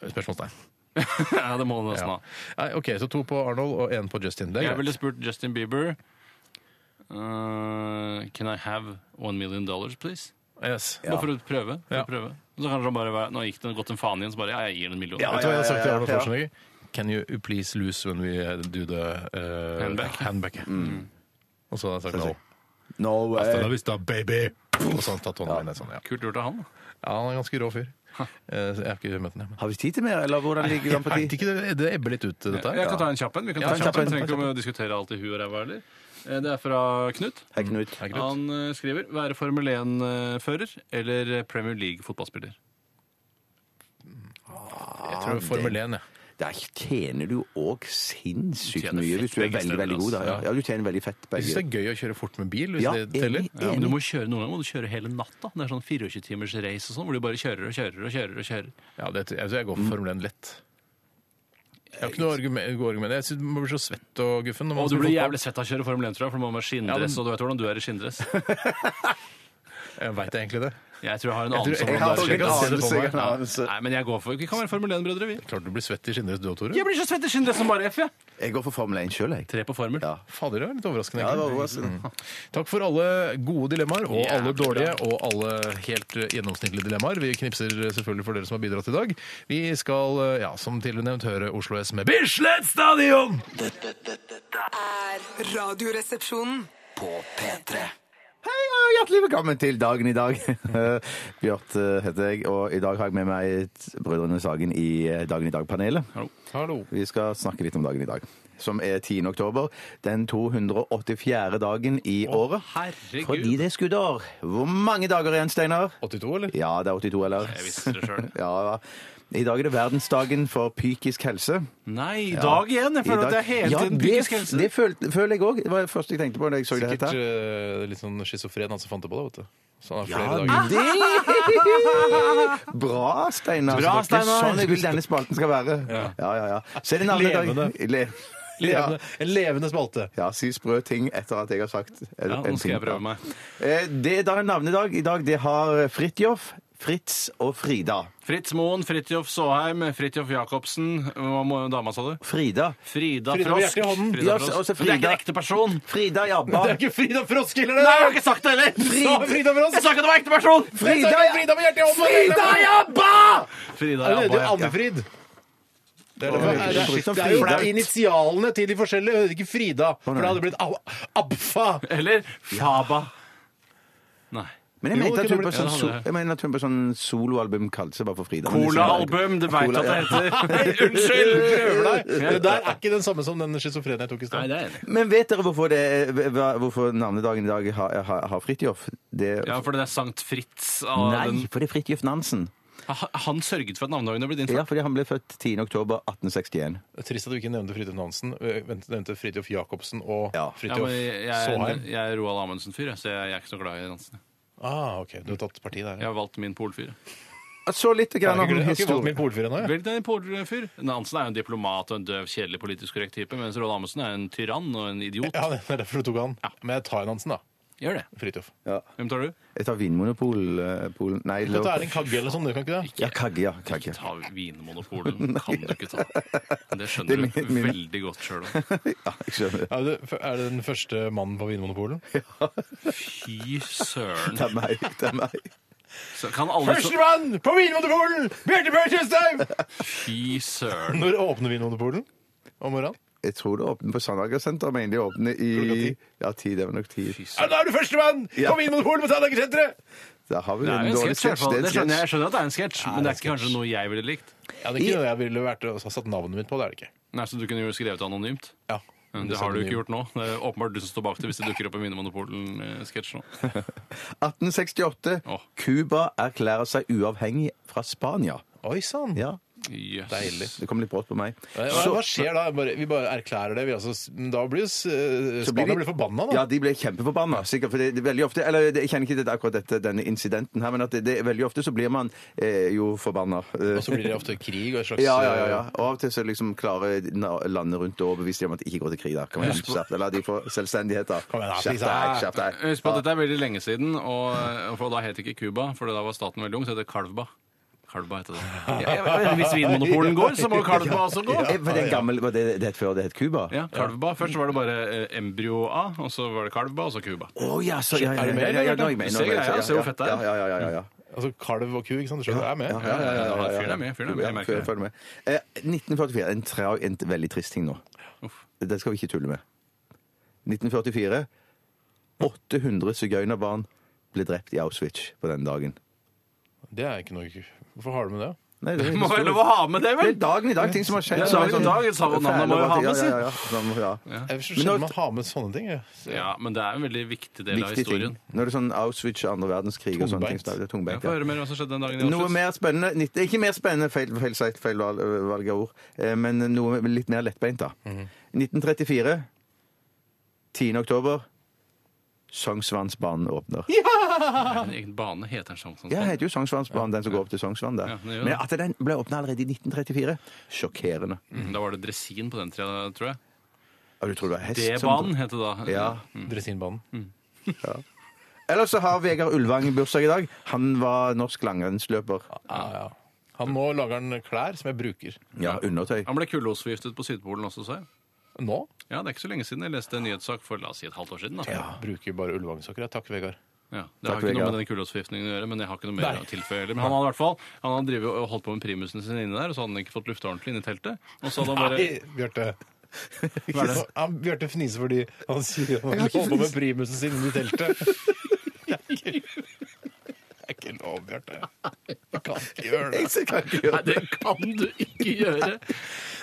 Speaker 3: Spørsmålstegn.
Speaker 4: Ja, det må du nesten
Speaker 3: Ja.
Speaker 4: ha.
Speaker 3: Nei, OK, så to på Arnold og én på Justin. Det er
Speaker 4: Jeg ville
Speaker 3: greit.
Speaker 4: spurt Justin Bieber eh, Can I have one million dollars, please?
Speaker 3: Yes.
Speaker 4: Bare for å prøve. For
Speaker 3: Ja.
Speaker 4: å prøve. Så kanskje han bare være, Nå gikk det gått en faen igjen, så bare ja, jeg gir den en million.
Speaker 5: Ja,
Speaker 3: Vet du hva jeg har sagt til Arnold
Speaker 5: ja, ja.
Speaker 3: Schwarzenegger? Can you please lose when we uh, do the eh,
Speaker 4: Handback.
Speaker 3: handback? Og så har jeg sagt no.
Speaker 5: No way.
Speaker 3: Hasta la vista, baby! Og så har han tatt hånda mi ned sånn. Ja.
Speaker 4: Kult gjort av han. da.
Speaker 3: Ja, han er en ganske rå fyr. Eh, så Jeg har ikke møtt ham ennå.
Speaker 5: Har vi tid til mer, eller hvordan ligger vi an på
Speaker 3: Er det
Speaker 5: tid?
Speaker 3: ikke det, det ebber litt ut, dette her.
Speaker 4: Jeg kan ta en kjapp en. Vi kan
Speaker 3: Ja,
Speaker 4: ta en kjapp en.
Speaker 3: kjapp en.
Speaker 4: Trenger ikke å diskutere alt i huet og ræva heller. Eh, Det er fra Knut.
Speaker 5: Hei, Knut.
Speaker 3: Det er greit.
Speaker 4: Han eh, skriver 'Være Formel 1-fører eller Premier League-fotballspiller'.
Speaker 3: Jeg tror Formel 1, jeg.
Speaker 5: Der tjener du òg sinnssykt
Speaker 4: Tjener
Speaker 5: mye
Speaker 4: fett
Speaker 5: hvis du er
Speaker 4: begge
Speaker 5: veldig
Speaker 4: steder,
Speaker 5: veldig god. Da.
Speaker 4: altså.
Speaker 5: Ja, du tjener veldig fett
Speaker 3: Jeg syns
Speaker 5: begge.
Speaker 3: det er gøy å kjøre fort med bil, hvis
Speaker 5: Ja,
Speaker 3: det teller.
Speaker 5: enig.
Speaker 4: Ja, men du må kjøre noen ganger må du kjøre hele natta. Det er sånn 24-timers race og sånn, hvor du bare kjører og kjører og kjører. og kjører.
Speaker 3: Ja, det, jeg tror jeg går for Formel 1 lett. Jeg har ikke noe argument. gode argument. Jeg synes Man blir så svett og guffen. når man
Speaker 4: Og du
Speaker 3: spiller
Speaker 4: blir
Speaker 3: fotball.
Speaker 4: jævlig svett av å kjøre Formel 1, tror jeg, for du må ha skinndress, og du vet hvordan du er i skinndress.
Speaker 3: Jeg veit egentlig det.
Speaker 4: Jeg tror jeg har en
Speaker 3: tror-
Speaker 4: anelse om
Speaker 3: jeg
Speaker 5: har
Speaker 4: hvordan
Speaker 5: også
Speaker 4: det
Speaker 5: en
Speaker 4: er.
Speaker 3: anelse,
Speaker 4: Skjønner
Speaker 5: jeg
Speaker 4: du?
Speaker 5: har en anelse.
Speaker 4: Nei, men jeg går for Vi kan være Formel 1-brødre, vi.
Speaker 3: Klart du blir svett i skinndress du òg, Tore.
Speaker 4: Jeg blir så svett i skinndress som bare F, jeg.
Speaker 5: Jeg går for Formel 1 sjøl, jeg.
Speaker 4: Tre på formel.
Speaker 5: Ja.
Speaker 3: Fader, det var litt overraskende.
Speaker 5: Ja, det var altså.
Speaker 3: egentlig.
Speaker 4: Mm.
Speaker 5: overraskende.
Speaker 3: Takk for alle gode dilemmaer, og alle
Speaker 4: Jævlig
Speaker 3: dårlige, og alle helt eh, gjennomsnittlige dilemmaer. Vi knipser selvfølgelig for dere som har bidratt i dag. Vi skal, eh, ja, som tidligere nevnt, høre Oslo S med Bislett Stadion!
Speaker 6: Er radioresepsjonen
Speaker 2: På P3
Speaker 5: Hei og hjertelig velkommen til dagen i dag. Bjørt eh, heter jeg, og i dag har jeg med meg Brødrene Sagen i eh, Dagen i dag-panelet.
Speaker 3: Hallo.
Speaker 5: Vi skal snakke litt om dagen i dag, som er 10. oktober. Den 284. dagen i året.
Speaker 4: herregud.
Speaker 5: Fordi det er skuddår. Hvor mange dager igjen, Steinar?
Speaker 3: 82, eller?
Speaker 5: Ja, det er 82, eller?
Speaker 4: Jeg visste det selv.
Speaker 5: ja, ja. I dag er det verdensdagen for psykisk helse.
Speaker 4: Nei, i dag igjen! Jeg
Speaker 5: I
Speaker 4: føler at
Speaker 5: dag-
Speaker 4: det er hele
Speaker 5: Ja,
Speaker 4: tiden
Speaker 5: det-
Speaker 4: psykisk helse.
Speaker 5: Det følte- føler jeg òg. Det var det første jeg tenkte på da jeg så
Speaker 3: Sikkert
Speaker 5: det her.
Speaker 3: eh, litt sånn schizofren han som fant det på det, vet du. Så han har flere
Speaker 5: Ja,
Speaker 3: dager.
Speaker 5: det Bra, Steinar.
Speaker 4: Bra,
Speaker 5: Det er
Speaker 4: Steinar.
Speaker 5: Sånn jeg vil denne spalten skal være. Ja, ja, ja. Så er det en annen dag.
Speaker 3: Levende.
Speaker 5: Le
Speaker 3: Levende, en levende spalte.
Speaker 5: Ja, si sprø ting etter at jeg har sagt en-
Speaker 4: Ja,
Speaker 5: en
Speaker 4: nå skal jeg
Speaker 5: ting.
Speaker 4: prøve meg.
Speaker 5: Eh, Det er da en navnedag i dag. Det har Fridtjof, Fritz og Frida.
Speaker 4: Fritz Moen, Fridtjof Saaheim, Fridtjof Jacobsen Hva må dama, sa du?
Speaker 5: Frida.
Speaker 4: Frida
Speaker 3: Frida med
Speaker 4: Frosk.
Speaker 3: hjertet i hånden.
Speaker 5: Ja,
Speaker 4: Frida Frosk.
Speaker 5: altså, altså,
Speaker 4: Men det er ikke
Speaker 5: Frida-
Speaker 4: en ekte person!
Speaker 5: Frida Jabba.
Speaker 3: Det er ikke Frida Frosk heller!
Speaker 4: Nei, jeg har ikke sagt det heller!
Speaker 3: Frida- Frida Frosk.
Speaker 4: Jeg sa ikke at det var ekte person!
Speaker 5: Frida,
Speaker 3: Frida, Frida med hjertet i hånden!
Speaker 5: Frida Jabba!
Speaker 4: Frida,
Speaker 3: Ja,
Speaker 4: ja,
Speaker 3: det heter jo
Speaker 4: bare-
Speaker 3: Annefrid. Det er, det,
Speaker 5: Å, det er
Speaker 3: det, er,
Speaker 5: ikke
Speaker 3: det er jo
Speaker 5: Frida.
Speaker 3: initialene til de forskjellige, det er ikke Frida. For da hadde det blitt Au- Abfa.
Speaker 4: Eller Faba. Nei.
Speaker 5: Men jeg
Speaker 3: Jo,
Speaker 5: mente
Speaker 3: det
Speaker 5: at hun
Speaker 3: kunne
Speaker 5: på
Speaker 3: blitt-
Speaker 5: sånn,
Speaker 4: Ja,
Speaker 5: so
Speaker 4: det er-
Speaker 5: jeg mener at hun på sånn soloalbum kalte seg bare for Frida. Men
Speaker 4: Cola-album, du veit
Speaker 5: Cola,
Speaker 4: at det
Speaker 5: ja.
Speaker 4: heter
Speaker 3: Unnskyld,
Speaker 4: Unnskyld!
Speaker 3: prøver deg. Det der er ikke den samme som den schizofrene jeg tok i
Speaker 4: Nei,
Speaker 3: stad.
Speaker 4: det er jeg enig. i.
Speaker 5: Men vet dere hvorfor, det, hva- hvorfor navnedagen i dag har, har, har Fridtjof? Det,
Speaker 4: Ja, fordi det er Sankt Fritz av den
Speaker 5: nei, for det er Fridtjof Nansen.
Speaker 4: Ha- Han sørget for at navnedagene ble din
Speaker 5: Ja, fordi han ble født 10. oktober 1861.
Speaker 3: Trist at du ikke nevnte Fridtjof Nansen. øh, vent- Nevnte Fridtjof Jacobsen og
Speaker 5: Ja.
Speaker 4: Ja, men
Speaker 3: Fridtjof
Speaker 4: jeg, jeg,
Speaker 3: Saaheim.
Speaker 4: jeg er Roald Amundsen-fyr, jeg, så jeg, jeg er ikke så glad i Nansen.
Speaker 3: Ah, OK. Du har tatt parti der.
Speaker 4: Jeg
Speaker 3: Ja.
Speaker 4: har valgt min polfyr.
Speaker 5: Så litt
Speaker 3: Jeg
Speaker 5: grann
Speaker 3: har
Speaker 5: om
Speaker 3: ikke, jeg har ikke valgt min
Speaker 5: historien.
Speaker 3: polfyr ennå. jeg.
Speaker 4: Velg deg en polfyr. Nansen er jo en diplomat og en døv, kjedelig politisk korrekt type, mens Roald Amundsen er en tyrann og en idiot.
Speaker 3: Ja, det er derfor du tok han. Men jeg tar Nansen, da.
Speaker 4: Gjør det.
Speaker 3: Fridtjof.
Speaker 5: Ja.
Speaker 4: Hvem tar du?
Speaker 5: Jeg tar Vinmonopol eh, Polen. Nei,
Speaker 3: Dette
Speaker 5: lov-
Speaker 3: er en kagge eller sånn, du kan ikke det?
Speaker 5: Ja, kagge, ja. Kagge.
Speaker 4: Ta Vinmonopolet. Den kan du ikke ta. Men Det
Speaker 5: Det er
Speaker 4: skjønner du
Speaker 5: min- min-
Speaker 4: veldig godt sjøl òg.
Speaker 5: Ja, jeg skjønner.
Speaker 3: Er det, er det den første mannen på Vinmonopolet?
Speaker 4: Fy søren.
Speaker 5: Det er meg. Det er meg.
Speaker 4: Så kan alle så
Speaker 3: Førstemann på Vinmonopolet! Bjarte Bjørn Tjøstheim!
Speaker 4: Fy søren.
Speaker 3: Når åpner Vinmonopolet? Om morgenen?
Speaker 5: Jeg tror det åpner på Sandagersenteret, men de åpner
Speaker 3: Klokka
Speaker 5: i
Speaker 3: ti.
Speaker 5: Ja, ti. Det var nok ti.
Speaker 3: Ja, da er du førstemann
Speaker 5: Ja.
Speaker 3: på Vinmonopolet på Sandaker-senteret!
Speaker 5: Da har vi
Speaker 4: Det er
Speaker 5: en
Speaker 4: jo en
Speaker 5: dårlig
Speaker 4: sketsj. i hvert
Speaker 5: sketsj.
Speaker 4: fall.
Speaker 5: Det er
Speaker 4: Det
Speaker 5: en
Speaker 4: skjønner jeg.
Speaker 5: sketsj.
Speaker 4: Jeg skjønner at det er en sketsj, men det er ikke kanskje noe jeg ville likt.
Speaker 3: Ja, det er ikke noe jeg ville vært å ha satt navnet mitt på, det er det ikke.
Speaker 4: Nei, Så du kunne jo skrevet det anonymt?
Speaker 3: Ja.
Speaker 4: Men Det har du ikke gjort nå. Det er åpenbart du som står bak det hvis det dukker opp en Vinmonopolen-sketsj nå.
Speaker 5: 1868.
Speaker 4: Åh.
Speaker 5: Cuba erklærer seg uavhengig fra Spania.
Speaker 3: Oi sann.
Speaker 5: Ja,
Speaker 4: Yes.
Speaker 3: Deilig.
Speaker 5: det kom litt brått på meg.
Speaker 3: Hva, hva skjer da? Bare, vi bare erklærer det. Vi altså, men da blir jo s- eh,
Speaker 5: Så blir
Speaker 3: Spania
Speaker 5: de-
Speaker 3: blir forbanna,
Speaker 5: Ja,
Speaker 3: da.
Speaker 5: de ble kjempeforbanna. Sikkert, for det det er veldig ofte Eller det- jeg kjenner ikke til akkurat dette, denne incidenten her, men at det, det, er veldig ofte så blir man eh, jo forbanna.
Speaker 3: Og så blir det ofte krig og et slags
Speaker 5: ja, ja, ja, ja. Og av og til så liksom klarer na- landet rundt å overbevise dem om at de ikke går til krig. da. Kan man huske på Eller de får selvstendighet, da.
Speaker 3: Kom igjen, da,
Speaker 5: Skjerp
Speaker 3: please,
Speaker 5: deg,
Speaker 3: da.
Speaker 5: skjerp deg.
Speaker 4: Eh, Husk på at dette er veldig lenge siden, og, eh, og for da het ikke Cuba, for da var staten veldig ung, så het det Kalvba. Kalvba heter det. Ja, ja, Hvis Vinmonopolen går, så må jo Kalvba også gå.
Speaker 5: Eh, Var det en gammel, var det, det het før det het Cuba?
Speaker 4: Ja, Kalvba. Først var det bare eh, embryo-A, og så var det Kalvba, og så Cuba.
Speaker 5: Å ja, så ja, ja,
Speaker 3: Er du med,
Speaker 5: ja, ja, ja,
Speaker 3: eller?
Speaker 5: nå er jeg med, nå er jeg med,
Speaker 4: Se greia,
Speaker 5: ja,
Speaker 4: se hvor fett det er.
Speaker 5: Ja, ja, ja, ja, ja, ja.
Speaker 3: Altså kalv og ku, ikke sant? Du skjønner, jeg er med.
Speaker 5: Ja, ja, ja, ja, ja, ja.
Speaker 4: Fyren er med, fyren er med, jeg merker
Speaker 5: Fyren
Speaker 4: det.
Speaker 5: følger med. Eh, 1944 en, tra- en veldig trist ting nå. Det skal vi ikke tulle med. 1944. 800 sigøynerbarn ble drept i Auschwitz på den dagen.
Speaker 3: Det er ikke noe ku. Hvorfor har du med det?
Speaker 5: Nei, det, er
Speaker 4: Det
Speaker 5: en
Speaker 4: må være
Speaker 5: historie.
Speaker 4: lov å ha med det,
Speaker 5: det
Speaker 4: vel?
Speaker 5: er dagen i dag, ting som har skjedd.
Speaker 4: Det er
Speaker 5: som
Speaker 4: dagen i dag, et savn, navnet må jo ha med seg.
Speaker 5: Ja, ja, ja, sånn, ja.
Speaker 3: Jeg skjønner
Speaker 5: nå-
Speaker 3: man har med sånne ting. jeg. Så-
Speaker 4: Ja, men det er en veldig viktig del av
Speaker 5: Viktig ting.
Speaker 4: historien.
Speaker 5: Når det er sånn Auschwitz og andre verdenskrig og sånne ting.
Speaker 3: Tungbeint.
Speaker 5: så er det
Speaker 4: Jeg
Speaker 5: Tungbeint.
Speaker 4: får
Speaker 5: Ja.
Speaker 4: høre mer om hva som skjedde den dagen i
Speaker 5: Noe
Speaker 4: Auschwitz.
Speaker 5: mer spennende nitt- Ikke mer spennende, feil, feil, sagt, feil valg, valg av ord, eh, men noe litt mer lettbeint, da.
Speaker 4: Mhm.
Speaker 5: 1934. 10. oktober. Sognsvannsbanen åpner.
Speaker 4: Er det en egen bane heter den sånn. sånn,
Speaker 5: Ja, det
Speaker 4: sånn.
Speaker 5: heter jo Sognsvannsbanen, den som går opp til Sognsvann der.
Speaker 4: Ja, den gjør
Speaker 5: Men
Speaker 4: det.
Speaker 5: at den ble åpna allerede i 1934, sjokkerende.
Speaker 4: Mhm, Da var det dresin på den tida, tror jeg.
Speaker 5: Ja, du tror det var hest som-
Speaker 4: D-banen het det sånn. da.
Speaker 5: Ja.
Speaker 4: Mm.
Speaker 3: Dresinbanen.
Speaker 5: Ellers så har Vegard Ulvang bursdag i dag. Han var norsk langrennsløper.
Speaker 3: Ja, ja. Han nå lager han klær som jeg bruker.
Speaker 5: Ja, undertøy.
Speaker 4: Han ble kullosforgiftet på Sydpolen også, sa jeg.
Speaker 3: Nå
Speaker 4: Ja, det er ikke så lenge siden jeg leste en nyhetssak for la oss si et halvt år siden. da.
Speaker 3: Jeg bruker jeg bare ullvangsokker. jeg. Takk, Vegard.
Speaker 4: Ja, det har
Speaker 5: Takk,
Speaker 4: ikke noe
Speaker 5: Vegard.
Speaker 4: med denne kullosforgiftningen å gjøre, men jeg har ikke noe mer
Speaker 3: Nei.
Speaker 4: å tilføye. heller. Men han hadde i hvert fall, han hadde drivet og holdt på med primusene sine inne der, og så hadde han ikke fått lufta ordentlig inne i teltet. Og så hadde han bare...
Speaker 3: Nei, Bjarte.
Speaker 4: Hva er det?
Speaker 3: Han Bjarte fniser fordi han sier han
Speaker 5: har ikke
Speaker 3: holder på med primusen sin i teltet. Det er ikke lov, Bjarte. Du kan ikke gjøre det.
Speaker 5: Jeg kan ikke gjøre
Speaker 4: Nei, det kan du ikke gjøre!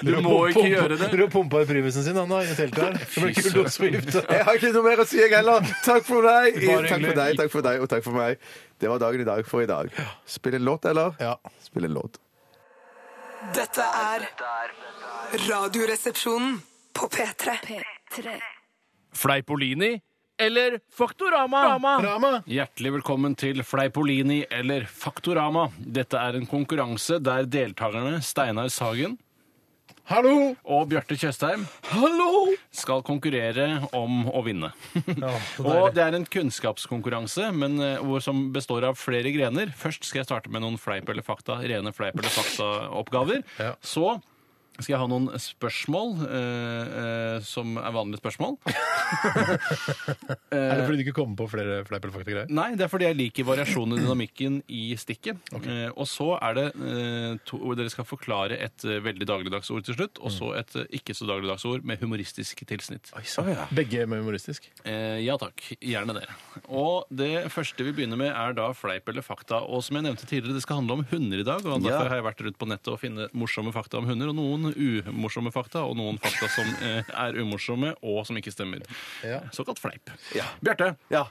Speaker 4: Du må
Speaker 3: Pumpa-
Speaker 4: ikke gjøre det.
Speaker 3: Dere pumpa i primusen sin han da, i teltet her. Det ble
Speaker 4: Fy søren.
Speaker 3: kullosforgift.
Speaker 5: Jeg har ikke noe mer å si, jeg heller. Takk for
Speaker 3: Bare
Speaker 5: deg. Takk for
Speaker 3: hyggelig.
Speaker 5: deg, takk for deg og takk for meg. Det var dagen i dag for i dag. Spill en låt, eller?
Speaker 3: Ja.
Speaker 5: Spill en låt.
Speaker 6: Dette er Radioresepsjonen på P3.
Speaker 4: Fleipolini eller Faktorama?
Speaker 3: Rama.
Speaker 4: Hjertelig velkommen til Fleipolini eller Faktorama. Dette er en konkurranse der deltakerne Steinar Sagen
Speaker 3: Hallo!
Speaker 4: og Bjarte Tjøstheim skal konkurrere om å vinne.
Speaker 3: så deilig.
Speaker 4: og det er en kunnskapskonkurranse men eh, hvor som består av flere grener. Først skal jeg starte med noen fleip eller fakta, rene fleip eller fakta-oppgaver.
Speaker 3: Ja.
Speaker 4: Så skal jeg ha noen spørsmål eh, eh, som er vanlige spørsmål.
Speaker 3: Er det fordi du ikke kommer på flere fleip eller fakta-greier?
Speaker 4: Nei, det er fordi jeg liker variasjonen i dynamikken i stikket. Eh, og så er det eh, to, hvor Dere skal forklare et eh, veldig dagligdags ord til slutt, og så et eh, ikke så dagligdags ord med humoristisk tilsnitt.
Speaker 3: Begge med humoristisk.
Speaker 4: Eh, ja takk. Gjerne det. Og det første vi begynner med, er da fleip eller fakta. Og som jeg nevnte tidligere, det skal handle om hunder i dag. Og derfor har jeg vært rundt på nettet og funnet morsomme fakta om hunder. Og noen umorsomme fakta, og noen fakta som eh, er umorsomme, og som ikke stemmer.
Speaker 3: Ja.
Speaker 4: Såkalt fleip.
Speaker 5: Ja. Mm.
Speaker 4: Bjarte,
Speaker 5: Ja.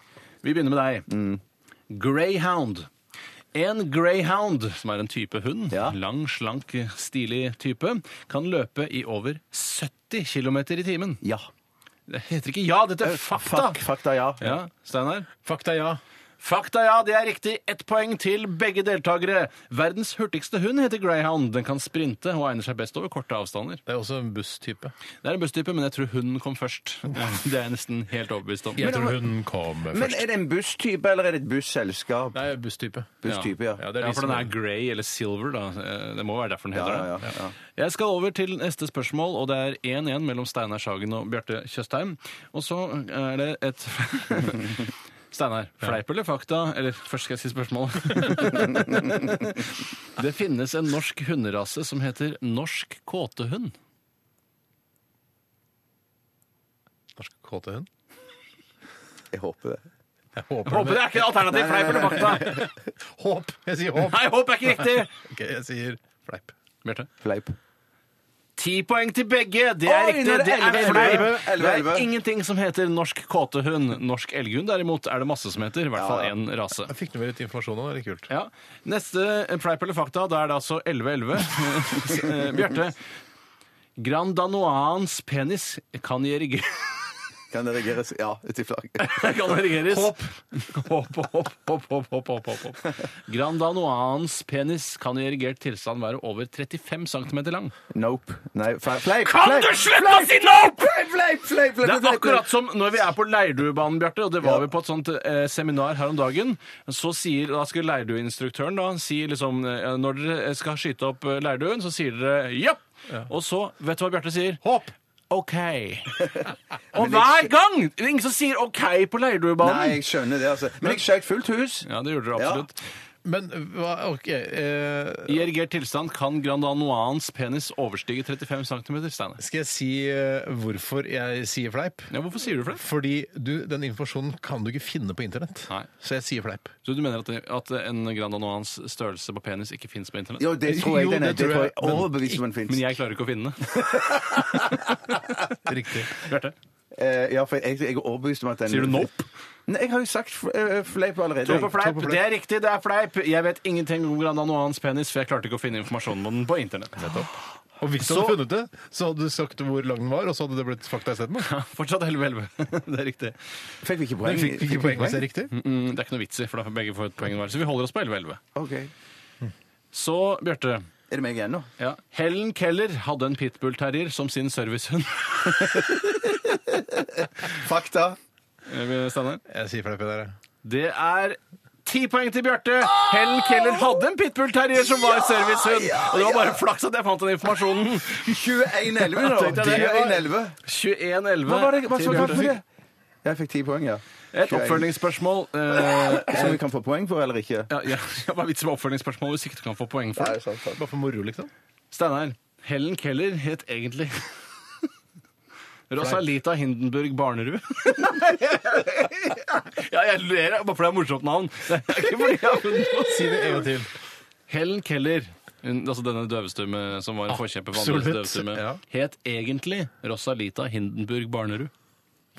Speaker 4: vi begynner med deg. Greyhound. En greyhound, som er en type hund,
Speaker 5: Ja.
Speaker 4: lang, slank, stilig type, kan løpe i over 70 km i timen.
Speaker 5: Ja.
Speaker 4: Det heter ikke ja,
Speaker 5: Eh,
Speaker 4: dette er fakta!
Speaker 5: Fak- Fakta, ja.
Speaker 4: Ja, Steinar?
Speaker 3: Fakta ja.
Speaker 4: Fakta, ja, det er riktig. Ett poeng til begge deltakere. Verdens hurtigste hund heter greyhound. Den kan sprinte og egner seg best over korte avstander.
Speaker 3: Det er også en busstype.
Speaker 4: Det er en busstype, men jeg tror hunden kom først. Det er jeg nesten helt overbevist om.
Speaker 3: Jeg tror hun kom
Speaker 5: Men
Speaker 3: først.
Speaker 5: er det en busstype, eller er det et busselskap?
Speaker 3: Nei, busstype.
Speaker 5: Busstype, ja.
Speaker 3: Ja, det er
Speaker 4: Ja,
Speaker 3: de
Speaker 4: for den
Speaker 3: som-
Speaker 4: er grey eller silver, da. Eh, Det må være derfor den
Speaker 5: Ja,
Speaker 4: heter
Speaker 5: ja,
Speaker 4: det.
Speaker 5: ja.
Speaker 4: Jeg skal over til neste spørsmål, og det er 1-1 mellom Steinar Sagen og Bjarte Tjøstheim. Og så er det et Steinar, fleip eller fakta? Eller først skal jeg si spørsmålet. det finnes en norsk hunderase som heter norsk kåtehund.
Speaker 3: Norsk kåte hund.
Speaker 5: Jeg håper det.
Speaker 3: Jeg håper,
Speaker 4: Håper det er ikke alternativ fleip eller fakta!
Speaker 3: Håp! Jeg sier håp.
Speaker 4: Nei, håp er ikke riktig!
Speaker 3: Ok, jeg sier fleip.
Speaker 4: Bjarte?
Speaker 5: Fleip.
Speaker 4: Ti poeng til begge! Det er
Speaker 5: Oi,
Speaker 4: riktig!
Speaker 5: nå er det
Speaker 4: Det er
Speaker 5: elleve,
Speaker 4: fleip!
Speaker 5: elleve, elleve,
Speaker 4: Det
Speaker 5: elleve.
Speaker 4: er ingenting som heter norsk kåtehund. Norsk elghund derimot er det masse som heter. I hvert fall én rase.
Speaker 3: Jeg fikk med litt informasjon nå, det er litt kult.
Speaker 4: Ja. Neste eh, fleip eller fakta, da er det altså 11-11. Eh, Bjarte. Grand Danoans penis kan erige-
Speaker 5: Kan det regeres? Ja, til flagg.
Speaker 4: kan erigeres. Hopp. Hopp, hopp, hopp, hopp, hopp, hopp, hopp. Grand Danoans penis kan i erigert tilstand være over 35 cm lang.
Speaker 5: Nope. Nei, fe- fleip.
Speaker 4: Kan
Speaker 5: fleip.
Speaker 4: du slutte å si nope?!
Speaker 5: Fleip, fleip, fleip, fleip,
Speaker 4: Det er
Speaker 5: fleip,
Speaker 4: akkurat som når vi er på Leirduebanen, Bjarte, og det var vi på et sånt eh, seminar her om dagen. Så sier, da skal Leirdueinstruktøren da si liksom eh, Når dere skal skyte opp eh, leirduen, så sier dere ja! Og så, vet du hva Bjarte sier?
Speaker 3: Håp!
Speaker 4: OK. Og hver gang! Det er ingen som sier OK på
Speaker 5: Nei,
Speaker 4: Leirduebanen.
Speaker 5: jeg skjønner det, altså. Men jeg skjøt fullt hus.
Speaker 4: Ja, det gjorde dere absolutt.
Speaker 3: Men hva OK eh,
Speaker 4: I erigert tilstand kan grandanoans penis overstige 35 cm, Steinar.
Speaker 3: Skal jeg si eh, hvorfor jeg sier fleip?
Speaker 4: Ja, hvorfor sier du det?
Speaker 3: Fordi du, den informasjonen kan du ikke finne på internett.
Speaker 4: Nei.
Speaker 3: Så jeg sier fleip.
Speaker 4: Så du mener at, det- at en grandanoans størrelse på penis ikke fins på internett?
Speaker 5: Jo, det tror jeg
Speaker 3: Jo,
Speaker 5: den
Speaker 3: det
Speaker 5: er. Det
Speaker 3: tror
Speaker 5: tror jeg
Speaker 3: jeg, men-
Speaker 5: overbevist om den
Speaker 4: Men
Speaker 5: fins.
Speaker 4: jeg klarer ikke å finne det.
Speaker 3: Riktig.
Speaker 4: Bjarte?
Speaker 5: Eh, Ja, for jeg, jeg er overbevist om at den
Speaker 4: Sier du nope?
Speaker 5: Nei, jeg har jo sagt f- eh, fleip allerede.
Speaker 4: To på
Speaker 5: To
Speaker 4: fleip.
Speaker 5: på
Speaker 4: Det er riktig, det er fleip. Jeg vet ingenting om Grandanoans penis, for jeg klarte ikke å finne informasjonen om den på internett.
Speaker 3: Og hvis du
Speaker 4: Så-
Speaker 3: hadde funnet det, så hadde du sagt hvor lang den var, og så hadde det blitt fakta isteden.
Speaker 4: Ja, Fortsatt 11-11. Det er riktig.
Speaker 5: Fikk vi ikke poeng?
Speaker 3: Men fikk vi ikke poeng hvis det er riktig?
Speaker 4: Mm, Det er ikke noe vits i, for da får begge får et poeng hver. Så vi holder oss på 11-11.
Speaker 5: Ok.
Speaker 4: Så, Bjarte.
Speaker 5: Er det meg igjen nå?
Speaker 4: Ja. Helen Keller hadde en pitbull-terrier som sin servicehund.
Speaker 5: Fakta.
Speaker 4: Eh, Steinar?
Speaker 3: Jeg sier fleip. Der.
Speaker 4: Det er ti poeng til Bjarte. Helen Keller hadde en pitbull-terrier som var servicehund. Og det var bare flaks at jeg fant den informasjonen.
Speaker 5: 21-11 nå.
Speaker 4: Tenkte jeg det.
Speaker 5: 21-11.
Speaker 4: 21-11.
Speaker 5: Hva var det hva
Speaker 4: til
Speaker 5: så takk
Speaker 4: Bjarte.
Speaker 5: for det? Jeg fikk ti poeng, ja.
Speaker 4: Et oppfølgingsspørsmål. Eh,
Speaker 5: Som vi kan få poeng for, eller ikke?
Speaker 4: Ja, ja, ja, Hva er vitsen med oppfølgingsspørsmål hvis ikke du kan få poeng for det?
Speaker 3: Bare for moro, liksom?
Speaker 4: Steinar, Helen Keller het egentlig Rosalita Hindenburg Barnerud. ja, jeg ler bare fordi det er morsomt navn. Det er ikke fordi jeg har funnet på å si
Speaker 3: Si
Speaker 4: det.
Speaker 3: det en gang til.
Speaker 4: Helen Keller, hun, altså denne døvestumme som var en forkjemper for andre
Speaker 3: Absolutt,
Speaker 4: døvestumme,
Speaker 3: ja.
Speaker 4: het egentlig Rosalita Hindenburg Barnerud.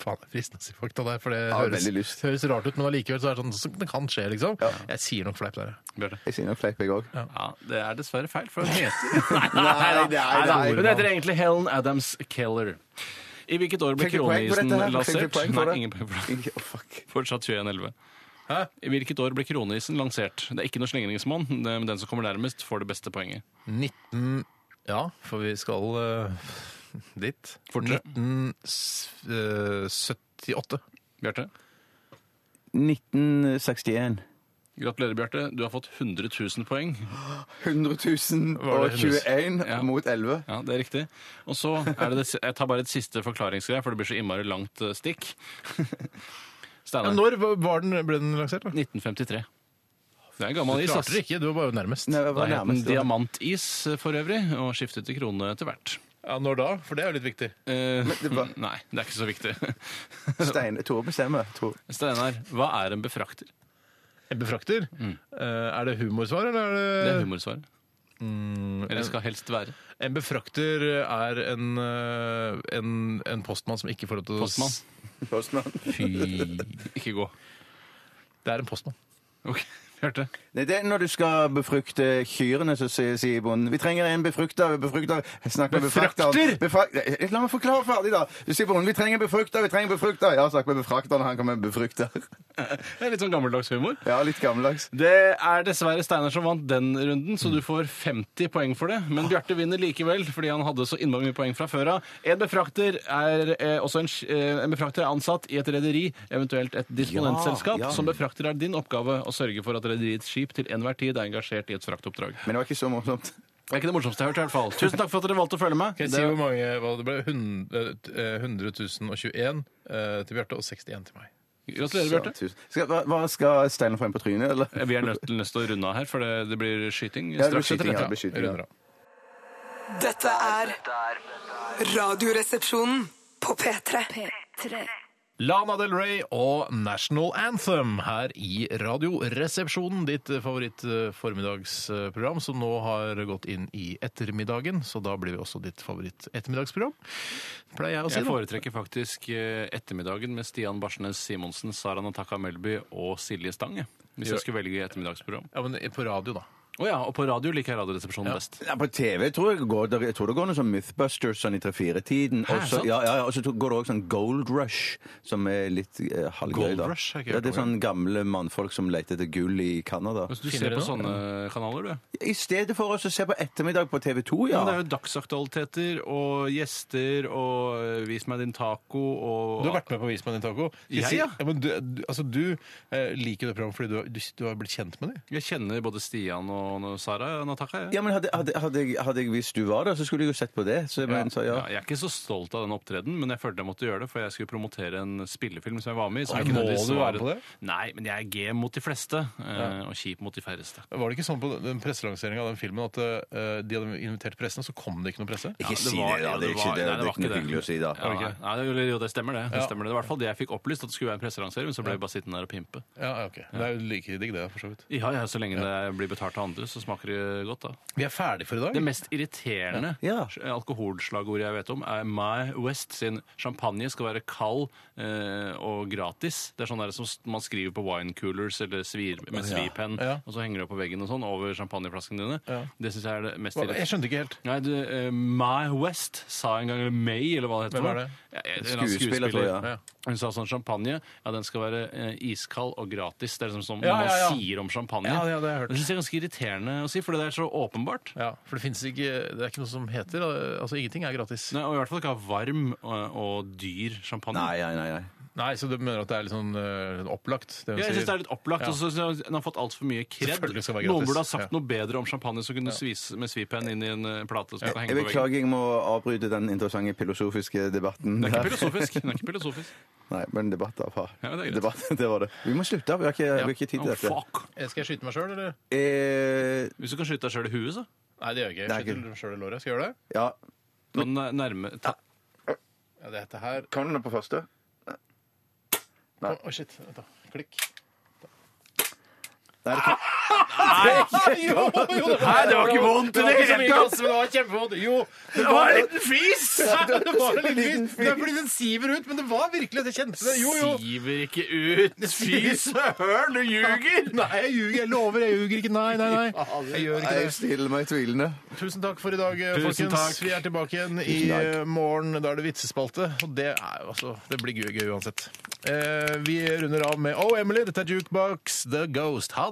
Speaker 3: Faen, det er fristende å si fakta der, for det
Speaker 5: Ja,
Speaker 3: høres,
Speaker 5: veldig lyst.
Speaker 3: høres rart ut, men allikevel så er det sånn så Det kan skje, liksom. Jeg sier nok fleip der, ja.
Speaker 4: Bjarte.
Speaker 5: Jeg sier nok fleip, jeg òg.
Speaker 4: Ja, det er dessverre feil, for hun heter Nei, nei, nei,
Speaker 5: det
Speaker 4: nei,
Speaker 5: er-
Speaker 4: nei,
Speaker 5: det er-
Speaker 4: Hun heter egentlig Helen Adams Keller. I hvilket år ble
Speaker 5: Fikk vi poeng for
Speaker 4: kroneisen
Speaker 5: dette her? Fikk vi
Speaker 4: lansert?
Speaker 5: poeng for
Speaker 4: Nei,
Speaker 5: det?
Speaker 4: ingen poeng for det.
Speaker 5: Ikke- Å, fuck.
Speaker 4: Fortsatt 21-11.
Speaker 3: Hæ?
Speaker 4: I hvilket år ble kroneisen lansert? Det er ikke noe slengringsmonn, men den som kommer nærmest, får det beste poenget.
Speaker 3: 19... Ja, for vi skal eh, dit. eh,
Speaker 4: Fortere.
Speaker 3: 1978.
Speaker 4: Bjarte.
Speaker 5: 1961.
Speaker 4: Gratulerer, Bjarte. Du har fått 100 000 poeng.
Speaker 5: 100
Speaker 3: Var det
Speaker 5: 021
Speaker 4: Ja.
Speaker 5: mot 11.
Speaker 4: Ja, Det er riktig. Og så er det det si- Jeg tar bare et siste forklaringsgreie, for det blir så innmari langt eh, stikk.
Speaker 3: Ja,
Speaker 4: Steinar.
Speaker 3: når var den, ble den lansert? da?
Speaker 4: 1953. Det er en gammel
Speaker 3: Du
Speaker 4: is. ass.
Speaker 3: klarte det ikke, du var bare nærmest.
Speaker 5: Nei, jeg
Speaker 4: Da
Speaker 5: var
Speaker 4: het den
Speaker 5: nærmest. det.
Speaker 4: Diamantis eh, for øvrig, og skiftet til krone etter hvert.
Speaker 3: Ja, Når da? For det er jo litt viktig.
Speaker 4: Eh,
Speaker 5: det var-
Speaker 4: Nei, det er ikke så viktig.
Speaker 5: Stein, Tore bestemmer. Tore.
Speaker 4: Steinar, hva er en befrakter?
Speaker 3: En befrakter. Eh, er det humorsvar, eller er
Speaker 4: Det
Speaker 3: det, Mm,
Speaker 4: er humorsvaret. Eller skal helst være.
Speaker 3: En befrakter er en, eh, en, en postmann som ikke får lov til å s-
Speaker 4: Postmann.
Speaker 5: Postmann.
Speaker 4: Ikke gå.
Speaker 3: Det er en postmann.
Speaker 4: Ok, Hørte.
Speaker 5: Nei, det er når du skal befrukte kyrne, så sier sier bonden Vi trenger en befrukter. befrukter. Jeg snakker med befrakteren. Befrak- Nei, La meg forklare ferdig, da. Du sier bonden vi trenger en befrukter, vi trenger en befrukter. Ja, snakk med befrakteren, han kommer med en befrukter.
Speaker 4: Det er litt sånn gammeldags humor.
Speaker 5: Ja, litt gammeldags.
Speaker 4: Det er dessverre Steinar som vant den runden, så du får 50 poeng for det. Men Bjarte vinner likevel, fordi han hadde så innmari mye poeng fra før av. En befrakter er eh, også en, sk- eh, en befrakter er ansatt i et rederi, eventuelt et disponentselskap.
Speaker 5: Ja, ja.
Speaker 4: Som befrakter er din oppgave å sørge for at rederiets skip til enhver tid er engasjert i et fraktoppdrag.
Speaker 5: Men det var ikke så morsomt.
Speaker 4: Det er ikke det morsomste jeg har hørt, i hvert fall. Tusen takk for at dere valgte å følge med.
Speaker 3: Kan jeg si hvor mange hva det ble? eh, 100 021 eh, til Bjarte og 61 til meg.
Speaker 4: Gratulerer, Bjarte.
Speaker 5: Tusen- Skal, hva, hva skal Steinar få inn på trynet, eller?
Speaker 4: Vi er nødt til nøst til å runde av her, for det, det blir skyting
Speaker 5: Ja, det blir
Speaker 4: straks etter
Speaker 5: skyting, ja.
Speaker 4: dette.
Speaker 5: blir skyting,
Speaker 3: Jeg runder av.
Speaker 6: Dette er Radioresepsjonen på P3.
Speaker 3: Lana Del Rey og National Anthem her i Radioresepsjonen, ditt favoritt-formiddagsprogram, som nå har gått inn i ettermiddagen. Så da blir vi også ditt favoritt-ettermiddagsprogram, pleier jeg å si.
Speaker 4: Jeg
Speaker 3: da.
Speaker 4: foretrekker faktisk eh, ettermiddagen med Stian Barsnes Simonsen, Sara Nataka Melby og Silje Stang. jeg, Hvis
Speaker 3: Gjør-
Speaker 4: jeg skulle velge ettermiddagsprogram.
Speaker 3: Ja, men på radio, da.
Speaker 4: Å ja, og på radio liker jeg Radioresepsjonen best.
Speaker 5: Ja, på TV tror jeg, går, det- jeg tror det går noe sånn Mythbusters sånn i 3-4-tiden. Og så
Speaker 4: sant?
Speaker 5: ja, ja, ja, og så tror- går det også sånn Gold Rush, som er litt eh, halvgøy.
Speaker 3: Gold
Speaker 5: da.
Speaker 3: Rush har ikke jeg
Speaker 5: ja, det er
Speaker 3: hørt om,
Speaker 5: sånn gamle mannfolk som leter etter gull i Canada.
Speaker 4: Hvis Altså, du
Speaker 3: Finner
Speaker 4: ser
Speaker 3: du
Speaker 4: på
Speaker 3: det?
Speaker 4: sånne kanaler, du.
Speaker 5: I stedet for oss å se på ettermiddag på TV 2, ja.
Speaker 4: Men det er jo dagsaktualiteter og gjester og eh, Vis meg din taco
Speaker 3: Du
Speaker 4: og
Speaker 3: har vært med på Vis meg din taco. Skal jeg si-
Speaker 4: ja.
Speaker 3: men du, du, altså, du eh, liker det programmet fordi du, har- du, du har blitt kjent med det.
Speaker 4: Jeg kjenner både Stian og og Sara Nataka. jeg.
Speaker 5: Ja, men hadde, hadde, hadde, jeg, hadde jeg visst du var der, så skulle jeg jo sett på det. Så, men, så, ja.
Speaker 4: Ja, jeg er ikke så stolt av den opptredenen, men jeg følte jeg måtte gjøre det, for jeg skulle promotere en spillefilm som jeg var med i. som
Speaker 3: Nei,
Speaker 4: ikke
Speaker 3: må
Speaker 4: nødvendigvis
Speaker 3: du
Speaker 4: var
Speaker 3: være
Speaker 4: en-
Speaker 3: på det?
Speaker 4: Nei, men jeg er game mot de fleste, eh, og kjip mot de færreste.
Speaker 3: Var det ikke sånn på den presselanseringa av den filmen at eh, de hadde invitert pressen, så kom det ikke noe presse?
Speaker 5: Ikke
Speaker 4: det var- ja, det var- nei, det var ikke det.
Speaker 5: da.
Speaker 4: Ja,
Speaker 3: Ok.
Speaker 4: nei, nei, det- eller jo, det stemmer det. Det
Speaker 3: Ja.
Speaker 4: stemmer det. Det var i hvert fall det jeg fikk opplyst, at det skulle være en presselansering, men så ble vi bare sittende der og pimpe.
Speaker 3: Ja, ja, ok. Det er jo like digg, det, for så vidt.
Speaker 4: Ja, ja, så lenge det blir betalt av andre, så smaker det godt, da.
Speaker 3: Vi er ferdig for i dag.
Speaker 4: Det mest irriterende
Speaker 5: Ja.
Speaker 4: alkoholslagordet jeg vet om, er My West sin champagne skal være kald eh, og gratis. Det er sånn der som s- man skriver på wine coolers eller svir, med svipenn,
Speaker 3: Ja.
Speaker 4: og så henger det opp på veggen og sånn over champagneflaskene dine.
Speaker 3: Ja.
Speaker 4: Det syns jeg er det mest
Speaker 3: Hva- Jeg
Speaker 4: irriterende.
Speaker 3: skjønte ikke helt.
Speaker 4: Nei, du, eh, My West sa en gang, eller May, eller hva det
Speaker 3: Hvem
Speaker 4: heter. for
Speaker 3: er
Speaker 4: noe.
Speaker 3: det?
Speaker 4: Ja, en eller annen
Speaker 5: Skuespiller, tror jeg.
Speaker 3: Ja.
Speaker 4: Hun sa sånn champagne, ja den skal være eh, iskald og gratis. Det er liksom sånn
Speaker 3: Ja,
Speaker 4: man
Speaker 3: ja, ja.
Speaker 4: sier om champagne.
Speaker 3: Ja, ja, det har jeg hørt.
Speaker 4: synes jeg er ganske irriterende å si, for det er så åpenbart.
Speaker 3: Ja, for det finnes ikke Det er ikke noe som heter Altså, ingenting er gratis. Nei,
Speaker 4: Nei, og i hvert fall ikke ha varm og, og dyr champagne.
Speaker 5: Nei, nei, nei. nei.
Speaker 3: så du mener at det er litt sånn eh, opplagt? Det hun
Speaker 4: Ja, jeg synes
Speaker 3: sier.
Speaker 4: det er litt opplagt,
Speaker 3: Ja.
Speaker 4: og så synes jeg den har fått alt for mye kred.
Speaker 3: Selvfølgelig skal det være
Speaker 4: Noen
Speaker 3: gratis.
Speaker 4: burde ha sagt
Speaker 3: Ja.
Speaker 4: noe bedre om champagne som kunne svis med svipenn inn i en eh, plate som kan
Speaker 5: Jeg
Speaker 4: henge på veggen.
Speaker 5: beklager, jeg må avbryte den interessante filosofiske debatten.
Speaker 4: Det er ikke
Speaker 5: der.
Speaker 4: filosofisk. Den er ikke filosofisk.
Speaker 5: Nei, men debatt da, far.
Speaker 4: Ja, men det er greit.
Speaker 5: debatt, det var det. Vi må slutte, vi har ikke, vi har ikke tid til
Speaker 4: Oh,
Speaker 5: dette.
Speaker 4: fuck.
Speaker 3: Eh, Skal jeg skyte meg sjøl, eller?
Speaker 5: Eh,
Speaker 4: Hvis du kan skyte deg sjøl i huet, så.
Speaker 3: Nei, det gjør jeg ikke.
Speaker 5: Nei,
Speaker 3: Jeg
Speaker 5: ikke.
Speaker 3: skyter sjøl i låret. Skal jeg gjøre det?
Speaker 5: ja.
Speaker 4: Da nærme... Ta.
Speaker 3: Ja, det heter her
Speaker 5: Kan du den på første?
Speaker 3: Å, å, shit. Vent, da. Klikk.
Speaker 5: Nei, det kan...
Speaker 3: Nei, det var ikke vondt i det hele tatt! Det var kjempevondt. Jo, det var en liten fis! Det var en liten fis. Det er fordi den siver ut, men det var virkelig Jeg kjente det. Jo, jo.
Speaker 4: Siver ikke ut! Fy søren, du ljuger!
Speaker 3: Nei, jeg ljuger. Jeg lover, jeg ljuger ikke. Nei, nei, nei. Jeg gjør
Speaker 5: Nei,
Speaker 3: ikke det.
Speaker 5: jeg stiller meg tvilende.
Speaker 3: Tusen takk for i dag, eh,
Speaker 4: Tusen
Speaker 3: folkens.
Speaker 4: takk.
Speaker 3: Vi er tilbake igjen i
Speaker 5: Tusen takk.
Speaker 3: eh, morgen. Da er det vitsespalte. Og det, er, jo altså, det blir gøy, gøy uansett. Eh, vi runder av med Oh, Emily. Dette er Jukebox The Ghost. Ha